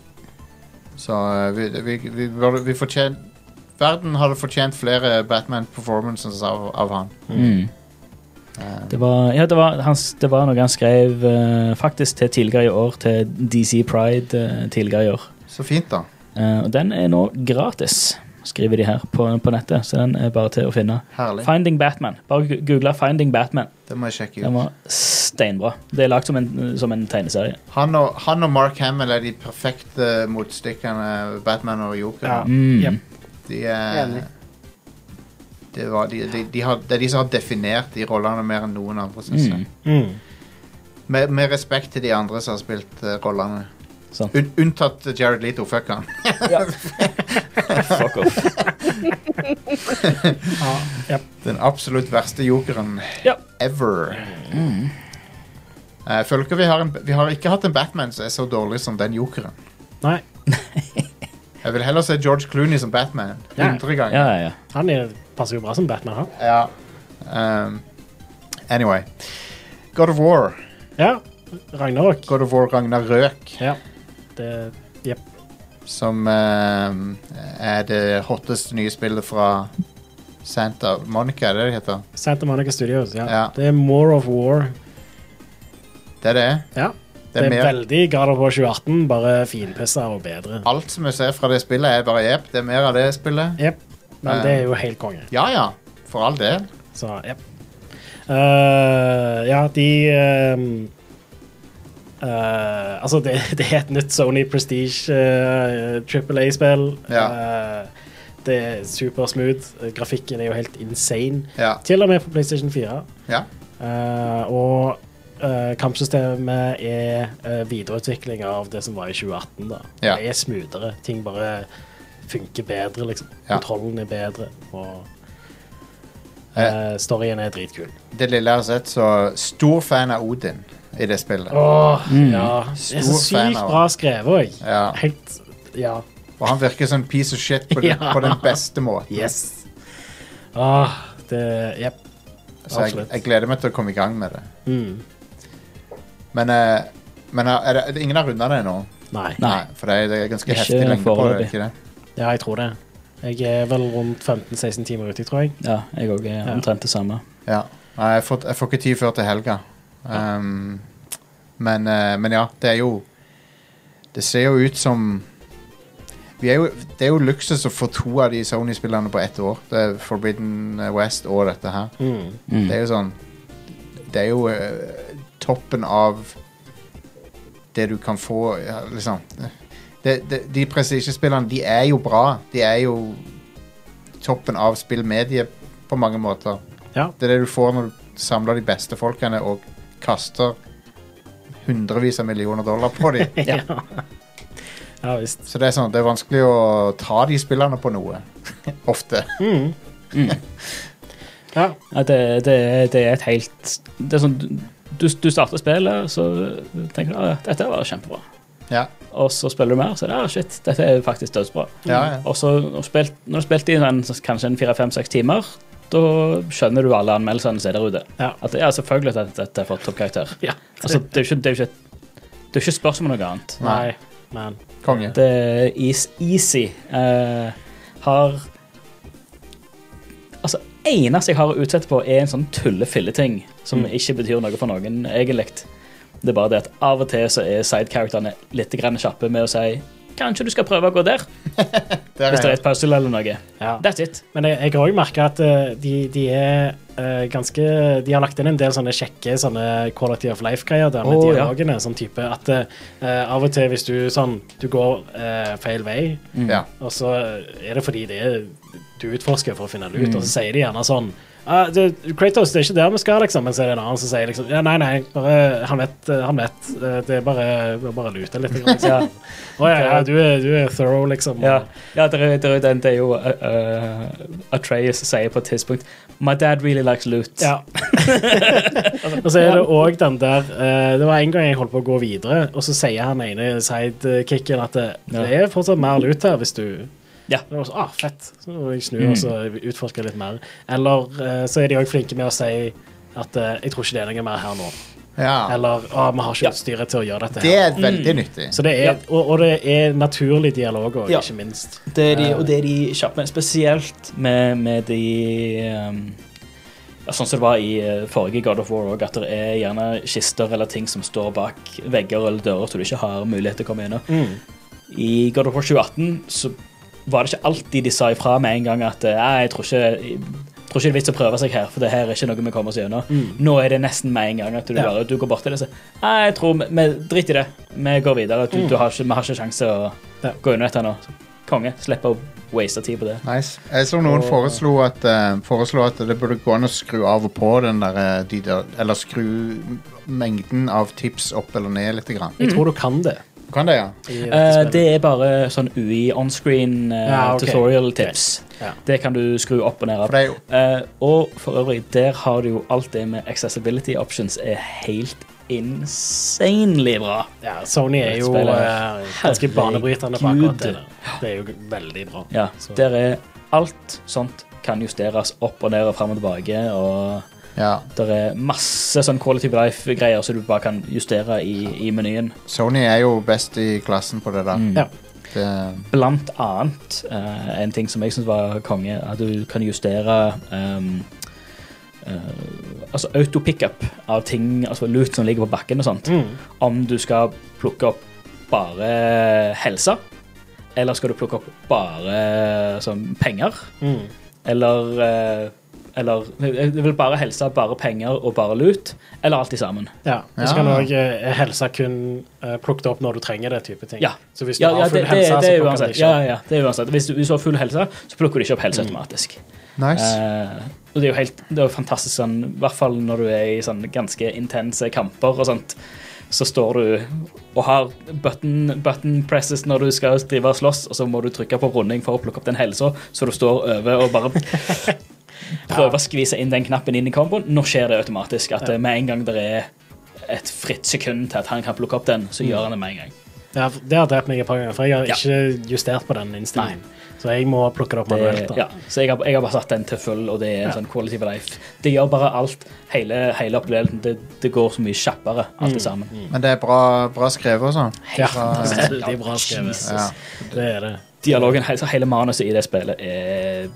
Speaker 1: Så eh, vi, vi, vi, burde- vi fortjent, Verden hadde fortjent flere Batman-performances av, av han.
Speaker 3: Mm.
Speaker 1: Eh,
Speaker 3: Det var, ja, det, var, hans, det var noe han skrev eh, faktisk til tidligere i år, til DC Pride eh, tidligere i år.
Speaker 1: så fint, da.
Speaker 3: Eh, og den er nå gratis, skriver de her på, på nettet, så den er bare til å finne.
Speaker 1: Herlig.
Speaker 3: Finding Batman. Bare gu- google Finding Batman.
Speaker 1: Det må jeg sjekke
Speaker 3: Den
Speaker 1: ut.
Speaker 3: var steinbra. Det er lagt som en, som en tegneserie.
Speaker 1: Han og, han og Mark Hamill er de perfekte motstykkene Batman og Joker.
Speaker 2: Ja.
Speaker 3: Mm.
Speaker 2: Yep.
Speaker 1: De er
Speaker 4: Enig.
Speaker 1: det, var, de, de, de har, det er de som har definert de rollene mer enn noen andre, synes jeg.
Speaker 3: Mm.
Speaker 2: mm.
Speaker 1: Med, med respekt til de andre som har spilt eh, rollene.
Speaker 3: Sant.
Speaker 1: Un, unntatt Jared Leto, fuck han.
Speaker 3: Fuck off.
Speaker 1: Den absolutt verste jokeren
Speaker 3: Ja.
Speaker 1: ever.
Speaker 3: Mm.
Speaker 1: Eh, føler ikke vi har, en, vi har ikke hatt en Batman som er så dårlig som den jokeren.
Speaker 2: Nei,
Speaker 1: Jeg vil heller se George Clooney som Batman.
Speaker 2: Ja.
Speaker 1: 100 ganger.
Speaker 3: Ja, ja, ja.
Speaker 2: han er, passer jo bra som Batman, han.
Speaker 1: Ja. Um, anyway. God of War.
Speaker 2: Ja. Ragnarok.
Speaker 1: God of War Ragnarøk,
Speaker 2: Ja. Det Jepp.
Speaker 1: som um, er det hotteste nye spillet fra Santa Monica, er det det heter?
Speaker 2: Santa Monica Studios. Ja.
Speaker 1: Ja.
Speaker 2: Det er More of War.
Speaker 1: Det er det.
Speaker 2: Ja.
Speaker 1: Det
Speaker 2: Det
Speaker 1: er
Speaker 2: er
Speaker 1: mer-
Speaker 2: veldig God of War 2018, bare finpussa og bedre.
Speaker 1: Alt som jeg ser fra det spillet, er bare jepp. Det er mer av det spillet.
Speaker 2: Jepp. Men
Speaker 1: Ja.
Speaker 2: det er jo helt konge.
Speaker 1: Ja ja, for all del.
Speaker 2: Så, ja. Eh, ja, de ehm, eh, Altså, det, det er et nytt Sony Prestige eh, Triple A-spill. det er supersmooth. Eh, Grafikken er jo helt insane.
Speaker 1: Ja.
Speaker 2: Til og med på PlayStation 4.
Speaker 1: ja.
Speaker 2: Eh, og eh, kampsystemet er eh, videreutvikling av det som var i 2018. da.
Speaker 1: Ja.
Speaker 2: Det er smoothere. Ting bare funker bedre, liksom.
Speaker 1: Ja.
Speaker 2: Kontrollen er bedre, og
Speaker 1: Eh.
Speaker 2: eh, storyen er dritkul.
Speaker 1: Det lille jeg har sett, så stor fan av Odin i det spillet.
Speaker 2: Åh, ja. Det er så
Speaker 1: Stor fan
Speaker 2: sykt
Speaker 1: av-
Speaker 2: bra skrevet òg.
Speaker 1: Ja.
Speaker 2: Helt Ja.
Speaker 1: Og han virker som piece of shit på, den-
Speaker 2: Ja.
Speaker 1: på den beste måten.
Speaker 2: Yes. Åh, det Jepp.
Speaker 1: Så jeg,
Speaker 2: Absolutt.
Speaker 1: jeg gleder meg til å komme i gang med det.
Speaker 2: Mm.
Speaker 1: Men, eh, men er det, er det, ingen har runda det nå.
Speaker 2: Nei.
Speaker 1: Nei, for det er, det er ganske
Speaker 3: Ikke
Speaker 1: heftig lengde på det.
Speaker 3: foreløpig.
Speaker 1: ikke det?
Speaker 2: Ja, jeg tror det. Jeg er vel rundt 15-16 timer ute, tror jeg.
Speaker 3: ja jeg òg er omtrent det samme.
Speaker 1: Ja. Nei, jeg, får, jeg får ikke tid før til helga. Um, men, eh, men ja, det er jo Det ser jo ut som vi er jo, Det er jo luksus å få to av de Sony-spillerne på ett år. Det er Forbidden West og dette her.
Speaker 2: Mm.
Speaker 1: Det er jo sånn Det er jo eh, toppen av det du kan få, ja, liksom. Det, det, de prestisjespillerne, de er jo bra. De er jo toppen av spillmediet på mange måter.
Speaker 2: Ja.
Speaker 1: Det er det du får når du samler de beste folkene og kaster hundrevis av millioner dollar på dem.
Speaker 2: Ja. ja visst.
Speaker 1: Så det er sånn, det er vanskelig å ta de spillerne på noe. Ofte.
Speaker 2: Ja.
Speaker 3: Ja, det, det, er- det er et helt Det er sånn Du, du starter spillet, så tenker du at ah, dette var kjempebra.
Speaker 1: Ja.
Speaker 3: Og så spiller du mer, så er det ah, shit, dette er faktisk dødsbra.
Speaker 1: Ja, ja.
Speaker 3: Og så når du spilt, når du spilt i en, kanskje en fire-fem-seks timer, da skjønner du alle anmeldelsene som er der ute.
Speaker 2: Ja.
Speaker 3: At ja, selvfølgelig at dette er for toppkarakter.
Speaker 2: ja.
Speaker 3: Altså, det er jo ikke, det er jo ikke, det er jo ikke spørsmål om noe annet.
Speaker 2: Nei, men
Speaker 1: Konge.
Speaker 3: Det er is, easy. eh, har Altså, eneste jeg har å utsette på, er en sånn tulle-filleting som ikke betyr noe for noen, egentlig. Det er bare det at av og til så er sidecharacterne litt grann kjappe med å si Kanskje du skal prøve å gå der,
Speaker 1: Der
Speaker 3: hvis
Speaker 1: er
Speaker 3: det er et puzzle eller noe.
Speaker 2: Ja.
Speaker 3: That's it.
Speaker 2: Men jeg, jeg har òg merka at eh, de, de er eh, ganske De har lagt inn en del sånne kjekke sånne quality of life-greier der med
Speaker 3: Å, ja.
Speaker 2: dialogene. Sånn type at eh, eh, av og til hvis du sånn Du går eh, feil vei,
Speaker 1: Ja.
Speaker 2: og så er det fordi det er du utforsker for å finne det ut,
Speaker 3: Mm.
Speaker 2: og så sier de gjerne sånn «Ah, det, Kratos, det er ikke der vi skal, liksom. Men så er det en annen som sier liksom Ja, nei, nei, bare, han vet, eh, han vet. eh, Det er bare, bare- bare lute litt. grann», Liksom. Å ja, ja, du er, du er thorough, liksom.
Speaker 3: Ja, ja det, er, det, er, den- det er jo uh, uh, Atreus sier på et tidspunkt My dad really likes loot.
Speaker 2: Ja. og så er det òg den der eh, Det var en gang jeg holdt på å gå videre, og så sier han ene sidekicken at det,
Speaker 3: Ja.
Speaker 2: det er fortsatt mer lut her hvis du
Speaker 3: Ja. Mm.
Speaker 2: Det var så, ah, fett. Så må jeg snur og så utforsker litt mer. Eller eh, så er de òg flinke med å si at eh, 'jeg tror ikke det er noe mer her nå'.
Speaker 1: ja.
Speaker 2: Eller ah, 'vi har ikke
Speaker 3: Ja.
Speaker 2: utstyret til å gjøre dette'.
Speaker 1: Det
Speaker 2: her.
Speaker 1: er veldig nyttig.
Speaker 2: Så det er,
Speaker 3: Ja.
Speaker 2: og, og det er naturlig dialog òg,
Speaker 3: Ja.
Speaker 2: ikke minst.
Speaker 3: Det er de, og det er de kjappe, spesielt med, med de um, ja, Sånn som det var i eh, forrige God of War òg, at det er gjerne kister eller ting som står bak vegger eller dører, så du ikke har mulighet til å komme gjennom. I God of War 2018 så var det ikke alltid de sa ifra med en gang at eh, «Nei, jeg tror ikke jeg tror ikke det er vits å prøve seg her, for det her er ikke noe vi kommer oss gjennom. Nå er det nesten med en gang at du
Speaker 2: Mm. Ja.
Speaker 3: bare du går bort til det og sier Nei, jeg tror vi- vi driter i det. Vi går videre. Du, du har ikke, vi har ikke sjanse å
Speaker 2: Mm. Ja.
Speaker 3: gå unna dette nå. Konge. Slipper å waste tid på det.
Speaker 1: Nice. Jeg så noen foreslo at, eh, foreslo at det burde gå an å skru av og på den der, eh, de der Eller skru mengden av tips opp eller ned litt. Grann.
Speaker 2: Jeg tror du kan det.
Speaker 1: Du kan det, ja?
Speaker 2: I dette
Speaker 3: Eh,
Speaker 2: spillet.
Speaker 3: det er bare sånn UI onscreen eh,
Speaker 2: Ja, ok.
Speaker 3: tutorial tips.
Speaker 2: Ja.
Speaker 3: Det kan du skru opp og ned
Speaker 1: For
Speaker 3: av.
Speaker 1: det er jo
Speaker 3: Eh, og for øvrig, der har du jo alt det med accessibility options er helt insanely bra.
Speaker 2: Ja, Sony er jo
Speaker 3: Spillet.
Speaker 2: eh, ganske banebrytende på akkurat det. der.
Speaker 3: Herregud.
Speaker 2: Det er jo veldig bra.
Speaker 3: Ja,
Speaker 2: Så-
Speaker 3: der er alt sånt kan justeres opp og ned og fram og tilbake. Og
Speaker 1: ja.
Speaker 3: der er masse sånn quality of life-greier som du bare kan justere i, i menyen.
Speaker 1: Sony er jo best i klassen på det der.
Speaker 3: Mm.
Speaker 2: Ja.
Speaker 1: Det,
Speaker 3: Blant annet eh, en ting som jeg syns var konge, at du kan justere ehm, eh, Altså autopickup av ting, altså lut som ligger på bakken og sånt.
Speaker 2: Mm.
Speaker 3: Om du skal plukke opp bare helse, eller skal du plukke opp bare sånn, penger,
Speaker 2: Mm.
Speaker 3: eller eh, eller eh, jeg vil bare helse, bare penger og bare lut, eller alt i sammen.
Speaker 2: ja. Og så kan du
Speaker 1: Ja.
Speaker 2: òg helse kun eh, plukke det opp når du trenger det. type ting.
Speaker 3: Ja.
Speaker 2: Så hvis du
Speaker 3: Ja, ja,
Speaker 2: har
Speaker 3: det,
Speaker 2: full
Speaker 3: det,
Speaker 2: helse,
Speaker 3: det er
Speaker 2: så plukker du
Speaker 3: uansett.
Speaker 2: ikke Mm.
Speaker 3: Ja, ja, det er uansett. Hvis du, hvis du har full helse, så plukker du ikke opp helse automatisk.
Speaker 1: nice.
Speaker 3: Eh, og det er jo helt det er jo fantastisk, sånn, i hvert fall når du er i sånn ganske intense kamper og sånt. Så står du og har button, button presses når du skal drive og slåss, og så må du trykke på runding for å plukke opp den helsa, så du står over og bare prøver å skvise inn den knappen inn i komboen. Nå skjer det automatisk. At eh, med en gang det er et fritt sekund til at han kan plukke opp den, så gjør han det med en gang.
Speaker 2: ja. for Det har drept meg et par ganger, for jeg har
Speaker 3: Ja.
Speaker 2: ikke justert på den innstillingen. Så jeg må plukke det opp manuelt.
Speaker 3: Det,
Speaker 2: da.
Speaker 3: Eh, ja, så jeg har, jeg har bare satt den til full, og det er en sånn quality of life. Det gjør bare alt, hele, hele opplevelsen. Det, det går så mye kjappere, alt det sammen.
Speaker 1: Men det er bra, bra skrevet, altså.
Speaker 2: Ja,
Speaker 1: Bra-
Speaker 2: Mm. det er veldig bra skrevet.
Speaker 3: Jesus.
Speaker 1: Ja.
Speaker 2: Det er det.
Speaker 3: Dialogen, hele, hele manuset i det spillet er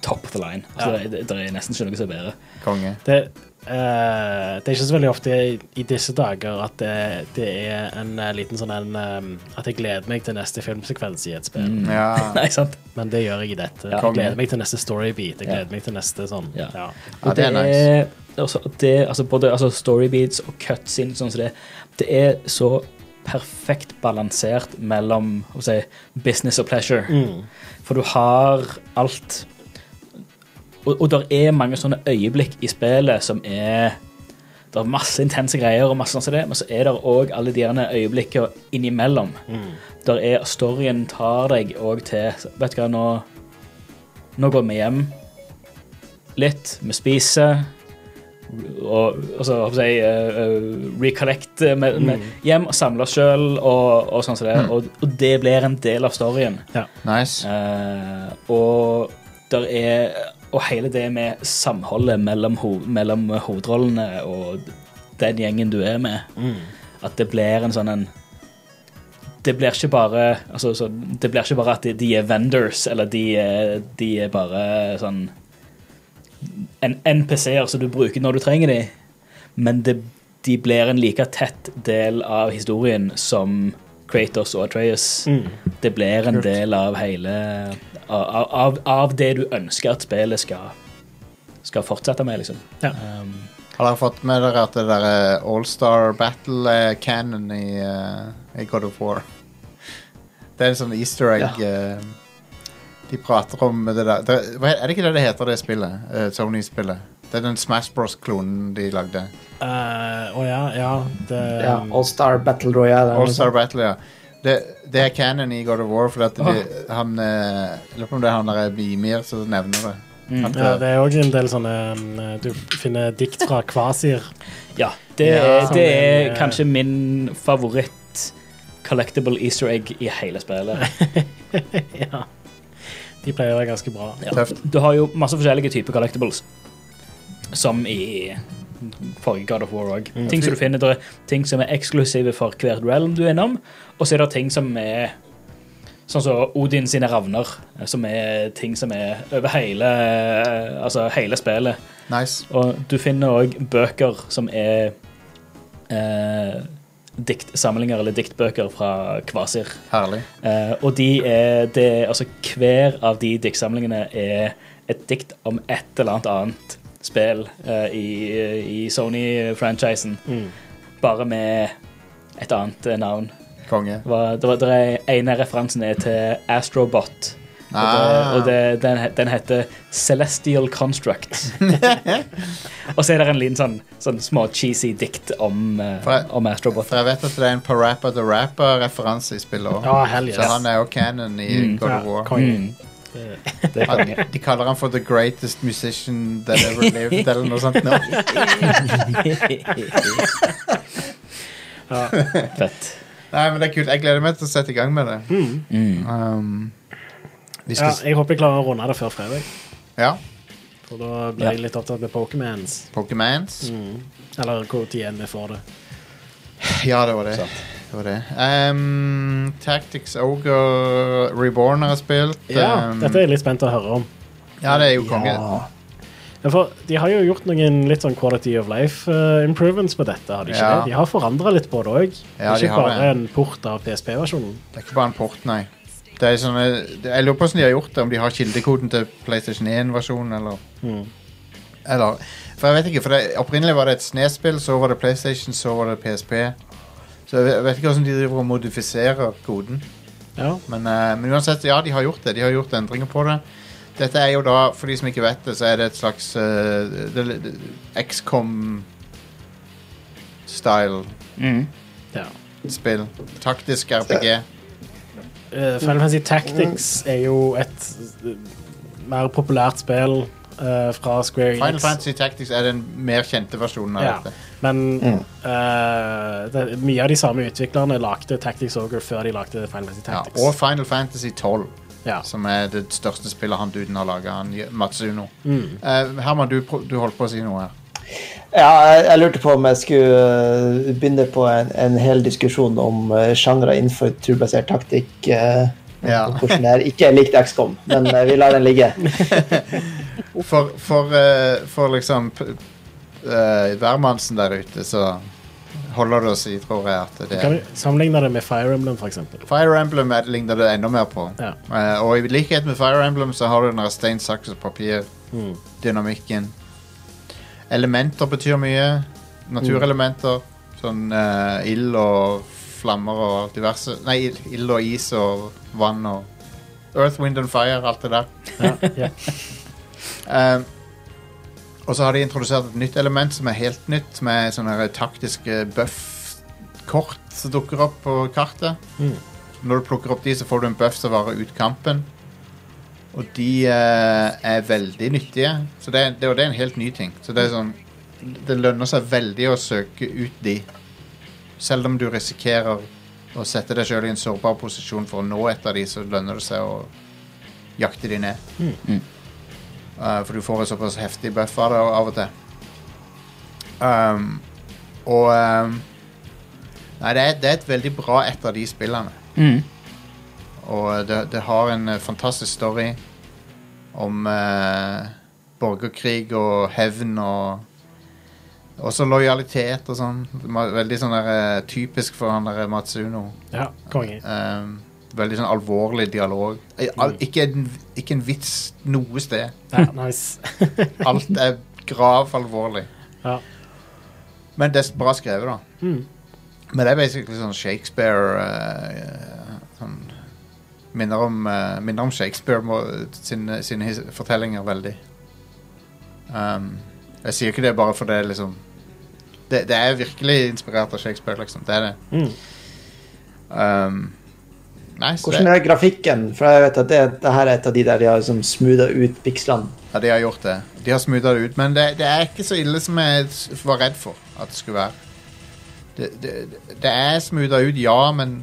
Speaker 3: top of the line. Så det, det, det er nesten ikke noe som er bedre.
Speaker 1: Konge.
Speaker 2: Det, eh, det er ikke så veldig ofte i, i disse dager at det, det er en eh, liten sånn en eh, At jeg gleder meg til neste filmsekvens i et spill.
Speaker 1: Ja.
Speaker 3: Nei, sant?
Speaker 2: Men det gjør jeg i dette.
Speaker 3: Ja.
Speaker 2: Jeg gleder meg til neste storybeat. Jeg gleder meg til neste sånn.
Speaker 3: Ja.
Speaker 2: Ja.
Speaker 1: Ja, det er
Speaker 3: er- altså, det, altså, både altså, storybeats og cutscenes sånn som det, det er så perfekt balansert mellom hva skal jeg si, business og pleasure.
Speaker 1: Mm.
Speaker 3: For du har alt Og, og det er mange sånne øyeblikk i spillet som er det er masse intense greier, og masse sånn som det, men så er det òg alle de gjerne øyeblikkene innimellom.
Speaker 1: Mm.
Speaker 3: Der er storyen tar deg òg til Vet du hva, nå, nå går vi hjem litt, vi spiser og altså, hva skal jeg, si, eh, eh, recollect eh, med, med hjem og samle oss sjøl og, og sånn som det. Og, og det blir en del av storyen.
Speaker 1: Nice.
Speaker 3: Eh, og der er Og hele det med samholdet mellom, ho mellom hovedrollene og den gjengen du er med, at det blir en sånn en det blir ikke bare altså, så, Det blir ikke bare at de, de er vendors, eller de, er- de er bare sånn en NPC-er som du bruker når du trenger dem, men det, de blir en like tett del av historien som Kratos og Atreas.
Speaker 2: Mm.
Speaker 3: Det blir en
Speaker 1: Kult.
Speaker 3: del av hele av, av, av det du ønsker at spillet skal, skal fortsette med, liksom.
Speaker 2: Ja.
Speaker 3: Um,
Speaker 1: Har dere fått med dere at det der eh, All-Star Battle er canon i, eh, i God of War? Det er en sånn easter egg eh, De prater om det der det, hva Er det ikke det det heter, det spillet? Eh, Sony-spillet? Det er den Smash Bros-klonen de lagde.
Speaker 2: Eh, Å ja, ja. Det,
Speaker 5: Ja, All-Star Battle Royale. eller noe
Speaker 1: All-Star
Speaker 5: sånt.
Speaker 1: Battle, ja. Det, det er canon i God of War, for at de, han eh, Jeg lurer på om det er han der er Bimir som nevner det.
Speaker 3: Mm.
Speaker 1: At,
Speaker 2: ja,
Speaker 1: eh,
Speaker 2: det er òg en del sånne mm, Du finner dikt fra Kvasir.
Speaker 3: ja, det,
Speaker 2: Ja,
Speaker 3: er, det er
Speaker 2: men, eh,
Speaker 3: kanskje min favoritt collectible easter egg i hele spillet.
Speaker 2: ja. De pleier å være ganske bra.
Speaker 3: Ja.
Speaker 1: Tøft.
Speaker 3: Du har jo masse forskjellige typer collectibles, som i forrige God of War òg. Ting som du finner der, er ting som er eksklusive for hvert realm du er innom, og så er det ting som er Sånn som Odin sine ravner, som er ting som er over hele, eh, altså hele spillet.
Speaker 1: Nice.
Speaker 3: Og du finner òg bøker som er eh, diktsamlinger eller diktbøker fra Kvasir.
Speaker 1: Herlig.
Speaker 3: Eh, og de er det, altså Hver av de diktsamlingene er et dikt om et eller annet annet spill eh, i, i Sony-franchisen, bare med et annet eh, navn.
Speaker 1: Konge.
Speaker 3: Det var, det var, det er, ene referansen er til Astrobot. Og,
Speaker 1: Ah.
Speaker 3: det, og det, den, he- den heter Celestial Construct. og så er det en liten sånn, sånn små cheesy dikt om, eh,
Speaker 1: For jeg-
Speaker 3: om Astrobot.
Speaker 1: For jeg vet at det er en Parappa the Rapper-referanse i spillet òg.
Speaker 2: Ja, hell yes.
Speaker 1: Så han er jo canon i God of War.
Speaker 2: konge.
Speaker 3: Mm.
Speaker 5: Det kan
Speaker 1: Han, de kaller han for the greatest musician that ever lived, eller noe sånt. nå.
Speaker 3: Fett.
Speaker 1: Nei, men det er kult. Jeg gleder meg til å sette i gang med det. Um, vi
Speaker 2: Mm. Ja,
Speaker 1: skal,
Speaker 2: jeg håper jeg klarer å runde det før fredag,
Speaker 1: ja.
Speaker 2: for da blir jeg litt opptatt med Pokémans.
Speaker 1: Pokémons.
Speaker 2: Mm. Eller hvor tid enn vi får det.
Speaker 1: Ja, det var det. det, var det. Um, Tactics Ogre Reborn har jeg spilt.
Speaker 2: Ja,
Speaker 1: um,
Speaker 2: dette er jeg litt spent å høre om.
Speaker 1: ja, det er jo konge.
Speaker 5: Ja.
Speaker 2: Ja, For de har jo gjort noen litt sånn quality of life eh, improvements på dette. har De ikke
Speaker 1: Ja.
Speaker 2: det? De har forandra litt på det òg.
Speaker 1: Ja, de
Speaker 2: ikke
Speaker 1: har
Speaker 2: bare
Speaker 1: det.
Speaker 2: en port av PSP-versjonen.
Speaker 1: Det er ikke bare en port, nei. Det er sånne, det- jeg lurer på hvordan de har gjort det, om de har kildekoden til PlayStation 1-versjonen, eller Eller For jeg vet ikke, for det, opprinnelig var det et snespill, så var det PlayStation, så var det PSP. Så jeg vet- jeg vet ikke hvordan de driver og modifiserer koden.
Speaker 2: Ja.
Speaker 1: Men, eh, men uansett, ja, de har gjort det. De har gjort endringer på det. Dette er jo da, for de som ikke vet det, så er det et slags eh, det- det- XCOM-style
Speaker 3: Mm.
Speaker 2: ja.
Speaker 1: spill. Taktisk RPG.
Speaker 2: Eh, Final Fantasy Tactics er jo et eh, mer populært spill eh, fra Square Enix.
Speaker 1: Final Fantasy Tactics er den mer kjente versjonen av
Speaker 2: Ja.
Speaker 1: dette.
Speaker 2: Men eh, det, mye av de samme utviklerne lagde Tactics Ogre før de lagde Final Fantasy
Speaker 1: Ja,
Speaker 2: Tactics.
Speaker 1: og Final Fantasy 12,
Speaker 2: Ja.
Speaker 1: som er det største spillet han duden har laga, Matsuno.
Speaker 2: Mm.
Speaker 1: Eh, Herman, du, pro- du holdt på å si noe her.
Speaker 5: Ja, jeg, jeg lurte på om jeg skulle øh, begynne på en, en hel diskusjon om øh, sjangre innenfor turbasert taktikk. øh,
Speaker 1: Ja.
Speaker 5: og Hvordan det er. Ikke jeg likte XCOM, men øh, vi lar den ligge.
Speaker 1: For, for, eh, for liksom p- eh, hvermannsen der ute, så holder det å si, tror jeg, at det
Speaker 2: Kan
Speaker 1: er
Speaker 2: du sammenligne det med Fire Emblem, for eksempel?
Speaker 1: Fire Emblem er- ligner det enda mer på.
Speaker 2: Ja.
Speaker 1: Eh, og i likhet med Fire Emblem så har du den der stein, saks og
Speaker 2: Mm.
Speaker 1: papir-dynamikken. Elementer betyr mye. Naturelementer. Sånn eh, ild og flammer og diverse Nei, ild- ild og is og vann og Earth, wind and fire, alt det der.
Speaker 2: Ja, ja.
Speaker 1: Eh, og så har de introdusert et nytt element som er helt nytt, som er sånne her taktiske buff-kort som dukker opp på kartet. Når du plukker opp de, så får du en buff som varer ut kampen. Og de eh, er veldig nyttige, så det, det, og det er en helt ny ting. Så det er sånn Det lønner seg veldig å søke ut de, selv om du risikerer å sette deg sjøl i en sårbar posisjon for å nå et av de, så lønner det seg å jakte de ned. Eh, for du får en såpass heftig buff av det av og til. Um, og um, Nei, det er, det er et veldig bra et av de spillene.
Speaker 3: Mm.
Speaker 1: Og det, det har en eh, fantastisk story om eh, borgerkrig og hevn og Også lojalitet og sånn. Ma- Veldig sånn der, eh, typisk for han der eh, Matsuno.
Speaker 2: Ja, konge.
Speaker 1: Um, veldig sånn alvorlig dialog. Eh, al- Ikke en, ikke en vits noe sted.
Speaker 2: Ja, nice.
Speaker 1: Alt er grav alvorlig.
Speaker 2: Ja. Mm.
Speaker 1: Men det er bra skrevet, da. Men det er basically sånn Shakespeare eh, sånn, minner, om, eh, minner om Shakespeare må- sine, sine his- fortellinger veldig. Um, jeg sier ikke det bare for det, liksom det, det er virkelig inspirert av Shakespeare, liksom. Det er det.
Speaker 2: Mm.
Speaker 1: Um, nei, så
Speaker 5: Hvordan
Speaker 1: det,
Speaker 5: er grafikken? For jeg vet at det, det her er et av de der de har liksom smootha ut pikslene.
Speaker 1: ja, de har gjort det. De har smootha det ut, men det, det er ikke så ille som jeg s- var redd for at det skulle være. Det, det, det er smootha ut, ja, men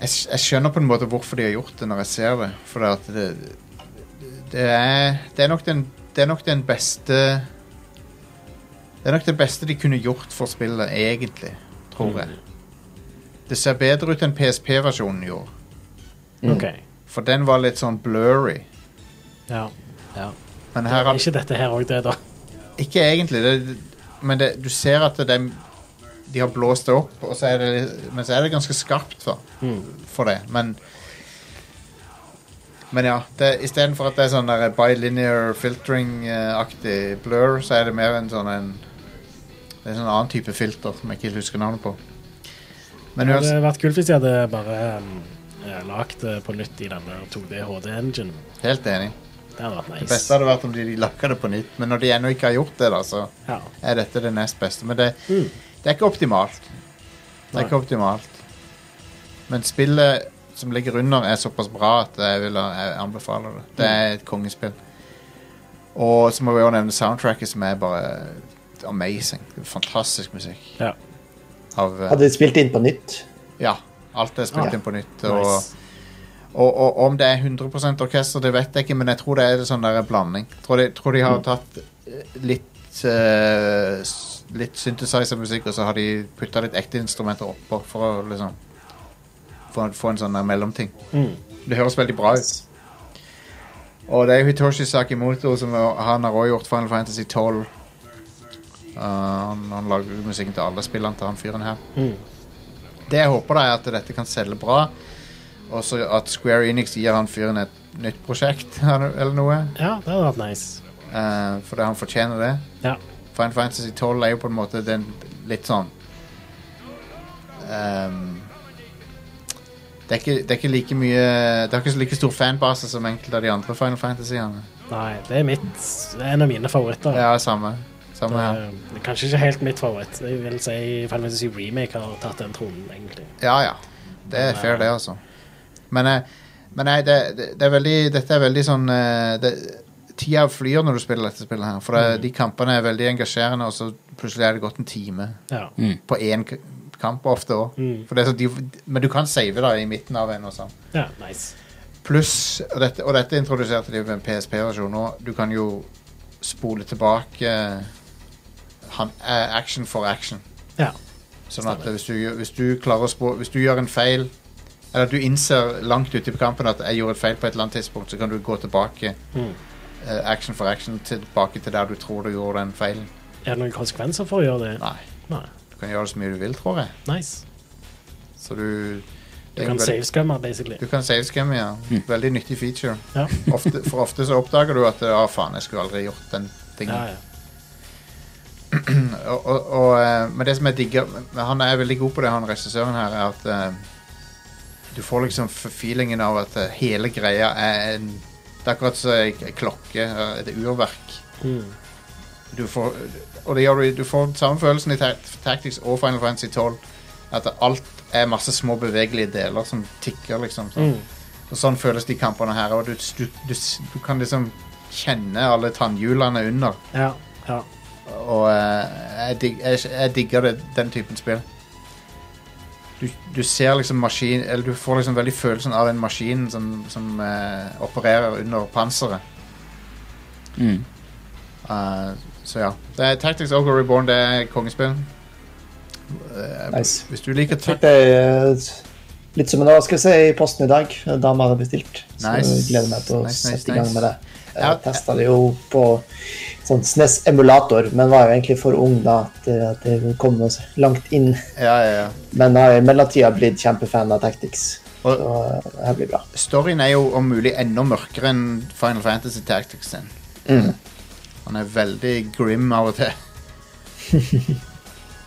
Speaker 1: jeg, s- jeg skjønner på en måte hvorfor de har gjort det når jeg ser det. For det, at det, det, er, det, er nok den, det er nok den beste Det er nok det beste de kunne gjort for spillet, egentlig, tror jeg. Det ser bedre ut enn PSP-versjonen gjorde,
Speaker 2: OK.
Speaker 1: for den var litt sånn blurry.
Speaker 2: Ja. ja.
Speaker 1: Men her
Speaker 2: Er
Speaker 1: har
Speaker 2: ikke dette her òg det, da?
Speaker 1: Ikke egentlig, det, men det, du ser at det, de har blåst det opp, og så er det, men så er det ganske skarpt for, for det. Men, men ja, det, istedenfor at det er sånn der bilinear filtering-aktig blur, så er det mer en sånn en det er en sånn annen type filter som jeg ikke husker navnet på. Men
Speaker 2: Det hadde
Speaker 1: uansett,
Speaker 2: vært kult hvis de hadde bare um, lagd det på nytt i denne 2D HD-engine.
Speaker 1: helt enig.
Speaker 2: Det hadde vært
Speaker 1: Det
Speaker 2: nice.
Speaker 1: beste hadde vært om de lakka det på nytt, men når de ennå ikke har gjort det, da, så
Speaker 2: Ja.
Speaker 1: er dette det nest beste. Men det, det er ikke optimalt. Det
Speaker 2: Mm. Nei.
Speaker 1: er ikke optimalt. Men spillet som ligger under, er såpass bra at jeg, vil, jeg anbefaler det. Det er et kongespill. Og så må vi også nevne soundtracket, som er bare amazing. Fantastisk musikk.
Speaker 2: Ja.
Speaker 1: Av, eh,
Speaker 5: Hadde de spilt inn på nytt?
Speaker 1: ja. Alt er
Speaker 2: Ah,
Speaker 1: spilt inn på nytt. Og,
Speaker 2: Nice.
Speaker 1: og, og om det er 100 orkester, det vet jeg ikke, men jeg tror det er en sånn der blanding. Tror de, tror de har tatt eh, litt eh, s- Litt synthesizer-musikk, og så har de putta litt ekte instrumenter oppå for å liksom få, få en sånn der mellomting. Det høres veldig bra ut. Og det er jo Hitoshi Sakimoto som er, han har også gjort Final Fantasy 12. Uh, han, han lager jo musikken til alle spillene til han fyren her. Det jeg håper, da er at dette kan selge bra. Og så at Square Enix gir han fyren et nytt prosjekt eller noe.
Speaker 2: ja, det hadde vært nice.
Speaker 1: Eh, fordi han fortjener det.
Speaker 2: Ja.
Speaker 1: Final Fantasy 12 er jo på en måte den litt sånn ehm, det, er ikke, det er ikke like mye Det har ikke så like stor fanbase som enkelte av de andre Final Fantasyene.
Speaker 2: Nei, det er mitt det er En av mine favoritter.
Speaker 1: Ja, samme. Samme her.
Speaker 2: Eh, det er kanskje ikke helt mitt favoritt. Jeg vil si Final Fantasy Remake har tatt den tronen, egentlig.
Speaker 1: Ja, ja. Det er fair, det, altså. Men, eh, men nei, det, det, det er veldig, dette er veldig sånn eh, det, Tida flyr når du spiller dette spillet her. For det, de kampene er veldig engasjerende, og så plutselig er det gått en time
Speaker 2: Ja.
Speaker 1: på én k- kamp ofte òg. Men du kan save da i midten av en og sånn.
Speaker 2: ja, nice.
Speaker 1: Pluss, og dette, og dette introduserte de med en PSP-versjon nå, du kan jo spole tilbake eh, han, eh, action for action.
Speaker 2: Ja.
Speaker 1: Sånn at hvis du, gjør- hvis du klarer å spå, hvis du gjør en feil, eller du innser langt ute i kampen at jeg gjorde et feil på et eller annet tidspunkt, så kan du gå tilbake,
Speaker 2: Mm.
Speaker 1: eh, action for action, tilbake til der du tror du gjorde den feilen.
Speaker 2: Er det noen konsekvenser for å gjøre det?
Speaker 1: Nei,
Speaker 2: Nei.
Speaker 1: du kan gjøre det så mye du vil, tror jeg.
Speaker 2: Nice.
Speaker 1: Så du...
Speaker 2: Du kan savescumme, basically.
Speaker 1: Du kan savescamme, ja. Veldig nyttig feature.
Speaker 2: Ja.
Speaker 1: Ofte, for ofte så oppdager du at ja, faen, jeg skulle aldri gjort den tingen.
Speaker 2: Ja, ja.
Speaker 1: og, og, og, eh, men det som jeg digger men Han er veldig god på det, han regissøren her, er at eh, du får liksom f- feelingen av at eh, hele greia er en Det er akkurat som ei ei klokke, eh, et urverk.
Speaker 2: Mm.
Speaker 1: Du får, og det gjør du, du får samme følelsen i Ta- Tactics og Final Fantasy 12. At alt er masse små bevegelige deler som tikker, liksom. Sånn. Og sånn føles de kampene her. Og du, du, du, s- du kan liksom kjenne alle tannhjulene under.
Speaker 2: Ja, ja.
Speaker 1: Og eh, jeg, dig, jeg, jeg digger det, den typen spill. Du, du ser liksom maskin Eller du får liksom veldig følelsen av den maskinen som, som eh, opererer under panseret.
Speaker 3: Mm.
Speaker 1: Eh, så ja. Det er Tactics Ogre Reborn, det er kongespill. Eh,
Speaker 5: Nice.
Speaker 1: Hvis du liker
Speaker 5: Fikk
Speaker 1: Tactics
Speaker 5: det eh, litt som en overraskelse i posten i dag. En dame hadde bestilt. Så
Speaker 1: Nice.
Speaker 5: jeg gleder meg til å
Speaker 1: Nice, nice,
Speaker 5: sette i gang
Speaker 1: nice.
Speaker 5: med det.
Speaker 1: Ja.
Speaker 5: Jeg testa det jo på sånn SNES-emulator, men var jo egentlig for ung da til at det kom noe så langt inn.
Speaker 1: Ja, ja, ja.
Speaker 5: Men har i mellomtida blitt kjempefan av Tactics.
Speaker 1: Og-
Speaker 5: Så eh, det her blir bra.
Speaker 1: Storyen er jo om mulig enda mørkere enn Final Fantasy Tactics sin.
Speaker 5: Mm.
Speaker 1: Han er veldig grim av og til.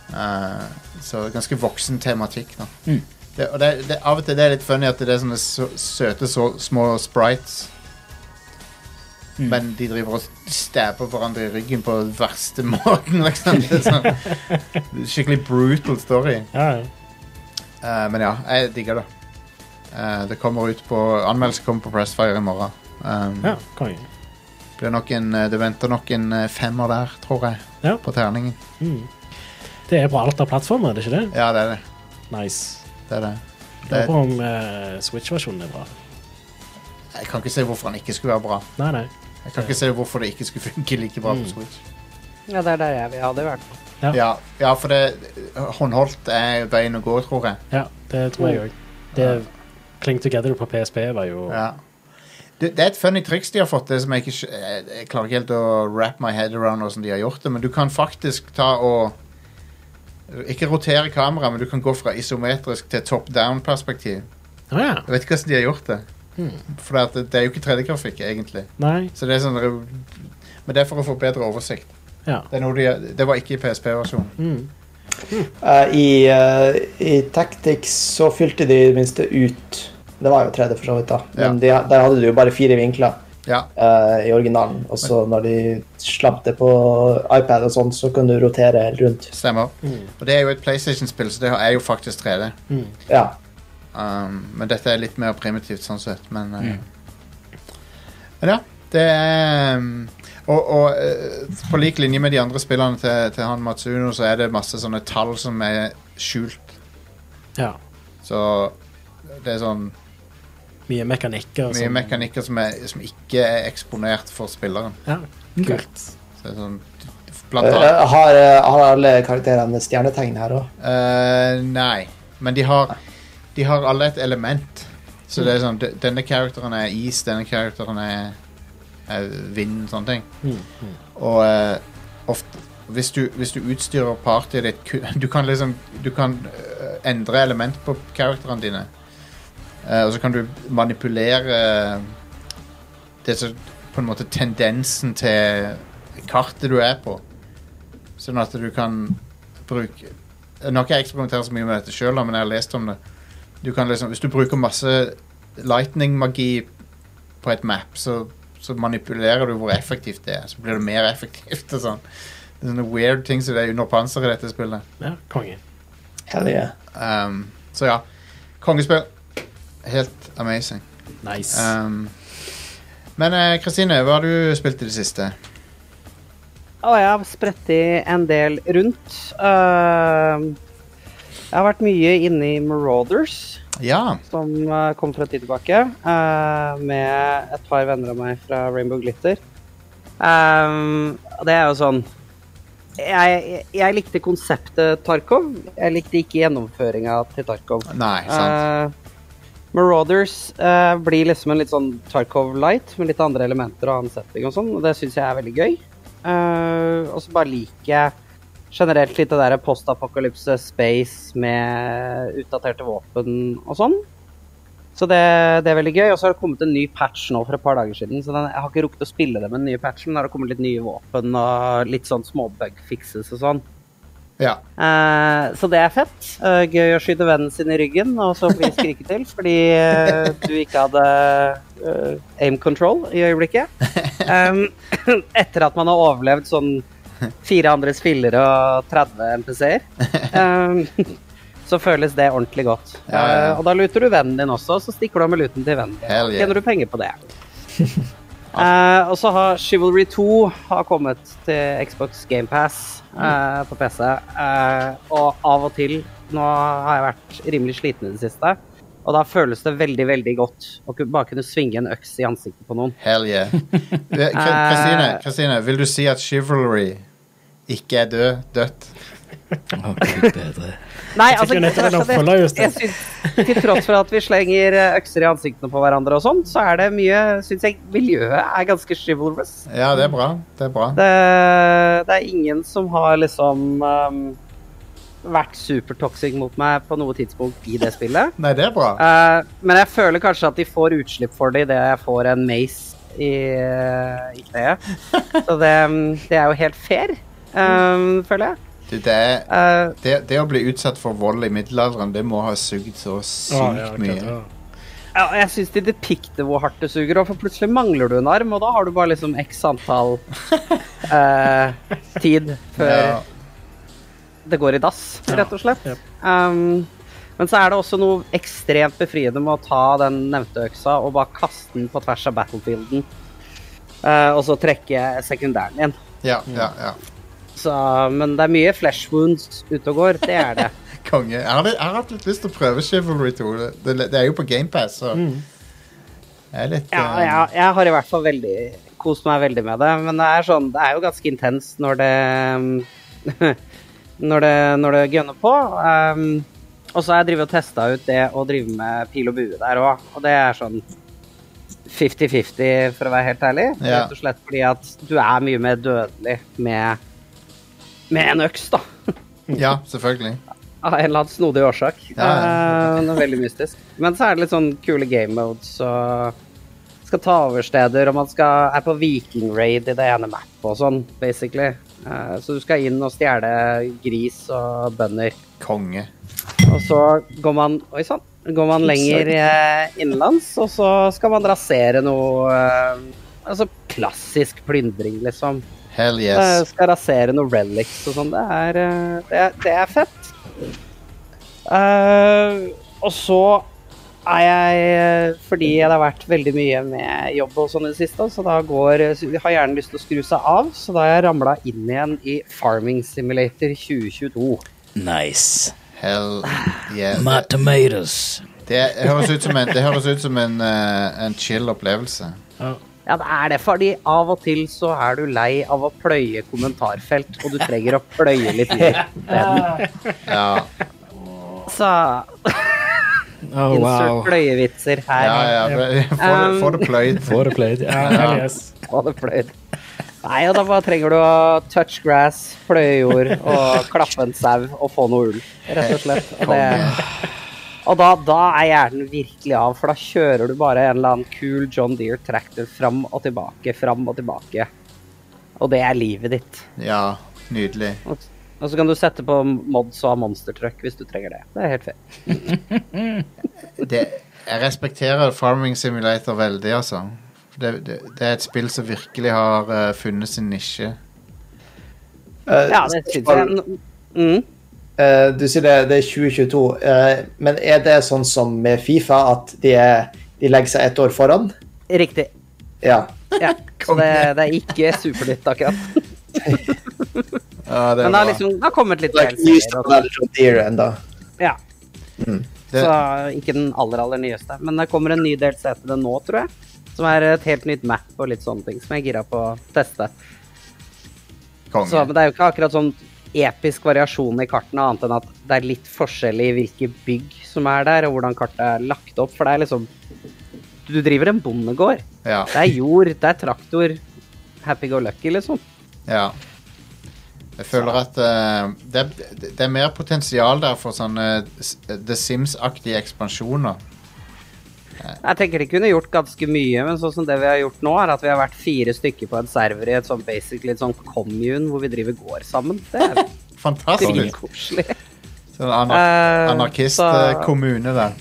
Speaker 1: Eh, så ganske voksen tematikk. Da. Det, og det, det, av og til det er litt funny at det er sånne sø søte så, små sprites. Men de driver og stabber hverandre i ryggen på den verste måten. Liksom. Det er sånn, skikkelig brutal story.
Speaker 2: Ja, ja.
Speaker 1: Eh, men ja, jeg digger det. Eh, det kommer ut på Anmeldelse kommer på Pressfire i morgen. Um,
Speaker 2: ja konge.
Speaker 1: blir nok en, eh, det venter nok en eh, femmer der, tror jeg.
Speaker 2: Ja.
Speaker 1: På terningen.
Speaker 2: Mm. Det er på alt av plattformer, er det ikke det?
Speaker 1: Ja, det er det.
Speaker 2: Nice.
Speaker 1: det, er det.
Speaker 2: Jeg
Speaker 1: det
Speaker 2: håper om eh, Switch-versjonen er bra.
Speaker 1: jeg kan ikke se hvorfor den ikke skulle være bra.
Speaker 2: Nei, nei.
Speaker 1: Jeg kan ikke se hvorfor det ikke skulle funke like bra på Switch.
Speaker 4: Ja, det er der jeg vil ha det, i hvert fall.
Speaker 2: Ja.
Speaker 1: Ja, ja for det eh, håndholdt er veien å gå, tror jeg.
Speaker 2: Ja, det tror jeg òg. Det Cling Together på PSP var jo
Speaker 1: Oh. Ja. Det, det er et funny triks de har fått, det som jeg ikke skj- jeg, jeg klarer ikke helt å wrap my head around hvordan de har gjort det, men du kan faktisk ta og Ikke rotere kameraet, men du kan gå fra isometrisk til top down-perspektiv.
Speaker 2: Å ja.
Speaker 1: Jeg vet ikke hvordan de har gjort det.
Speaker 2: Hmm.
Speaker 1: For det, at det- det er jo ikke 3D-grafikk, egentlig.
Speaker 2: Nei.
Speaker 1: Så det er sånn Men det er for å få bedre oversikt.
Speaker 2: Ja.
Speaker 1: Det, er noe de, det var ikke i PSP-versjonen.
Speaker 2: Mm.
Speaker 5: Eh, I, eh, I Tactics så fylte de i det minste ut Det var jo 3D, for så vidt, da. Men de, der hadde du jo bare fire vinkler
Speaker 1: Ja.
Speaker 5: eh, i originalen. Og så når de slapp det på iPad og sånn, så kunne du rotere helt rundt.
Speaker 1: Stemmer.
Speaker 2: Hmm.
Speaker 1: Og det er jo et PlayStation-spill, så det er jo faktisk 3D.
Speaker 5: Ja.
Speaker 1: Um, men dette er litt mer primitivt sånn sett, men eh, Men ja, det er um, Og, og eh, på lik linje med de andre spillene til, til han Matsuno, så er det masse sånne tall som er skjult.
Speaker 2: ja.
Speaker 1: Så det er sånn
Speaker 2: Mye mekanikker. sånn.
Speaker 1: mye
Speaker 2: som-
Speaker 1: mekanikker som, er, som ikke er eksponert for spilleren.
Speaker 2: Ja. Kult.
Speaker 1: Så det er sånn
Speaker 5: Eh,
Speaker 1: Blant annet
Speaker 5: eh, har, eh, har alle karakterene stjernetegn her òg?
Speaker 1: Eh, Nei. Men de har, de har alle et element. Så det er sånn, de- denne karakteren er is, denne karakteren er, er vind, sånne ting. Og eh, ofte, hvis, du, hvis du utstyrer partyet ditt ku- Du kan liksom du kan eh, endre element på karakterene dine. Eh, og så kan du manipulere eh, det som på en måte tendensen til kartet du er på. Sånn at du kan bruke Nå har ikke jeg eksperimentert så mye med dette sjøl, men jeg har lest om det. Du kan liksom, hvis du bruker masse lightning-magi på et map, så, så manipulerer du hvor effektivt det er. Så blir det mer effektivt og sånn. Det er sånne weird ting som det er under panseret i dette spillet.
Speaker 2: Ja, konge.
Speaker 5: Hell yeah.
Speaker 1: Um, så ja. Kongespill. Helt amazing.
Speaker 2: Nice.
Speaker 1: Um, men eh, Kristine, hva har du spilt i det siste?
Speaker 4: Og jeg har spredt i en del rundt. Ehm, jeg har vært mye inne i Marauders,
Speaker 1: Ja.
Speaker 4: som eh, kom fra en tid tilbake, eh, med et par venner av meg fra Rainbow Glitter. Ehm, og det er jo sånn jeg, jeg likte konseptet Tarkov. Jeg likte ikke gjennomføringa til Tarkov.
Speaker 1: Nei, sant.
Speaker 4: Eh, Marauders eh, blir liksom en litt sånn Tarkov Light med litt andre elementer og annen setting og sånn, og det syns jeg er veldig gøy. Eh, og så bare liker jeg generelt litt det derre postapokalypse, space med utdaterte våpen og sånn. Så det, det er veldig gøy. Og så har det kommet en ny patch nå for et par dager siden. Så den, jeg har ikke rukket å spille det med den nye patchen, men da har det kommet litt nye våpen og litt sånn småbug fixes og sånn.
Speaker 1: ja.
Speaker 4: Eh, så det er fett. Eh, gøy å skyte vennen sin i ryggen og så bli skriket til fordi eh, du ikke hadde eh, aim control i øyeblikket. Um, etter at man har overlevd sånn fire andre spillere og 30 NPC-er, um, så føles det ordentlig godt.
Speaker 1: Ja, ja, ja.
Speaker 4: Eh, og da luter du vennen din også, så stikker du av med luten til vennen din.
Speaker 1: Hell yeah.
Speaker 4: Tjener du penger på det. Eh, og så har Chivalry 2 har kommet til Xbox Game Pass
Speaker 1: Mm.
Speaker 4: eh, på PC. eh, og av og til Nå har jeg vært rimelig sliten i det siste. Og da føles det veldig veldig godt å ku- bare kunne svinge en øks i ansiktet på noen.
Speaker 1: Hell yeah. Ve- Kr-
Speaker 4: Ah.
Speaker 1: Kristine, Kristine, vil du si at chivalry ikke er død, dødt?
Speaker 3: Å, Gud bedre.
Speaker 4: Nei,
Speaker 2: Jeg fikk jo nettopp en
Speaker 4: altså, det-
Speaker 2: oppfølger, just det.
Speaker 4: jeg syns- Til tross for at vi slenger eh, økser i ansiktene på hverandre og sånn, så er det mye Syns jeg miljøet er ganske chivalrous.
Speaker 1: Ja, det er bra. Det er bra.
Speaker 4: Det, det er ingen som har liksom ehm, vært supertoxic mot meg på noe tidspunkt i det spillet.
Speaker 1: Nei, det er bra.
Speaker 4: Eh, men jeg føler kanskje at de får utslipp for det idet jeg får en mace i, i kneet. Så det, um, det er jo helt fair, ehm, føler jeg.
Speaker 1: Du, det, er,
Speaker 4: Eh,
Speaker 1: det, det å bli utsatt for vold i middelalderen, det må ha sugd så sykt
Speaker 2: Ja, ja, klart,
Speaker 1: mye.
Speaker 2: ja.
Speaker 4: Ja, og jeg syns de depikter hvor hardt det suger, og for plutselig mangler du en arm, og da har du bare liksom x antall eh, tid før
Speaker 1: Ja.
Speaker 4: det går i dass, rett og slett.
Speaker 2: jep.
Speaker 4: Um, men så er det også noe ekstremt befriende med å ta den nevnte øksa og bare kaste den på tvers av battlefielden, eh, og så trekke sekundæren din.
Speaker 1: Ja, ja, ja.
Speaker 4: Så, men det er mye flesh wounds ute og går, det er det.
Speaker 1: Konge. Jeg har, litt- jeg har hatt litt lyst til å prøve Chivalry 2. Det, det, det er jo på GamePass, så Jeg er litt
Speaker 4: Mm. Ja,
Speaker 1: eh,
Speaker 4: jeg, jeg har i hvert fall veldig kost meg veldig med det, men det er sånn, det er jo ganske intenst når det når det, når det gønner på. ehm, og så har jeg drevet og testa ut det å drive med pil og bue der òg, og det er sånn 50-50, for å være helt ærlig.
Speaker 1: Ja.
Speaker 4: Rett og slett fordi at du er mye mer dødelig med, med en øks, da.
Speaker 1: Ja, selvfølgelig.
Speaker 4: Av en eller annen snodig årsak.
Speaker 1: Ja, ja.
Speaker 4: Eh, det er veldig mystisk. Men så er det litt sånn kule game modes og skal ta over steder, og man skal, er på viking-raid i det ene mappet og sånn, basically. Eh, så du skal inn og stjele gris og bønder.
Speaker 1: Konge.
Speaker 4: Og så går man Oi sann. Går man lenger eh, innenlands, og så skal man rasere noe eh, Altså klassisk plyndring, liksom.
Speaker 1: Hell
Speaker 4: Eh,
Speaker 1: yes.
Speaker 4: Skal rasere noen relics og sånn. Det, er, eh, det, er- det er fett. Eh, og så er jeg eh, Fordi jeg har vært veldig mye med jobb og sånn i det siste, så da går eh, så jeg har hjernen lyst til å skru seg av, så da har jeg ramla inn igjen i Farming Simulator 2022.
Speaker 3: Nice.
Speaker 1: Hell yeah.
Speaker 3: My tomatoes.
Speaker 1: Det, det høres ut som en, det høres ut som en, eh, en chill opplevelse.
Speaker 4: Ja, det er det, fordi av og til så er du lei av å pløye kommentarfelt, og du trenger å pløye litt mer.
Speaker 1: Ja,
Speaker 4: Så
Speaker 2: Oh,
Speaker 4: insert
Speaker 2: wow.
Speaker 4: pløyevitser her.
Speaker 1: ja, ja.
Speaker 4: Um,
Speaker 1: Få det- Få det pløyd.
Speaker 3: Får det played, ja.
Speaker 2: Ja, hell yes.
Speaker 4: Og det pløyd. Nei, og da bare trenger du å touch grass, pløye jord og klappe en sau og få noe ull, rett og slett. Og, det, og da, da er hjernen virkelig av, for da kjører du bare en eller annen kul John Deere tractor fram og tilbake, fram og tilbake. Og det er livet ditt.
Speaker 1: Ja, nydelig.
Speaker 4: Og, og så kan du sette på mods og ha monstertruck hvis du trenger det. Det er helt fett.
Speaker 1: det, jeg respekterer Farming Simulator veldig, altså. Det, det, det er et spill som virkelig har eh, funnet sin nisje.
Speaker 5: Eh,
Speaker 4: Ja, det syns jeg. Mm.
Speaker 5: Eh, du sier det, det er 2022, eh, men er det sånn som med Fifa, at de, er, de legger seg ett år foran?
Speaker 4: Riktig.
Speaker 5: Ja.
Speaker 4: Ja. Så det, det er ikke supernytt, akkurat.
Speaker 1: Ja, det er
Speaker 4: Men det
Speaker 1: bra.
Speaker 4: har liksom det har kommet litt
Speaker 5: Det er
Speaker 4: DLC
Speaker 5: ikke ny
Speaker 4: -er og sånn.
Speaker 5: standard John Deere enda.
Speaker 4: Ja,
Speaker 1: Mm. det,
Speaker 4: så ikke den aller, aller nyeste. Men det kommer en ny DLC til det nå, tror jeg. Som er et helt nytt map og litt sånne ting, som jeg er gira på å teste. Så, men
Speaker 1: konge.
Speaker 4: det er jo ikke akkurat sånn episk variasjon i kartene, annet enn at det er litt forskjell i hvilke bygg som er der, og hvordan kartet er lagt opp. For det er liksom Du driver en bondegård.
Speaker 1: Ja,
Speaker 4: Det er jord, det er traktor. Happy go lucky, liksom.
Speaker 1: ja. Jeg føler at eh, det, er- det er mer potensial der for sånne s- The Sims-aktige ekspansjoner.
Speaker 4: Jeg tenker de kunne gjort ganske mye, men sånn som det vi har gjort nå, er at vi har vært fire stykker på en server i et sånn basically et sånn commune hvor vi driver gård sammen. Det er
Speaker 1: Fantastisk.
Speaker 4: dritkoselig.
Speaker 1: Sånn anar
Speaker 4: Eh, så-
Speaker 1: anarkistkommune der.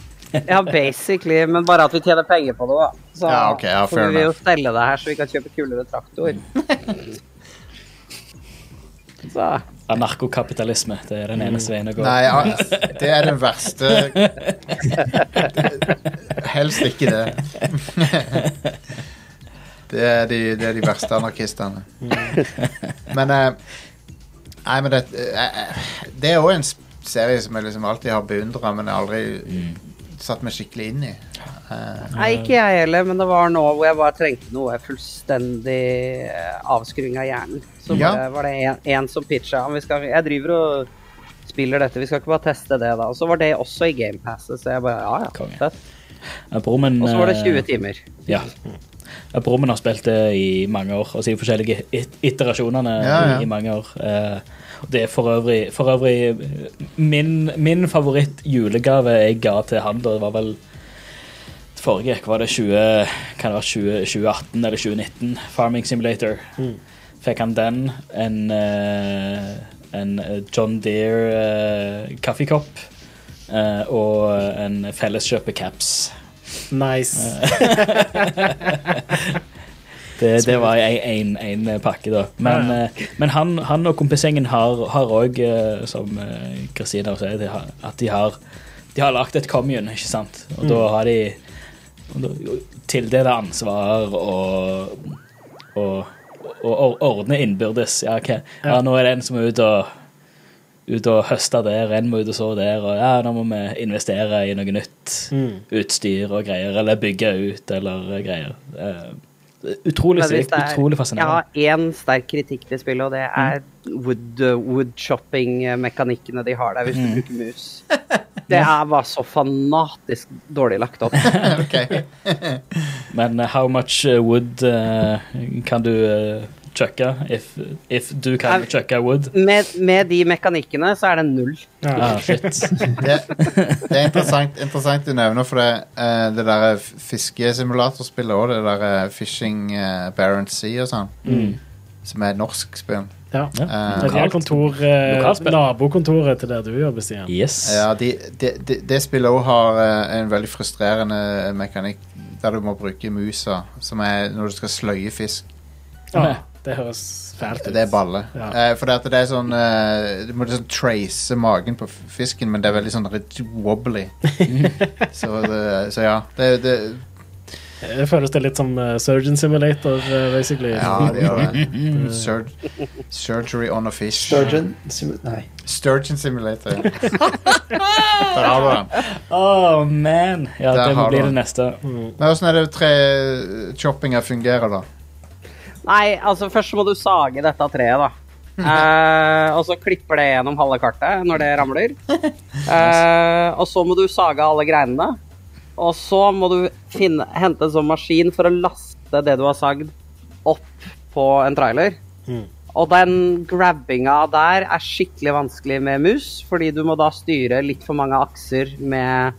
Speaker 4: Ja, basically, men bare at vi tjener penger på det, da. Så,
Speaker 1: Ja, ok, ja,
Speaker 4: for
Speaker 1: fair
Speaker 4: vi vil jo
Speaker 1: enough. Mm.
Speaker 4: stelle det her så vi kan kjøpe kulere traktor. så
Speaker 3: Anarkokapitalisme. Det
Speaker 2: Mm.
Speaker 3: er den eneste veien å gå.
Speaker 1: Nei, ja, det er den verste Helst ikke det. Det er de, det er de verste anarkistene. Men eh, Nei, men det, eh, eh, det er òg en sp- serie som jeg liksom alltid har beundra, men aldri satt meg skikkelig inn i. Eh,
Speaker 4: Nei, ikke jeg heller, men det var nå hvor jeg bare trengte noe fullstendig eh, avskruing av hjernen. Så
Speaker 1: Ja.
Speaker 4: bare var det en, en som pitcha. Han, vi skal, jeg driver og spiller dette, vi skal ikke bare teste det, da. Og så var det også i GamePasset, så jeg bare ja, ja,
Speaker 3: Konge.
Speaker 4: fett.
Speaker 3: Ja, Broren min
Speaker 4: Og så var det 20
Speaker 3: eh,
Speaker 4: timer.
Speaker 3: Ja. Ja, Broren min har spilt det i mange år, altså i forskjellige it iterasjonene
Speaker 1: Ja, ja.
Speaker 3: i mange år. Eh, og det er for øvrig, for øvrig eh, min, min favoritt-julegave jeg ga til han, da det var vel det forrige gikk, var det 20, kan det være 20, 2018 eller 2019, Farming Simulator. Fikk han den, en, eh, en eh, John Deere eh, kaffekopp eh, og en felleskjøpe-caps.
Speaker 2: Nice.
Speaker 3: Det, det var en, en, en pakke, da. Men,
Speaker 2: Ja, ja.
Speaker 3: eh, men han, han og kompisgjengen har har òg, som eh, Kristina sier, de har- at de har, de har lagd et commune, ikke sant?
Speaker 2: Mm.
Speaker 3: Og da har de og da- tildelt ansvar og, og, og, og ordne innbyrdes. Ja, ok. ja, nå er det en som er ute og ut og høste der, en må ut og så der, og ja, nå må vi investere i noe nytt.
Speaker 4: Mm.
Speaker 3: Utstyr og greier, eller bygge ut eller greier. Eh, utrolig,
Speaker 4: Men hvis det er-
Speaker 3: utrolig fascinerende. Mm.
Speaker 4: Jeg har én sterk kritikk til spillet, og det er wood, uh, woodshopping-mekanikkene de har der, hvis
Speaker 3: Mm.
Speaker 4: du bruker mus. Det er bare så fanatisk dårlig lagt opp.
Speaker 1: Ok.
Speaker 3: Men eh, how much eh, wood eh, kan du uh, chucke? If, if du kan
Speaker 4: Jeg-
Speaker 3: chucke wood?
Speaker 4: Med, med de mekanikkene så er det null.
Speaker 2: Ja.
Speaker 3: Ah, shit.
Speaker 1: Det, det er interessant, interessant du nevner, for det, eh, det der fiskesimulatorspillet og det der eh, Fishing eh, Barents Sea og sånn, som er et norsk spill.
Speaker 2: Ja.
Speaker 3: Ja.
Speaker 1: Eh,
Speaker 2: Det er
Speaker 3: Lokalt.
Speaker 2: kontor, eh,
Speaker 3: Lokalspill.
Speaker 2: nabokontoret til der du jobber, Stian.
Speaker 3: Yes.
Speaker 1: Ja, de- de- de- det spillet òg har eh, en veldig frustrerende mekanikk der du må bruke musa, som er når du skal sløye fisk.
Speaker 2: Ja, det høres fælt ut.
Speaker 1: Det er balle.
Speaker 2: Ja.
Speaker 1: Eh, for det, at det er sånn eh, Du må liksom trace magen på f- fisken, men det er veldig sånn litt wobbly. så, det, så ja. Det, det,
Speaker 2: Det føles det litt som eh, Surgeon Simulator, eh, basically.
Speaker 1: ja, det gjør det. Sur surgery on a fish.
Speaker 5: Sturgeon Sim- Nei.
Speaker 1: Sturgeon Simulator. Der har du den.
Speaker 3: Oh, man. Ja,
Speaker 1: Der
Speaker 3: det må
Speaker 1: har
Speaker 3: bli
Speaker 1: du
Speaker 3: det
Speaker 1: den.
Speaker 3: neste.
Speaker 1: Men Åssen er det tre choppinger fungerer, da?
Speaker 4: Nei, altså først må du sage dette treet, da. Eh, og så klipper det gjennom halve kartet når det ramler. Eh, og så må du sage alle greinene. Og så må du finne, hente en sånn maskin for å laste det du har sagd, opp på en trailer. Og den grabbinga der er skikkelig vanskelig med mus, fordi du må da styre litt for mange akser med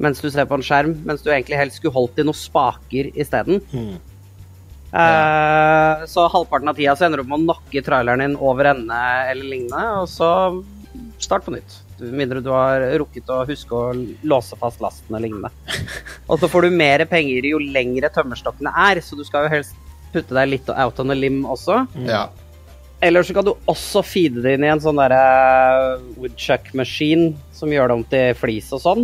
Speaker 4: mens du ser på en skjerm, mens du egentlig helst skulle holdt i noen spaker isteden. Eh, Så halvparten av tida så ender du opp med å knocke traileren din over ende eller lignende, og så start på nytt. Med mindre du har rukket å huske å låse fast lasten eller lignende. Og så får du mer penger jo lengre tømmerstokkene er, så du skal jo helst putte deg litt out on a lim også.
Speaker 1: Ja.
Speaker 4: Eller så kan du også feede det inn i en sånn derre woodchuck-maskin som gjør det om til flis og sånn.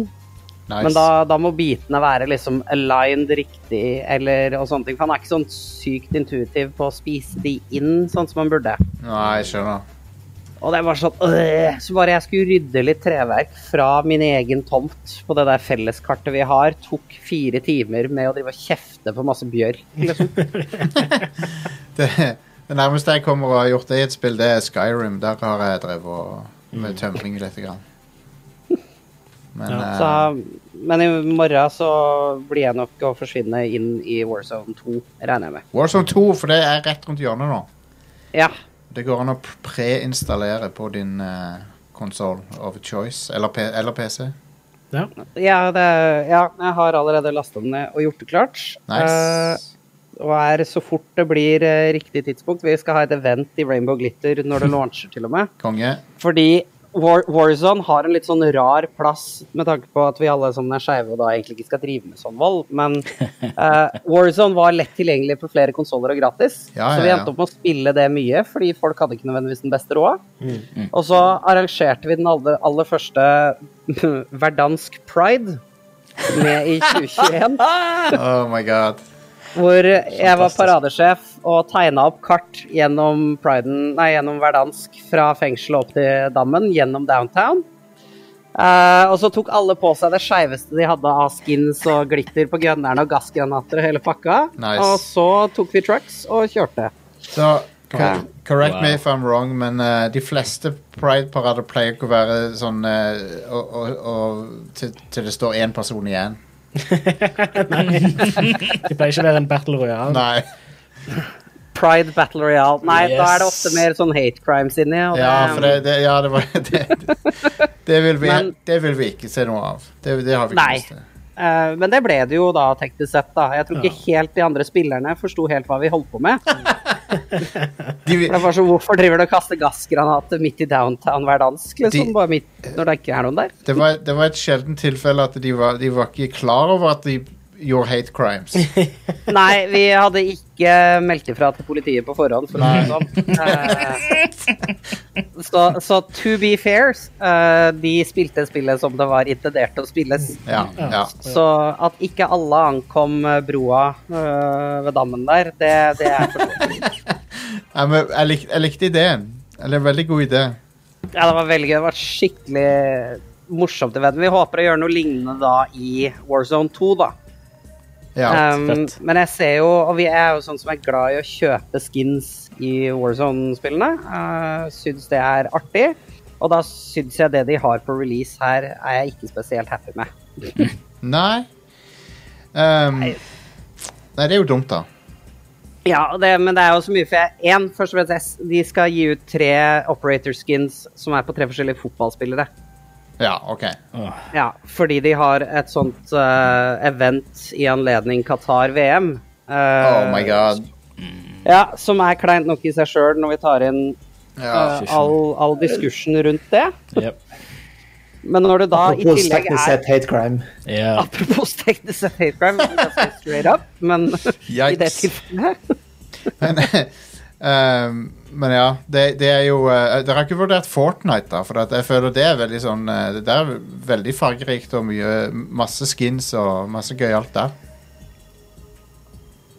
Speaker 1: Nice.
Speaker 4: Men da, da må bitene være liksom aligned riktig eller, og sånne ting. For han er ikke sånn sykt intuitiv på å spise de inn sånn som han burde.
Speaker 1: Nei, jeg skjønner.
Speaker 4: Og det var sånn øh, Så bare jeg skulle rydde litt treverk fra min egen tomt på det der felleskartet vi har, tok fire timer med å drive og kjefte på masse bjørk. Liksom.
Speaker 1: Det, det nærmeste jeg kommer å ha gjort det i et spill, det er Skyrim. Der har jeg drevet
Speaker 4: Mm.
Speaker 1: og med tømling litt. Grann. Men eh,
Speaker 4: Så, men i morgen så blir jeg nok å forsvinne inn i Warzone 2, regner jeg med.
Speaker 1: Warzone 2, for det er rett rundt hjørnet nå.
Speaker 4: Ja.
Speaker 1: Det går an å p- preinstallere på din uh, konsoll of choice, eller, P eller PC.
Speaker 4: Ja, det, ja, jeg har allerede lasta den ned og gjort det klart. Eh,
Speaker 1: Nice.
Speaker 4: og er så fort det blir eh, riktig tidspunkt. Vi skal ha et event i Rainbow Glitter når det launcher, til og med.
Speaker 1: Konge.
Speaker 4: Fordi War Warzone har en litt sånn rar plass, med tanke på at vi alle sammen er skeive og da egentlig ikke skal drive med sånn vold, men eh, Warzone var lett tilgjengelig på flere konsoller og gratis.
Speaker 1: Ja,
Speaker 4: Så vi
Speaker 1: ja, ja.
Speaker 4: endte opp med å spille det mye, fordi folk hadde ikke nødvendigvis den beste råd.
Speaker 1: Mm.
Speaker 4: Og så arrangerte vi den aller, aller første verdansk pride. Med i 2021,
Speaker 1: Oh my god.
Speaker 4: hvor jeg var paradesjef og tegna opp kart gjennom priden, nei, gjennom hverdansk fra fengselet opp til dammen, gjennom downtown. Eh, og så tok alle på seg det skeiveste de hadde av skins og glitter på gunnerne og gassgranater og hele pakka.
Speaker 1: Nice.
Speaker 4: Og så tok vi trucks og kjørte.
Speaker 1: Så Cor- Correct me
Speaker 3: Wow.
Speaker 1: if I'm wrong, men eh, de fleste Pride-parader pleier ikke å være sånn eh, og, og, og, til, til det står én person igjen.
Speaker 2: Det pleier ikke å være en battle royale.
Speaker 1: Nei.
Speaker 4: Pride Battle Royale. Nei, da er det
Speaker 2: Yes.
Speaker 4: ofte mer sånn hate crimes inni. og
Speaker 1: Ja, for det, det, ja, det var det, det, vil vi,
Speaker 4: Men-
Speaker 1: det vil vi ikke se noe av. Det, det har vi ikke
Speaker 4: Nei.
Speaker 1: lyst til.
Speaker 4: eh, men det ble det jo da, teknisk sett. da. Jeg tror ikke helt de andre spillerne forsto helt hva vi holdt på med. For
Speaker 1: De, vil-
Speaker 4: det var så, Hvorfor driver du og kaster gassgranater midt i downtown hver dansk, liksom?
Speaker 1: De-
Speaker 4: Bare midt når det ikke er noen der?
Speaker 1: det, var, det var et sjeldent tilfelle at de var, de var ikke klar over at de gjorde hate crimes.
Speaker 4: Nei, vi hadde ikke meldt ifra til politiet på forhånd, for å si det sånn. Eh, Så, så to be fair, eh, de spilte spillet som det var intendert å spilles.
Speaker 1: Ja, ja.
Speaker 4: Så at ikke alle ankom eh, broa eh, ved dammen der, det, det er forståelig.
Speaker 1: Ja, men jeg, lik, jeg likte ideen. Eller veldig god idé.
Speaker 4: Ja, det var veldig gøy. Det var et skikkelig morsomt event. Vi håper å gjøre noe lignende da i Warzone 2, da.
Speaker 1: Ja.
Speaker 4: Um,
Speaker 2: fett.
Speaker 4: men jeg ser jo, og vi er jo sånn som er glad i å kjøpe skins i Warzone-spillene. Uh, syns det er artig. Og da syns jeg det de har på release her, er jeg ikke spesielt happy med.
Speaker 1: Nei. Ehm, nei, det er jo dumt, da.
Speaker 4: Ja, og det, men det er jo så mye, for jeg en, først og fremst, jeg s- de skal gi ut tre operator skins som er på tre forskjellige fotballspillere.
Speaker 1: Ja, OK.
Speaker 4: Ja, fordi de har et sånt eh, event i anledning Qatar-VM.
Speaker 1: Oh my god.
Speaker 4: Eh, Ja, som er kleint nok i seg sjøl når vi tar inn
Speaker 1: Ja,
Speaker 4: eh, all, all diskursen rundt det.
Speaker 3: Yep.
Speaker 4: Men når det da i
Speaker 5: Apropos
Speaker 4: tillegg
Speaker 5: teknisk
Speaker 4: er
Speaker 5: sett hate crime.
Speaker 3: Ja.
Speaker 4: Apropos teknisk sett hate crime, det er ganske straight up, men i det
Speaker 1: Yikes.
Speaker 4: tilfellet
Speaker 1: Men, ehm, men ja, det, det er jo eh, Dere har ikke vurdert Fortnite, da? For at jeg føler det er veldig sånn eh, Det der er veldig fargerikt og mye masse skins og masse gøyalt der.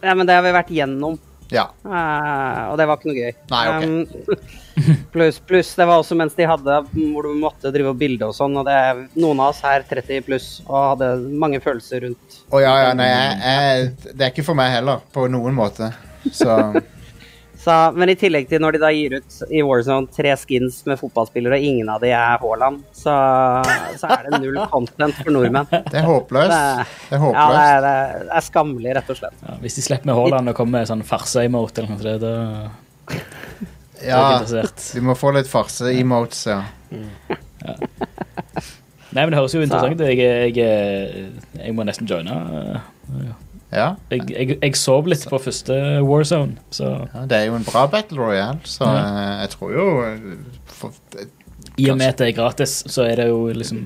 Speaker 4: Ja, men det har vi vært gjennom,
Speaker 1: Ja.
Speaker 4: eh, og det var ikke noe gøy.
Speaker 1: Nei, ok.
Speaker 4: Um, pluss, pluss. Det var også mens de hadde hvor du måtte drive og bilde og sånn, og det er noen av oss her 30 pluss og hadde mange følelser rundt.
Speaker 1: Å ja, ja, nei, jeg, jeg, det er ikke for meg heller, på noen måte. Så
Speaker 4: Så, men i tillegg til når de da gir ut i Warzone tre skins med fotballspillere, og ingen av de er Haaland, så, så er det null content for nordmenn.
Speaker 1: det er håpløst. Det er
Speaker 4: Ja, det
Speaker 1: håpløst.
Speaker 4: er, det er- det er skammelig, rett og slett.
Speaker 3: Ja, hvis de slipper med Haaland og kommer med sånn farse-emote, eller noe sånt, da
Speaker 1: Ja,
Speaker 3: er jeg ikke interessert.
Speaker 1: vi må få litt farse-emotes, ja.
Speaker 3: Nei, men det høres jo interessant ut. Jeg, jeg, jeg må nesten joine.
Speaker 1: ja.
Speaker 3: Jeg, jeg, jeg sov litt på første Warzone, så
Speaker 1: Ja, det er jo en bra battle royale, så
Speaker 3: Ja.
Speaker 1: eh, jeg tror jo eh, for, eh,
Speaker 3: i og med at det er gratis, så er det jo liksom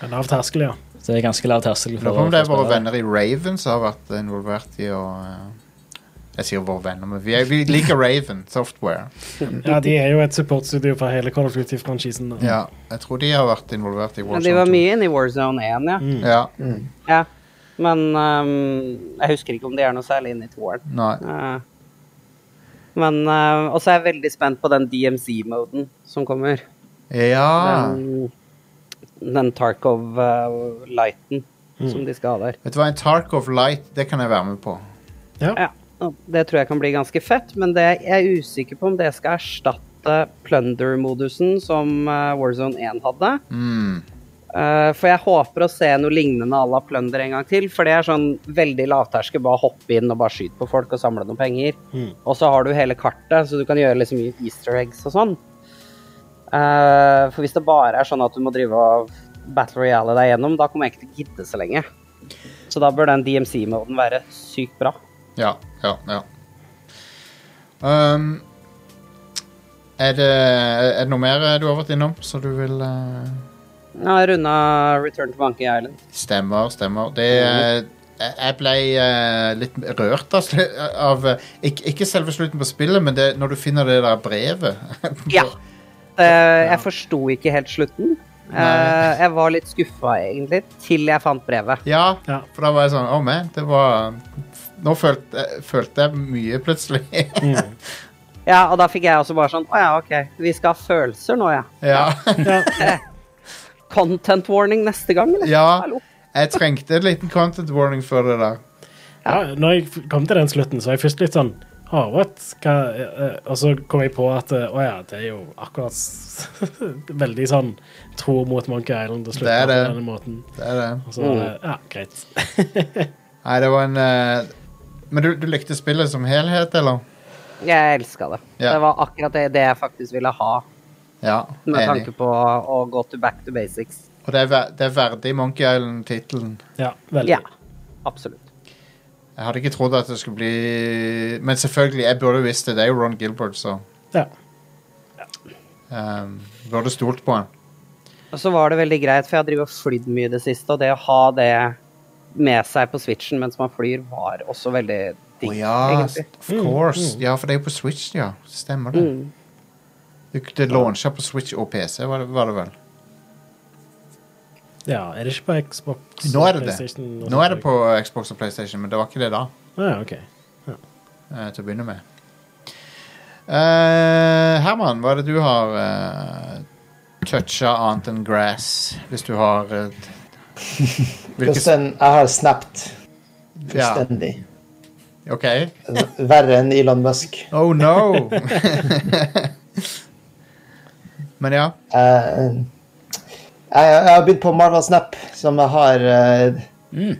Speaker 2: En lav terskel, ja.
Speaker 3: så det er ganske lav terskel.
Speaker 1: Lurer på om det er
Speaker 3: for å
Speaker 1: våre venner i Raven som har vært involvert i å eh, Jeg sier våre venner, men vi, er, vi liker Raven Software.
Speaker 2: ja. De er jo et supportstudio for hele Call of Duty-franchisen. da.
Speaker 1: Ja, jeg tror de har vært involvert i
Speaker 4: Men de
Speaker 1: Warzone. Mm.
Speaker 4: var
Speaker 1: 2.
Speaker 4: mye inne i Warzone 1, ja.
Speaker 1: Ja,
Speaker 4: ja. Men ehm, jeg husker ikke om de er noe særlig inne i toeren.
Speaker 1: nei.
Speaker 4: Eh, men uh, også er jeg veldig spent på den DMC-moden som kommer.
Speaker 1: Ja
Speaker 4: Den, den Tarkov-lighten som de skal ha der.
Speaker 1: Vet du hva, en Tarkov Light, det kan jeg være med på.
Speaker 2: Ja.
Speaker 4: Ja. og Det tror jeg kan bli ganske fett, men det, jeg er usikker på om det skal erstatte plunder-modusen som eh, Warzone 1 hadde.
Speaker 1: Mm.
Speaker 4: Eh, for jeg håper å se noe lignende à la Plunder en gang til. For det er sånn veldig lavterske. Bare hoppe inn og bare skyte på folk og samle noen penger. Og så har du hele kartet, så du kan gjøre liksom easter eggs og sånn. Eh, for hvis det bare er sånn at du må drive og battle royale deg gjennom, da kommer jeg ikke til å gidde så lenge. Så da bør den DMC-moden være sykt bra.
Speaker 1: Ja, ja, ja. Um, er, det, er det noe mer eh, du har vært innom, så du vil eh,
Speaker 4: Jeg har runda Return to Monkey Island.
Speaker 1: Stemmer, stemmer. Det, eh, jeg- jeg ble eh, litt rørt av, slu- av eh, ikke, ikke selve slutten på spillet, men det, når du finner det der brevet.
Speaker 4: Ja. Eh, jeg forsto ikke helt slutten. Eh,
Speaker 1: Nei.
Speaker 4: jeg var litt skuffa, egentlig, til jeg fant brevet.
Speaker 1: ja,
Speaker 2: Ja.
Speaker 1: for da var jeg sånn Oh man, det var Nå følte, jeg- følte jeg mye plutselig.
Speaker 4: Ja, og da fikk jeg også bare sånn Å ja, ok, vi skal ha følelser nå, ja. Eh,
Speaker 1: ja.
Speaker 4: Content warning neste gang, eller?
Speaker 1: ja.
Speaker 4: Hallo.
Speaker 1: Jeg trengte en liten content warning før det der.
Speaker 2: Ja, når jeg f- kom til den slutten, så var jeg først litt sånn Å, Harvard. Hva, eh, og så kom jeg på at eh, å ja, det er jo akkurat s- veldig sånn tro mot Monkey Island og slutte
Speaker 1: Det er
Speaker 2: på
Speaker 1: det. Mm.
Speaker 2: denne måten.
Speaker 1: Det er det.
Speaker 2: Og så, eh, ja, greit.
Speaker 1: Nei, det var en eh, Men du, du likte spillet som helhet, eller?
Speaker 4: Jeg elska det.
Speaker 1: Ja.
Speaker 4: Det var akkurat det, det jeg faktisk ville ha,
Speaker 1: Ja,
Speaker 4: med
Speaker 1: enig.
Speaker 4: tanke på å gå til back to basics.
Speaker 1: Og det er, ver- det er verdig Monkey Island-tittelen.
Speaker 2: Ja, veldig.
Speaker 4: Ja, absolutt.
Speaker 1: Jeg hadde ikke trodd at det skulle bli Men selvfølgelig, jeg burde visst det. Det er jo Ron Gilbert, så
Speaker 2: Ja.
Speaker 1: um, Burde stolt på han.
Speaker 4: Og så var det veldig greit, for jeg har drevet og flydd mye i det siste, og det å ha det med seg på switchen mens man flyr, var også veldig digg,
Speaker 1: Å ja,
Speaker 4: egentlig.
Speaker 1: of
Speaker 2: Mm,
Speaker 1: course. Ja, for det er jo på Switch, ja. Stemmer det. Det, det launcha på Switch og PC, var det, var det vel?
Speaker 2: ja. Er det ikke på Xbox?
Speaker 1: Nå er
Speaker 2: og
Speaker 1: det det.
Speaker 2: PlayStation og
Speaker 1: Nå
Speaker 2: sånt?
Speaker 1: er det på Xbox og PlayStation, men det var ikke det da.
Speaker 2: Ah, ja, OK.
Speaker 1: eh, til å begynne med. Eh, Herman, hva er det du har uh, toucha annet enn grass, hvis du har eh, hvilke-
Speaker 5: Just en, jeg har snapped
Speaker 1: ja,
Speaker 5: fullstendig.
Speaker 1: OK.
Speaker 5: Verre enn Elon Musk.
Speaker 1: Oh no! Men ja.
Speaker 5: Eh, jeg, jeg har begynt på Marvel Snap, som jeg har eh,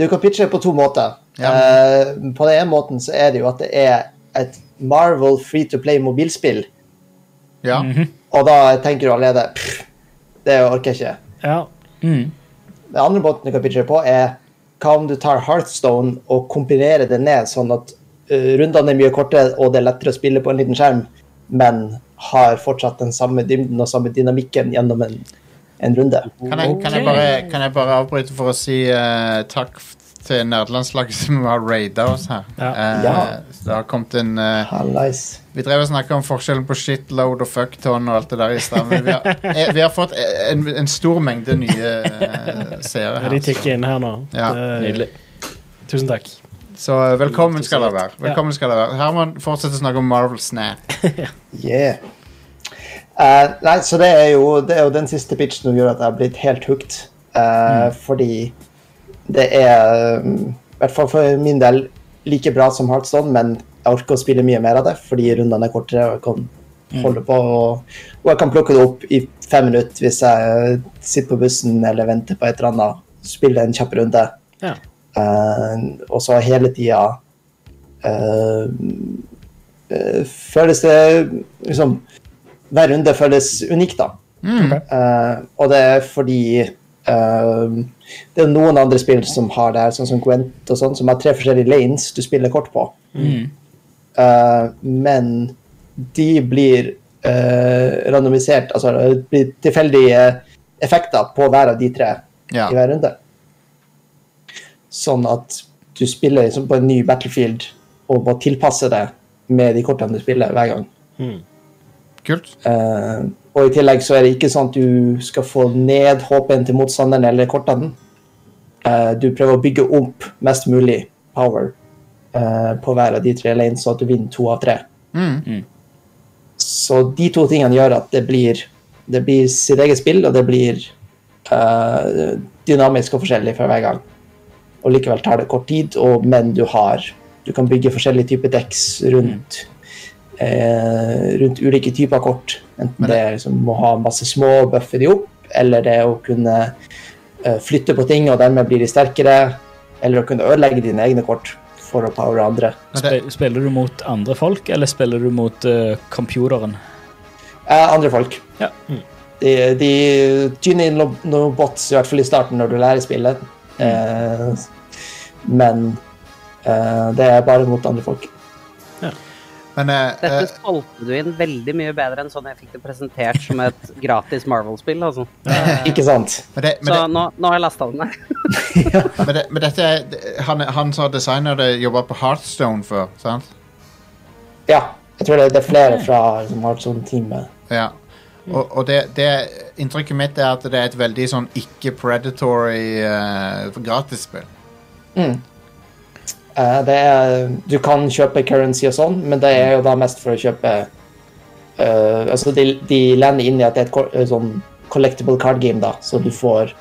Speaker 5: Du kan pitche på to måter.
Speaker 1: Ja.
Speaker 5: Eh, på den ene måten så er det jo at det er et Marvel free to play mobilspill.
Speaker 1: ja.
Speaker 2: Mhm.
Speaker 5: Og da tenker du allerede pff, Det orker jeg ikke.
Speaker 2: Ja.
Speaker 5: Den andre måten du kan pitche på, er hva om du tar Hearthstone og kombinerer det ned, sånn at eh, rundene er mye kortere, og det er lettere å spille på en liten skjerm, men har fortsatt den samme dybden og samme dynamikken gjennom en, en runde.
Speaker 1: Kan, jeg, kan, jeg bare, kan jeg bare avbryte for å si eh, takk f- til nerdelandslaget som har raida oss her?
Speaker 2: Ja.
Speaker 1: Eh,
Speaker 5: Ja.
Speaker 1: så Det har kommet en eh,
Speaker 5: Hallais.
Speaker 1: Vi drev og snakka om forskjellen på shitload og fuckton og alt det der i stad, men vi har, eh, vi har fått en, en stor mengde nye eh, seere
Speaker 2: De
Speaker 1: her. Så,
Speaker 2: tikker inn her nå.
Speaker 1: Ja.
Speaker 2: Det-
Speaker 3: Nydelig.
Speaker 2: Tusen takk.
Speaker 1: så eh, velkommen skal dere være. Velkommen skal dere være. Herman fortsetter å snakke om Marvel Snap.
Speaker 5: Yeah. Eh, nei, så det er, jo, det er jo den siste pitchen som gjør at jeg har blitt helt hooked. Eh, Fordi det er, um, i hvert fall for min del, like bra som Heartstone, men jeg orker å spille mye mer av det fordi rundene er kortere og jeg kan holde på. Og, og jeg kan plukke det opp i fem minutter hvis jeg sitter på bussen eller venter på et eller annet. Spille en kjapp runde.
Speaker 2: Ja.
Speaker 5: Eh, og så hele tida eh, eh, Føles det liksom Hver runde føles unik, da. Eh, og det er fordi eh, det er noen andre spill som har det her, sånn som Gwent og sånn, som har tre forskjellige lanes du spiller kort på. Eh, men de blir eh, randomisert, altså det blir tilfeldige effekter på hver av de tre
Speaker 1: Ja.
Speaker 5: i hver runde. Sånn at du spiller liksom på en ny battlefield og må tilpasse det med de kortene du spiller hver gang.
Speaker 1: Kult.
Speaker 5: Eh, og i tillegg så er det ikke sånn at du skal få ned HP-en til motstanderen eller kortene. Eh, du prøver å bygge opp mest mulig power eh, på hver av de tre lanes, så at du vinner to av tre. Så de to tingene gjør at det blir, det blir sitt eget spill, og det blir eh, dynamisk og forskjellig for hver gang. Og likevel tar det kort tid, og, men du har Du kan bygge forskjellige typer dekks rundt eh, rundt ulike typer kort. Enten det er liksom å ha masse små og bøffe de opp, eller det å kunne eh, flytte på ting og dermed blir de sterkere, eller å kunne ødelegge dine egne kort for å powere andre.
Speaker 1: Men det,
Speaker 3: Spe- Spiller du mot andre folk, eller spiller du mot eh, computeren?
Speaker 5: Eh, andre folk.
Speaker 3: Ja.
Speaker 5: De, de tyner inn noen noen bots, i hvert fall i starten når du lærer spillet. Eh, men eh, det er bare mot andre folk.
Speaker 1: men eh, eh,
Speaker 4: Dette solgte du inn veldig mye bedre enn sånn jeg fikk det presentert som et gratis Marvel-spill. Altså.
Speaker 5: Ikke sant?
Speaker 1: men det, men
Speaker 4: Så
Speaker 1: det,
Speaker 4: nå, nå har jeg lasta den ned.
Speaker 1: men det, men dette er det- Han, han som har designa det, jobba på Heartstone før, sant?
Speaker 5: Ja. Jeg tror det, det er flere fra som har et sånt team. med.
Speaker 1: Ja. Og, og det, det inntrykket mitt er at det er et veldig sånn ikke-predatory eh, gratisspill.
Speaker 5: Eh, det er, du kan kjøpe currency og sånn, men det er jo da mest for å kjøpe eh, Altså, de, de lander inn i at det er et ko- eh, sånn collectible card game, da, så du får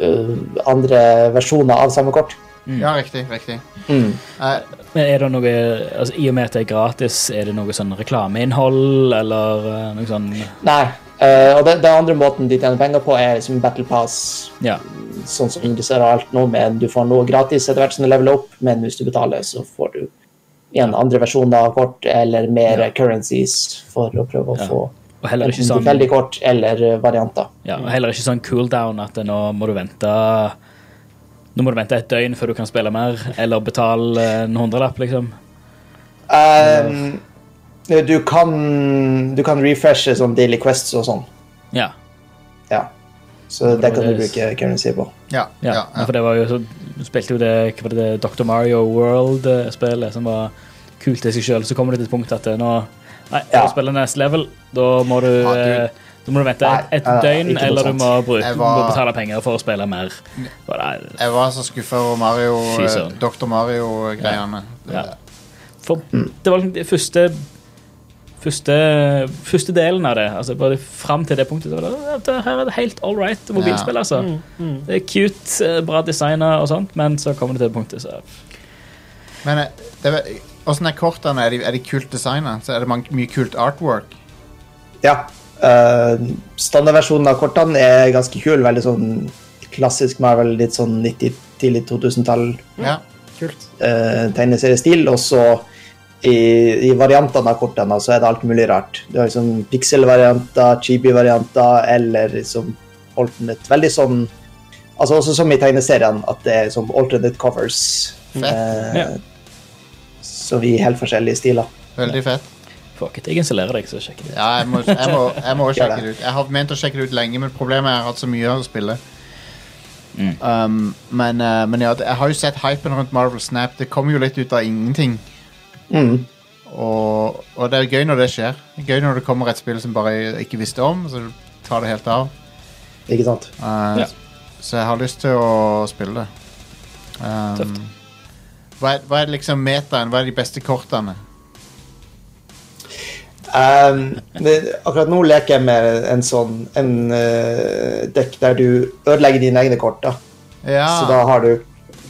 Speaker 5: eh, andre versjoner av samme kort.
Speaker 1: Ja, riktig. riktig.
Speaker 5: Mm.
Speaker 1: Eh,
Speaker 3: Men er det noe, altså I og med at det er gratis, er det noe sånn reklameinnhold eller eh, noe sånn
Speaker 5: Nei. eh, og den, den andre måten de tjener penger på, er liksom Battle Pass.
Speaker 3: Ja.
Speaker 5: Sånn som du ser alt nå, men du får noe gratis etter hvert som du leveler opp, men hvis du betaler, så får du igjen andre versjoner av kort eller mer currencies for å prøve å
Speaker 3: Ja.
Speaker 5: få
Speaker 3: Og heller ikke
Speaker 5: enten
Speaker 3: sånn,
Speaker 5: tilfeldig kort eller eh, varianter.
Speaker 3: ja, og heller ikke sånn cooldown at nå må du vente Nå må du vente et døgn før du kan spille mer, eller betale en hundrelapp, liksom.
Speaker 5: Um, du, kan, du kan refreshe sånn daily quests og sånn.
Speaker 3: Ja.
Speaker 5: Ja. Så det kan du
Speaker 3: det-
Speaker 5: bruke currency på.
Speaker 1: ja,
Speaker 3: ja.
Speaker 1: ja, ja.
Speaker 3: For det var jo så Du spilte jo det, hva var det Dr. Mario World-spillet, som var kult i seg sjøl. Så kommer det til et punkt at eh, nå Nei,
Speaker 5: Ja.
Speaker 3: for å spille neste level, da må du
Speaker 1: Ja, du-
Speaker 3: eh, da må du vente et, et
Speaker 5: Nei, nei,
Speaker 3: døgn,
Speaker 5: ikke noe
Speaker 3: eller du
Speaker 5: sånt.
Speaker 3: må, bruke,
Speaker 1: Jeg var-
Speaker 3: må betale penger for å spille mer. Og det er
Speaker 1: Jeg var så skuffa over Mario,
Speaker 3: Fy
Speaker 1: eh,
Speaker 3: søren.
Speaker 1: Dr. Mario-greiene.
Speaker 3: Ja. For det var liksom det første Første, første delen av det. Altså bare Fram til det punktet. så var Det, det her er det helt all right mobilspill, altså. Det er cute, eh, bra designa og sånt, men så kommer det til det punktet, så
Speaker 1: Men eh, det, var- hvordan er kortene? Er de, er de kult designa? Så er det mange, mye kult artwork?
Speaker 5: Ja. eh, standardversjonen av kortene er ganske kul. Veldig sånn klassisk Marvel, litt sånn 90, tidlig 2000-tall
Speaker 3: Mm.
Speaker 1: Ja.
Speaker 2: Kult.
Speaker 5: eh, tegneseriestil. Og så i, i variantene av kortene så er det alt mulig rart. Du har liksom pixel-varianter, chibi-varianter eller liksom alternate Veldig sånn Altså også som i tegneseriene, at det er som alternate covers.
Speaker 1: Fett.
Speaker 5: eh,
Speaker 3: Ja.
Speaker 5: Så vi er helt forskjellige stiler.
Speaker 1: Veldig fett.
Speaker 3: fuck it. Jeg installerer deg, så sjekker jeg.
Speaker 1: Ja, jeg må, jeg må, jeg må
Speaker 5: Gjør
Speaker 1: sjekke
Speaker 5: det.
Speaker 1: det ut. Jeg har ment å sjekke det ut lenge, men problemet er at jeg har hatt så mye å spille.
Speaker 3: Mm.
Speaker 1: Um, men, eh, men ja, det- jeg har jo sett hypen rundt Marvel Snap. Det kommer jo litt ut av ingenting.
Speaker 5: Mm.
Speaker 1: Og, og det er gøy når det skjer. Det er gøy når det kommer et spill som bare ikke visste om, så tar det helt av.
Speaker 5: Ikke sant?
Speaker 1: Uh,
Speaker 3: Ja.
Speaker 1: Så jeg har lyst til å spille det. Um,
Speaker 3: Tøft.
Speaker 1: hva, er, hva er liksom metaen? Hva er de beste kortene?
Speaker 5: Um, det, akkurat nå leker jeg med en sånn en eh, dekk der du ødelegger dine egne kort. da. Så
Speaker 1: Ja,
Speaker 5: da har du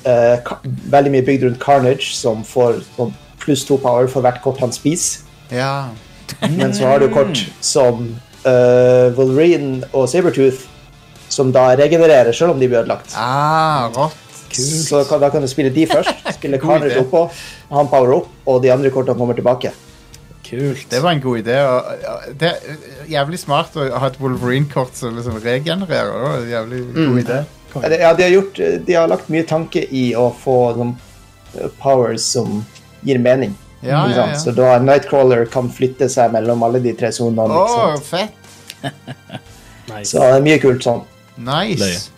Speaker 5: eh, ka- veldig mye bygd rundt Carnage, som får sånn pluss to power for hvert kort han spiser.
Speaker 1: ja. Mm.
Speaker 5: Men så har du kort som eh, Wolverine og Sabertooth, som da regenererer selv om de blir ødelagt.
Speaker 1: Ah, rått.
Speaker 5: Så kan, da kan du spille de først. Spille
Speaker 1: God idé.
Speaker 5: Carnage oppå, han power opp, og de andre kortene kommer tilbake.
Speaker 2: Kult.
Speaker 1: Det var en god idé. Og, og det er jævlig smart å ha et Wolverine-kort som liksom regenererer. Det var en jævlig god
Speaker 5: Mm.
Speaker 1: idé.
Speaker 5: Ja, de har, gjort, eh, de har lagt mye tanke i å få sånn powers som gir mening.
Speaker 1: Ja,
Speaker 5: ikke
Speaker 1: ja,
Speaker 5: sant?
Speaker 1: ja.
Speaker 5: Så da Nightcrawler kan flytte seg mellom alle de tre sonene.
Speaker 1: Å,
Speaker 5: ikke sant?
Speaker 1: fett!
Speaker 2: Nice.
Speaker 5: Så det er mye kult sånn.
Speaker 1: Nice.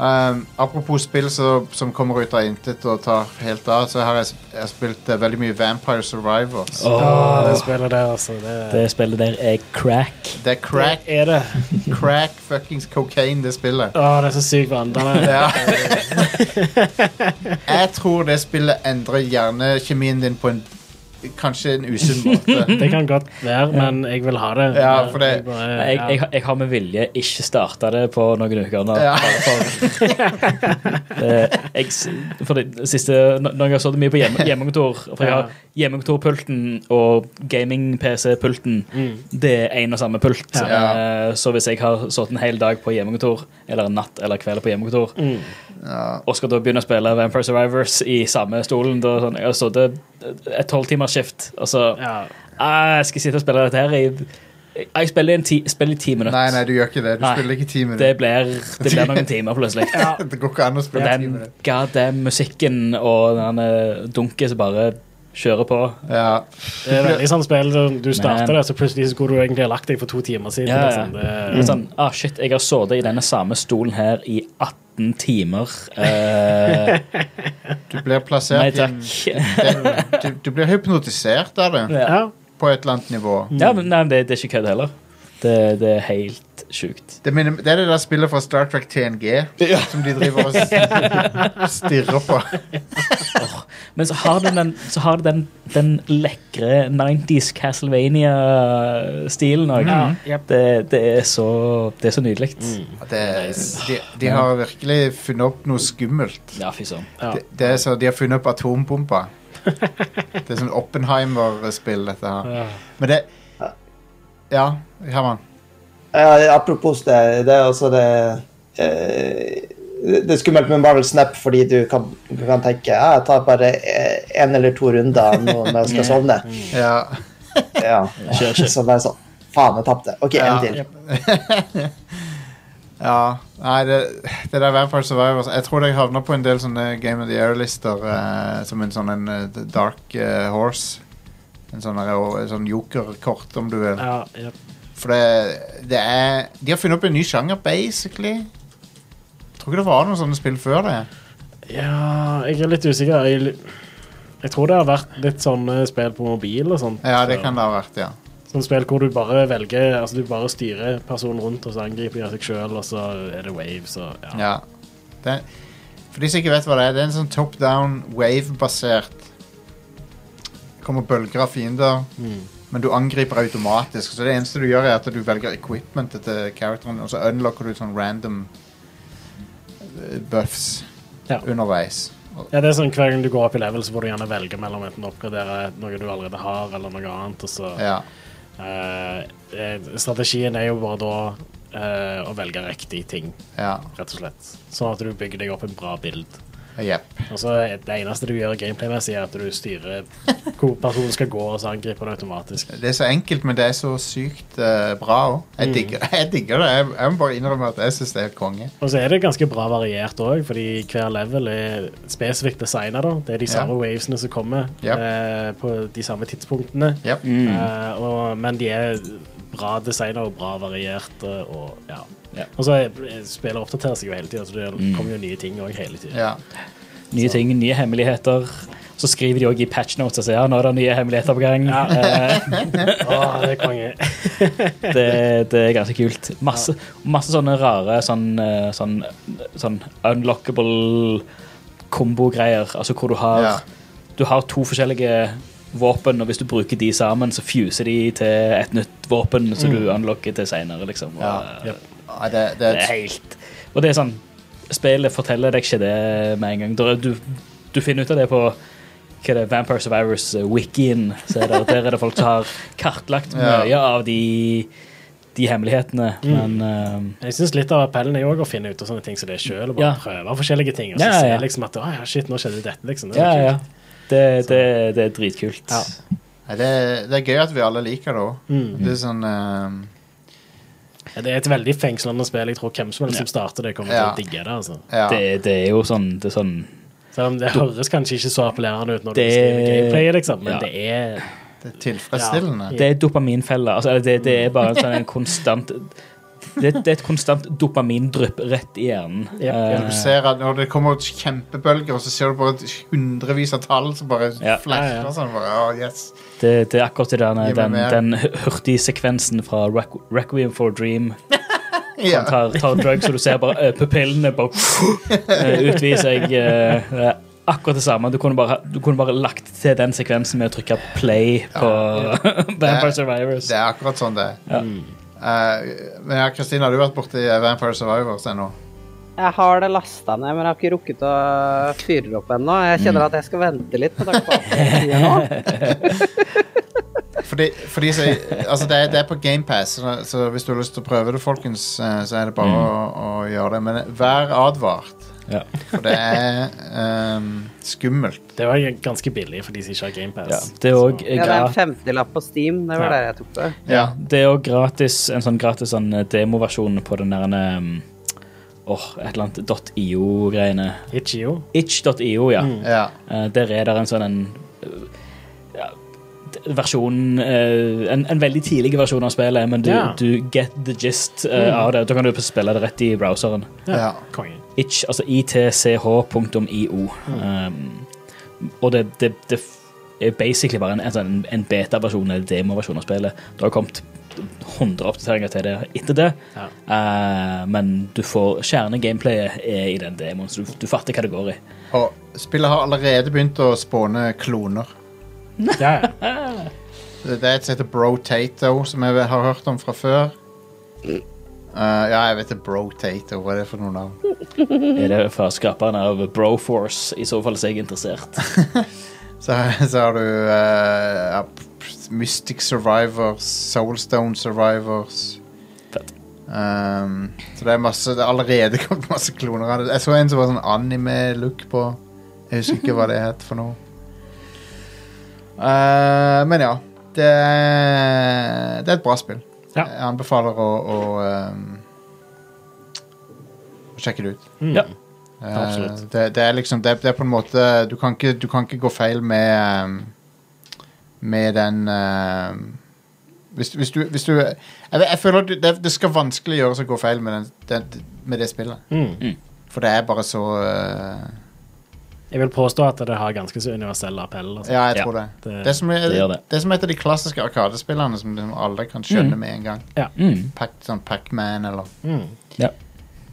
Speaker 1: Um, apropos spill så, som kommer ut av intet og tar helt av, så har jeg, sp- jeg spilt eh, veldig mye Vampire Survivors.
Speaker 2: Åh, det spillet der, altså. Det,
Speaker 3: Det spillet der er crack.
Speaker 1: Det er crack,
Speaker 2: det er det.
Speaker 1: crack fuckings cocaine, det spillet.
Speaker 2: Åh, det er så sykt vandrende.
Speaker 1: Ja. Jeg tror det spillet endrer hjernekjemien din på en kanskje en usunn måte.
Speaker 2: Det kan godt være, men jeg vil ha det.
Speaker 1: Ja, for det-
Speaker 2: Jeg bare-
Speaker 3: Jeg,
Speaker 2: Eh, ja.
Speaker 3: jeg, jeg har med vilje ikke starta det på noen uker nå.
Speaker 1: Ja.
Speaker 3: Det- jeg, s- for det siste, når når jeg har sittet mye på hjemme, hjemmekontor For jeg har hjemmekontorpulten og gaming-PC-pulten. Det er én og samme pult.
Speaker 1: Ja.
Speaker 3: Eh, Så hvis jeg har sittet en hel dag på hjemmekontor, eller en natt eller kveld på hjemmekontor, og skal da begynne å spille Vampire Survivors i samme stolen da, sånn, Jeg har sittet et tolvtimersskift, og så
Speaker 2: Ja.
Speaker 3: ah, jeg skal sitte og spille dette her i Ah, Jeg spiller i en ti, spiller i ti minutter.
Speaker 1: Nei, nei, du gjør ikke det. Du
Speaker 3: Nei.
Speaker 1: spiller ikke ti
Speaker 3: Det
Speaker 1: minutter.
Speaker 3: blir, det blir noen timer, plutselig.
Speaker 1: Det går ikke an å spille ti
Speaker 3: Den
Speaker 1: minutter.
Speaker 3: goddamn musikken og den eh, dunken som bare kjører på.
Speaker 1: Ja.
Speaker 2: Det er veldig sånn spill som du starter
Speaker 3: Men-
Speaker 2: det, så plutselig så skulle du egentlig ha lagt deg for to timer siden.
Speaker 3: Ja, ja.
Speaker 2: Liksom.
Speaker 3: Det er
Speaker 1: Mm.
Speaker 2: Det,
Speaker 3: sånn, ah shit, jeg har sittet i denne samme stolen her i 18 timer. Eh,
Speaker 1: Du blir plassert
Speaker 3: nei
Speaker 1: i en-
Speaker 3: takk.
Speaker 1: det, du, du blir hypnotisert av det,
Speaker 3: Mm.
Speaker 2: ja.
Speaker 1: på et eller annet nivå.
Speaker 3: Ja, men nei, det, det er ikke kødd heller. Det, det er helt sjukt.
Speaker 1: Det, minner- det er det der spillet fra Star Trek TNG som de driver og s- stirrer på.
Speaker 3: Men så har den den, så har den, den lekre 90s Castlevania-stilen òg.
Speaker 2: jep.
Speaker 3: Det, det er så, det er så nydelig.
Speaker 1: Det, de, de har virkelig funnet opp noe skummelt.
Speaker 3: Ja, fy søren.
Speaker 2: Ja.
Speaker 1: Det, det er så, de har funnet opp atombomba. Det er sånn Oppenheimer-spill, dette her.
Speaker 2: Ja.
Speaker 1: Men det Ja, Herman.
Speaker 5: Eh, apropos det, det er også det eh, Det er skummelt med Marvel Snap fordi du kan, du kan tenke ja, jeg tar bare én eller to runder nå når jeg skal sovne.
Speaker 1: Ja. Mm.
Speaker 5: Ja. Så bare sånn Faen, jeg tapte. OK, en
Speaker 1: Ja.
Speaker 5: til.
Speaker 1: ja. Nei, det, det der Vampire Survivors Jeg tror jeg havna på en del sånne Game of the Year-lister eh, som en sånn en, eh, Dark eh, Horse. En sånn, der, eh, sånn jokerkort, om du vil.
Speaker 2: Ja, jep.
Speaker 1: For det, det er De har funnet opp en ny sjanger, basically. Jeg tror ikke det var noen sånne spill før det.
Speaker 2: ja, jeg er litt usikker. Jeg, jeg tror det har vært litt sånne spill på mobil og sånt.
Speaker 1: Ja, det kan det ha vært, ja.
Speaker 2: Sånne spill hvor du bare velger Altså du bare styrer personen rundt, og så angriper de seg sjøl, og så er det waves og ja.
Speaker 1: Ja. Det, for de som ikke vet hva det er, det er en sånn top down wave-basert Det kommer bølger av fiender, men du angriper automatisk. Så det eneste du gjør, er at du velger equipmentet til characteren, og så unlocker du sånn random eh, buffs
Speaker 2: Ja.
Speaker 1: underveis. Og-
Speaker 2: Ja, det er sånn Hver gang du går opp i level, så får du gjerne velge mellom enten å oppgradere noe du allerede har, eller noe annet. Og så
Speaker 1: Ja.
Speaker 2: eh, eh, Strategien er jo bare da eh, å velge riktig ting,
Speaker 1: ja.
Speaker 2: rett og slett. Sånn at du bygger deg opp en bra bild.
Speaker 1: Jepp.
Speaker 2: Og så er Det eneste du gjør gameplay-messig, er at du styrer hvor personen skal gå, og så angriper du automatisk.
Speaker 1: Det er så enkelt, men det er så sykt eh, bra òg. Jeg, digger- jeg digger det. Jeg, jeg må bare innrømme at jeg syns det er helt konge.
Speaker 2: Og så er det ganske bra variert òg, fordi hver level er spesifikt designa. Det er de samme wavesene som kommer
Speaker 1: Ja.
Speaker 2: eh, på de samme tidspunktene.
Speaker 1: Jepp.
Speaker 2: Eh, og, men de er bra designer og bra variert. eh, Og, ja.
Speaker 3: Ja.
Speaker 2: og så er- spiller oppdaterer seg jo hele tida, så det kommer jo nye ting òg hele tida.
Speaker 1: Ja.
Speaker 3: Nye ting, nye hemmeligheter. Så skriver de òg i patchnotes og sier ja, nå er det nye hemmeligheter på gang. Eh,
Speaker 2: Å, det er konge.
Speaker 3: det, det er ganske kult. Masse, masse sånne rare sånn, eh, sånn, sånn unlockable kombo-greier. Altså hvor du har,
Speaker 1: Ja.
Speaker 3: du har to forskjellige våpen, og hvis du bruker de sammen, så fuser de til et nytt våpen som du unlocker til seinere, liksom. Og,
Speaker 1: Mm. Ja.
Speaker 3: eh,
Speaker 1: Nei, Det, det
Speaker 3: Det er
Speaker 1: er
Speaker 3: helt Og det er sånn Spillet forteller deg ikke det med en gang. Der er- Du, du finner ut av det på hva er det, Vampire Survivors-wikien. Der, der er det folk som har kartlagt
Speaker 1: Ja.
Speaker 3: mye av de, de hemmelighetene.
Speaker 2: Mm.
Speaker 3: Men ehm,
Speaker 2: Jeg synes Litt av appellen er jo også å finne ut av sånne ting som det er sjøl, og bare
Speaker 3: Ja.
Speaker 2: prøve forskjellige ting. Og så
Speaker 3: Ja, ja, ja.
Speaker 2: se liksom at «Å, ja, shit, nå skjedde dette, liksom. Det er
Speaker 3: ja,
Speaker 2: kult.
Speaker 3: ja. Det, det, det er dritkult.
Speaker 2: Ja.
Speaker 1: Nei, det, det er gøy at vi alle liker det òg.
Speaker 2: Mm.
Speaker 1: Det er sånn ehm,
Speaker 2: Ja, Det er et veldig fengslende spill. Jeg tror hvem som helst som starter det, kommer
Speaker 1: Ja.
Speaker 2: til å digge det. altså.
Speaker 1: ja.
Speaker 3: Det, det er jo sånn, det er sånn
Speaker 2: Selv om det høres kanskje ikke så appellerende ut når
Speaker 3: Det-
Speaker 2: du skriver gameplay, liksom, men
Speaker 3: Ja.
Speaker 2: det er
Speaker 1: Det er tilfredsstillende.
Speaker 3: Det er dopaminfelle. Altså, eller det, det er bare en sånn en konstant det, det er et konstant dopamindrypp rett i hjernen.
Speaker 2: Ja.
Speaker 3: Eh,
Speaker 1: Du ser at når det kommer kjempebølger, og så ser du bare et hundrevis av tall som bare
Speaker 3: Ja.
Speaker 1: flasher.
Speaker 2: Ja, ja.
Speaker 1: Sånn, bare, «Å, yes.
Speaker 3: Det, det er akkurat det
Speaker 1: Gi
Speaker 3: der,
Speaker 1: meg
Speaker 3: den,
Speaker 1: mer.
Speaker 3: den hurtige sekvensen fra Requ- Requiem for a Dream.
Speaker 1: ja.
Speaker 3: Han tar, tar drugs, og du ser bare eh, pupillene bare eh, utviser jeg. eh, eh, akkurat det samme. Du kunne, bare, du kunne bare lagt til den sekvensen med å trykke play på Vampire Survivors.
Speaker 1: Det er akkurat sånn det er.
Speaker 2: Mm.
Speaker 1: Eh, men ja, Kristina, har du vært borti eh, Vampire Survivors ennå?
Speaker 4: Jeg har det lasta ned, men jeg har ikke rukket å fyre det opp ennå. Jeg
Speaker 1: Mm.
Speaker 4: kjenner at jeg skal vente litt. Med tanke på alt jeg sier nå.
Speaker 1: Fordi, fordi så, altså det, er- det er på GamePass, så, så hvis du har lyst til å prøve det, folkens, eh, så er det
Speaker 3: Mm.
Speaker 1: bare å, å gjøre det. Men vær advart,
Speaker 3: Ja.
Speaker 1: for det er ehm, skummelt.
Speaker 2: Det var jo ganske billig for de som ikke har GamePass.
Speaker 3: Ja, det er eh, òg
Speaker 4: Ja, det er en femtilapp på Steam. Det var der jeg tok det.
Speaker 1: Ja.
Speaker 3: gratis, en sånn gratis sånn eh, demoversjon på den der um, Åh, et eller annet .io-greiene.
Speaker 2: Itch.io.
Speaker 3: Itch.io, ja.
Speaker 1: ja.
Speaker 3: Eh, Der er det en sånn en eh, ja, d- versjon eh, en, en veldig tidlig versjon av spillet, men du,
Speaker 2: Ja.
Speaker 3: du get the gist eh, av det. Da kan du spille det rett i browseren.
Speaker 1: ja.
Speaker 2: Konge.
Speaker 3: Itch, altså itch.io. Um, og det, det, det f- er basically bare en, en, sånn- en beta-versjon, eller demoversjon av spillet. Det har kommet 100 oppdateringer til det etter det,
Speaker 2: Ja.
Speaker 3: Eh, men du får kjernegameplayet er i den demoen, så du, du fatter hva det går i.
Speaker 1: Og Spillet har allerede begynt å spåne kloner.
Speaker 2: Ja, ja.
Speaker 1: Det er et som heter Brotato, som jeg har hørt om fra før. Eh, ja, jeg vet det. Brotato, hva er det for noe navn?
Speaker 3: Er det fra skaperen av Broforce? I så fall så er jeg interessert.
Speaker 1: Så, så har du eh, ja, Mystic Survivors, Soulstone Survivors.
Speaker 3: Fett.
Speaker 1: Um, så det er masse Det er allerede kommet masse kloner av det. Jeg så en som var sånn anime-look på. Jeg husker ikke hva det het for noe. Eh, men ja. Det er, det er et bra spill.
Speaker 2: Ja.
Speaker 1: Jeg anbefaler å, å ehm, å sjekke det ut.
Speaker 2: Mm.
Speaker 3: Ja.
Speaker 1: Eh,
Speaker 3: Absolutt.
Speaker 1: det, det er liksom det, det er på en måte Du kan ikke, du kan ikke gå feil med um, Med den um, hvis, du- hvis, du, hvis du Jeg, vet- jeg føler at du- det, det skal vanskelig gjøres å gå feil med, den, den, med det spillet.
Speaker 3: Mm.
Speaker 1: For det er bare så uh,
Speaker 2: Jeg vil påstå at det har ganske så universell appell. Altså.
Speaker 1: Ja, jeg
Speaker 3: Ja,
Speaker 1: tror det.
Speaker 2: det-
Speaker 1: Det, som er,
Speaker 3: det gjør
Speaker 1: det,
Speaker 3: det.
Speaker 1: som heter de klassiske Arkadespillene som du alle kan skjønne med en gang.
Speaker 3: Mm.
Speaker 1: Pac, sånn Pac-Man eller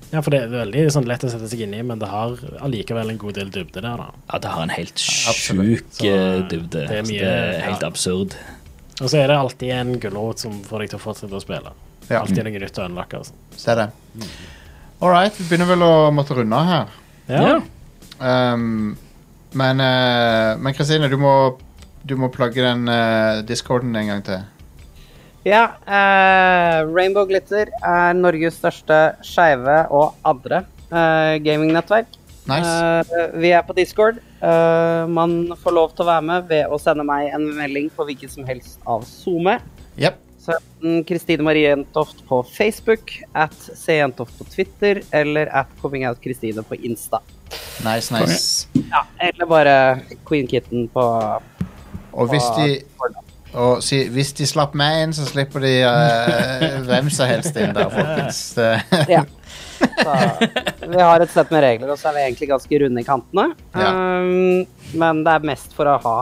Speaker 2: Ja, for det er veldig sånn, lett å sette seg inn i, men det har allikevel en god del dybde der, da.
Speaker 3: Ja, det har en helt
Speaker 1: Absolutt.
Speaker 3: sjuk
Speaker 2: Så, eh,
Speaker 3: eh, dybde.
Speaker 2: det er
Speaker 3: Så
Speaker 2: mye-
Speaker 3: det er helt
Speaker 2: ja.
Speaker 3: absurd.
Speaker 2: Og så er det alltid en gulrot som får deg til å fortsette å spille.
Speaker 1: Ja,
Speaker 2: Alltid noe nytt å unlocke. Altså.
Speaker 1: det er det. All right, vi begynner vel å måtte runde av her.
Speaker 2: Ja.
Speaker 1: Um, men eh, men Kristine, du må, du må plugge den eh, discorden en gang til.
Speaker 4: Ja, eh, Rainbow Glitter er Norges største skeive og andre eh, gamingnettverk.
Speaker 1: Nice.
Speaker 4: Eh, vi er på Discord. Eh, man får lov til å være med ved å sende meg en melding på hvilken som helst av SoMe.
Speaker 1: Yep.
Speaker 4: Så enten Kristine Marie Jentoft på Facebook, at C Jentoft på Twitter eller at Coming Out Kristine på Insta.
Speaker 1: Nice, nice.
Speaker 4: Ja, eller bare Queen Kitten på
Speaker 1: Og hvis de og si, hvis de slapp meg inn, så slipper de eh, hvem som helst inn der, folkens. Det-
Speaker 4: Ja. Så, vi har et sett med regler, og så er vi egentlig ganske runde i kantene.
Speaker 1: Ja.
Speaker 4: Um, men det er mest for å ha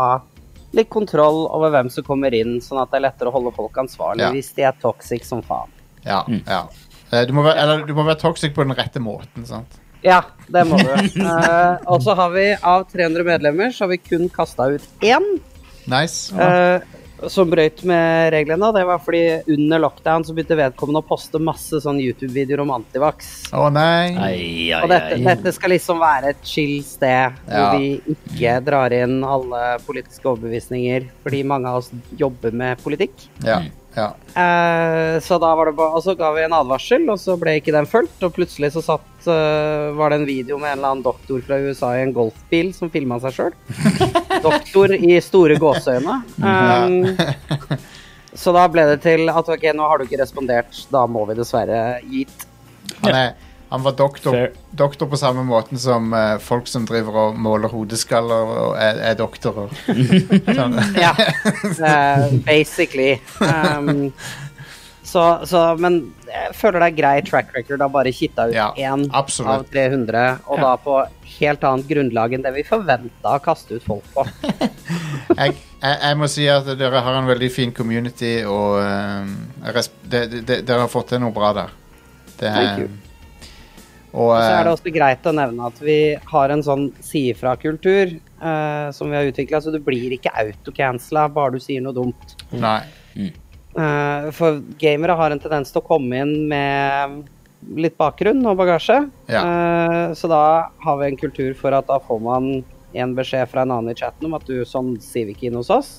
Speaker 4: litt kontroll over hvem som kommer inn, sånn at det er lettere å holde folk ansvarlig
Speaker 1: Ja.
Speaker 4: hvis de er toxic som faen.
Speaker 1: ja, ja. Eh, Du må, være, eller, du må være toxic på den rette måten. sant?
Speaker 4: Ja, det må du. Eh, og så har vi av 300 medlemmer, så har vi kun kasta ut én.
Speaker 1: Nice.
Speaker 4: eh, som brøyt med reglene. og Det var fordi under lockdown så begynte vedkommende å poste masse sånn YouTube-videoer om antivax.
Speaker 1: Å nei.
Speaker 3: Ai, ai,
Speaker 4: Og dette,
Speaker 3: ai.
Speaker 4: dette skal liksom være et chill
Speaker 1: Ja.
Speaker 4: sted hvor vi ikke drar inn alle politiske overbevisninger, fordi mange av oss jobber med politikk.
Speaker 1: Ja, ja.
Speaker 4: Eh, så da var det bare, og så ga vi en advarsel, og så ble ikke den fulgt. Og plutselig så satt, eh, var det en video med en eller annen doktor fra USA i en golfbil som filma seg sjøl. doktor i store gåseøyne. Um, så da ble det til at ok, nå har du ikke respondert, da må vi dessverre gitt.
Speaker 1: Han, er, han var doktor,
Speaker 3: Fair.
Speaker 1: doktor på samme måten som eh, folk som driver og måler hodeskaller og er, er doktorer. Sånn.
Speaker 4: Ja, eh, basically. Um, så, så, men jeg føler det er grei track record å bare kitte ut
Speaker 1: Ja,
Speaker 4: én av
Speaker 1: absolutt.
Speaker 4: 300, og da på helt annet grunnlag enn det vi forventa å kaste ut folk på.
Speaker 1: jeg, jeg, jeg må si at dere har en veldig fin community, og eh, jeg resp- de, de, de, dere har fått til noe bra der. Det
Speaker 4: Thank
Speaker 1: er,
Speaker 4: you.
Speaker 1: og
Speaker 4: Og så er det
Speaker 1: eh,
Speaker 4: også greit å nevne at vi har en sånn si-ifra-kultur eh, som vi har utvikla, så du blir ikke autocancela bare du sier noe dumt.
Speaker 1: nei,
Speaker 4: Eh, for gamere har en tendens til å komme inn med litt bakgrunn og bagasje. Eh, så da har vi en kultur for at da får man en beskjed fra en annen i chatten om at du sånn sier vi ikke inn hos oss.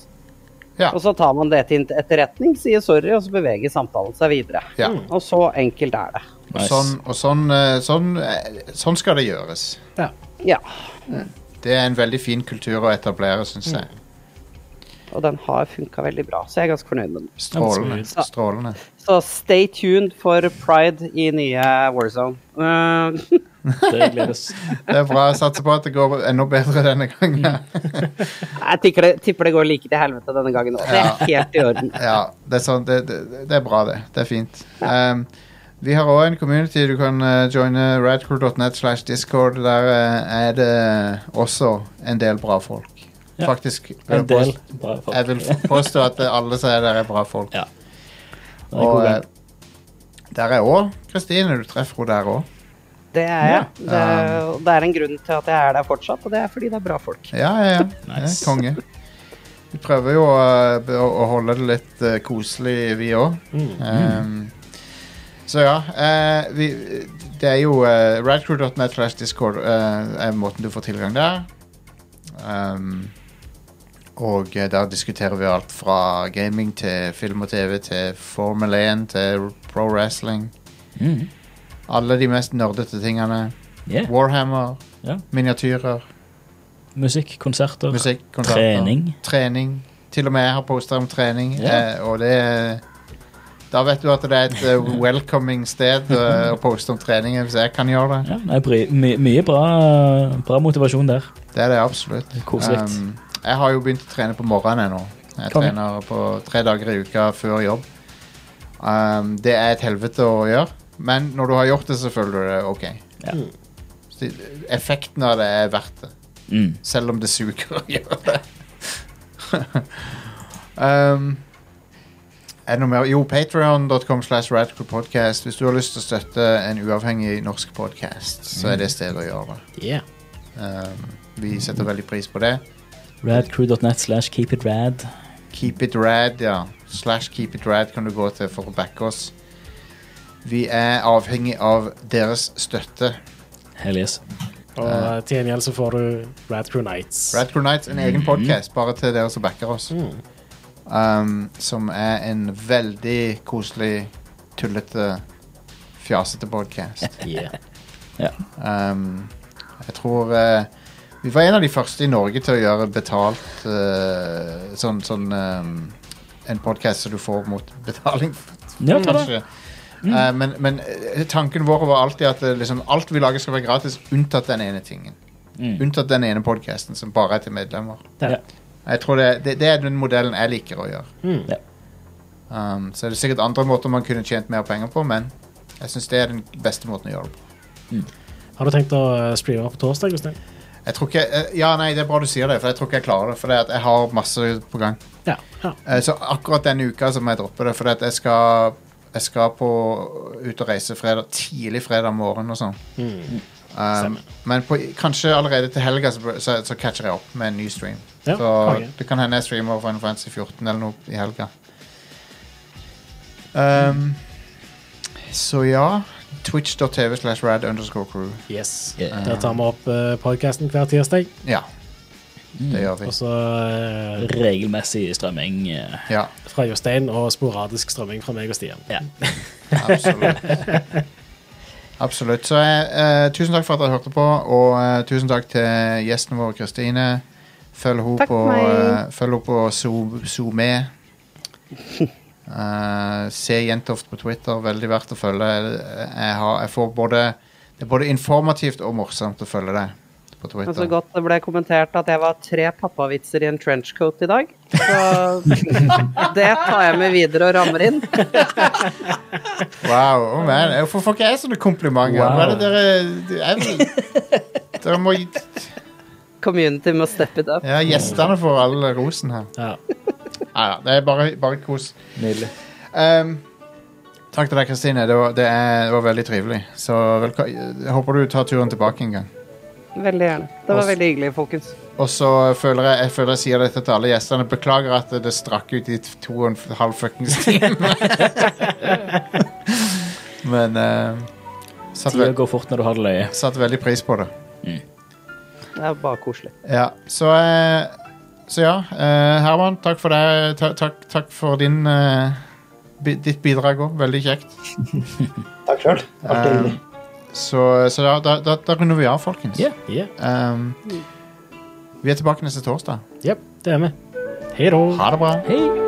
Speaker 1: Ja.
Speaker 4: Og så tar man det til etterretning, sier sorry, og så beveger samtalen seg videre.
Speaker 1: Ja.
Speaker 4: Og så enkelt er det.
Speaker 1: og,
Speaker 3: Nice.
Speaker 1: sånn, og sånn, eh, sånn, eh, sånn skal det gjøres.
Speaker 4: Ja.
Speaker 1: Det er en veldig fin kultur å etablere,
Speaker 4: Mm.
Speaker 1: syns jeg.
Speaker 4: Og den har funka veldig bra, så jeg er ganske fornøyd med den.
Speaker 1: Strålende.
Speaker 4: Absolutt.
Speaker 1: Strålende.
Speaker 4: Så stay tuned for pride i nye Warzone. Eh,
Speaker 3: Det gledes.
Speaker 1: Det er bra. Jeg satser på at det går enda bedre denne gangen.
Speaker 3: Mm.
Speaker 4: jeg tipper det, tipper det går like til helvete denne gangen òg. Det er helt i orden.
Speaker 1: Ja, det er, sånn, det, det, det er bra, det. Det er fint. Um, vi har òg en community. Du kan eh, joine radcrew.net slash discord. Der eh, er det også en del bra folk. Faktisk.
Speaker 3: En del bra folk.
Speaker 1: Jeg vil påstå at det- alle som er der, er bra folk.
Speaker 3: Ja. Det er en
Speaker 1: Og
Speaker 3: god
Speaker 1: eh,
Speaker 3: gang.
Speaker 1: der er òg Kristine. Du treffer henne der òg.
Speaker 4: Det er jeg. Det, og det er en grunn til at jeg er der fortsatt, og det er fordi det er bra folk.
Speaker 1: Ja, ja, ja. Det er
Speaker 3: Nice.
Speaker 1: konge. Vi prøver jo eh, å, å holde det litt eh, koselig, vi òg. så ja eh, vi, Det er jo uh, radcrew.net slash discord eh, er måten du får tilgang der. Ehm, og eh, der diskuterer vi alt fra gaming til film og TV til Formel 1 til pro wrestling.
Speaker 3: Mm.
Speaker 1: Alle de mest nerdete tingene.
Speaker 3: Yeah.
Speaker 1: Warhammer,
Speaker 3: Ja.
Speaker 1: miniatyrer,
Speaker 3: Musikk, konserter,
Speaker 1: musikk, konserter.
Speaker 3: trening.
Speaker 1: trening. Til og med jeg har posta om trening,
Speaker 3: Ja.
Speaker 1: eh, og det er- Da vet du at det er et eh, welcoming sted eh, å poste om trening, hvis jeg kan gjøre det.
Speaker 3: Ja, nei, bry- my, mye bra, bra motivasjon der.
Speaker 1: Det er det absolutt.
Speaker 3: Koselig.
Speaker 1: Um, jeg har jo begynt å trene på morgenen ennå. Jeg
Speaker 3: Konge.
Speaker 1: trener på tre dager i uka før jobb. Um, det er et helvete å gjøre, men når du har gjort det, så føler du det OK.
Speaker 3: Ja.
Speaker 1: Så det- effekten av det er verdt det.
Speaker 3: Mm.
Speaker 1: Selv om det suger å gjøre det. um, er det noe mer? Jo, patreon.com slash radicalpodcast. Hvis du har lyst til å støtte en uavhengig norsk podcast, så er det stedet å gjøre det.
Speaker 2: Yeah.
Speaker 1: Um, vi setter veldig pris på det.
Speaker 3: Radcrew.net slash keep it rad.
Speaker 1: Keep it rad, ja. Slash keep it rad kan du gå til for å backe oss. Vi er avhengig av deres støtte.
Speaker 3: Hell yes.
Speaker 2: Og eh, til gjengjeld så får du Rad Crew Nights.
Speaker 1: Radcrew Nights, en egen podcast bare til dere som backer oss. Um, som er en veldig koselig, tullete, fjasete podcast.
Speaker 2: Yeah.
Speaker 1: Um, jeg tror eh, vi var en av de første i Norge til å gjøre betalt eh, sånn, sånn ehm, en podcast som du får mot betaling,
Speaker 3: Ja, ta det. Mm.
Speaker 1: kanskje. Eh, men men eh, tanken vår var alltid at eh, liksom, alt vi lager skal være gratis, unntatt den ene tingen.
Speaker 3: Mm.
Speaker 1: Unntatt den ene podcasten som bare er til medlemmer.
Speaker 3: Ja.
Speaker 1: Jeg tror det, det, det er den modellen jeg liker å gjøre.
Speaker 2: Mm.
Speaker 3: Ja.
Speaker 1: Um, så er det sikkert andre måter man kunne tjent mer penger på, men jeg syns det er den beste måten å gjøre det på.
Speaker 2: Har du tenkt å eh, streame på torsdag, Gustein?
Speaker 1: Jeg tror ikke, eh, ja, nei, Det er bra du sier det, for jeg tror ikke jeg klarer det. For det at jeg har masse på gang.
Speaker 2: Ja. ja.
Speaker 1: Eh, så akkurat denne uka så må jeg droppe det, for at jeg skal, jeg skal på, ut og reise fredag, tidlig fredag morgen og sånn. Um, men på, kanskje allerede til helga så, så, så catcher jeg opp med en ny stream.
Speaker 2: Ja,
Speaker 1: så
Speaker 2: konge.
Speaker 1: det kan hende jeg streamer Final Fantasy 14 eller noe i helga. Um, Så ja. Twitch.tv slash rad underscore crew.
Speaker 2: Yes.
Speaker 3: Yeah.
Speaker 2: Der Eh, tar vi opp uh, podkasten hver tirsdag,
Speaker 1: Ja. Det gjør vi.
Speaker 2: og så eh,
Speaker 3: Regelmessig strømming. eh,
Speaker 1: Ja,
Speaker 2: fra Jostein og sporadisk strømming fra meg og Stian.
Speaker 3: Ja.
Speaker 1: absolutt. absolutt. Så eh, tusen takk for at dere hørte på, og eh, tusen takk til gjesten vår, Kristine. Følg henne
Speaker 4: Takk
Speaker 1: på,
Speaker 4: for meg.
Speaker 1: eh, følg henne på Zoom- Zoome. Eh, se Jentoft på Twitter. Veldig verdt å følge. Jeg, har, jeg får både Det er både informativt og morsomt å følge deg på Twitter.
Speaker 4: Men så godt det ble kommentert at jeg var tre pappavitser i en trenchcoat i dag. Så det tar jeg med videre og rammer inn.
Speaker 1: Wow, oh man. Hvorfor får ikke jeg sånne komplimenter?
Speaker 3: Wow.
Speaker 1: Hva er det dere jeg vil, Dere må gi
Speaker 4: Community må steppe it up.
Speaker 1: Ja, gjestene får all rosen her.
Speaker 2: Ja.
Speaker 1: Nei da, det er bare, bare kos.
Speaker 3: Nydelig.
Speaker 1: Ehm, takk til deg, Kristine. Det, var- det, er- det var veldig trivelig. Så velko- jeg håper du tar turen tilbake en gang.
Speaker 4: Veldig gjerne. Det var veldig hyggelig, folkens.
Speaker 1: Og så føler jeg, jeg føler jeg sier dette til alle gjestene. Beklager at det strakk ut i to og en f- halv fuckings time. Men uh, satt,
Speaker 3: Tida
Speaker 1: ve
Speaker 3: går fort når du har det løye.
Speaker 1: satt veldig pris på det.
Speaker 4: Det er bare koselig.
Speaker 1: Ja, så, eh, så ja, eh, Herman, takk for deg. Ta- Takk, takk for din, eh, bi ditt bidrag òg. Veldig kjekt.
Speaker 5: Takk sjøl. Alltid hyggelig.
Speaker 1: Så, så da, da, da, da runder vi av, folkens.
Speaker 3: Ja.
Speaker 2: Yeah.
Speaker 1: Um, vi er tilbake neste torsdag.
Speaker 2: Jep, det er vi. Hei da.
Speaker 1: Ha det bra.
Speaker 3: Hei.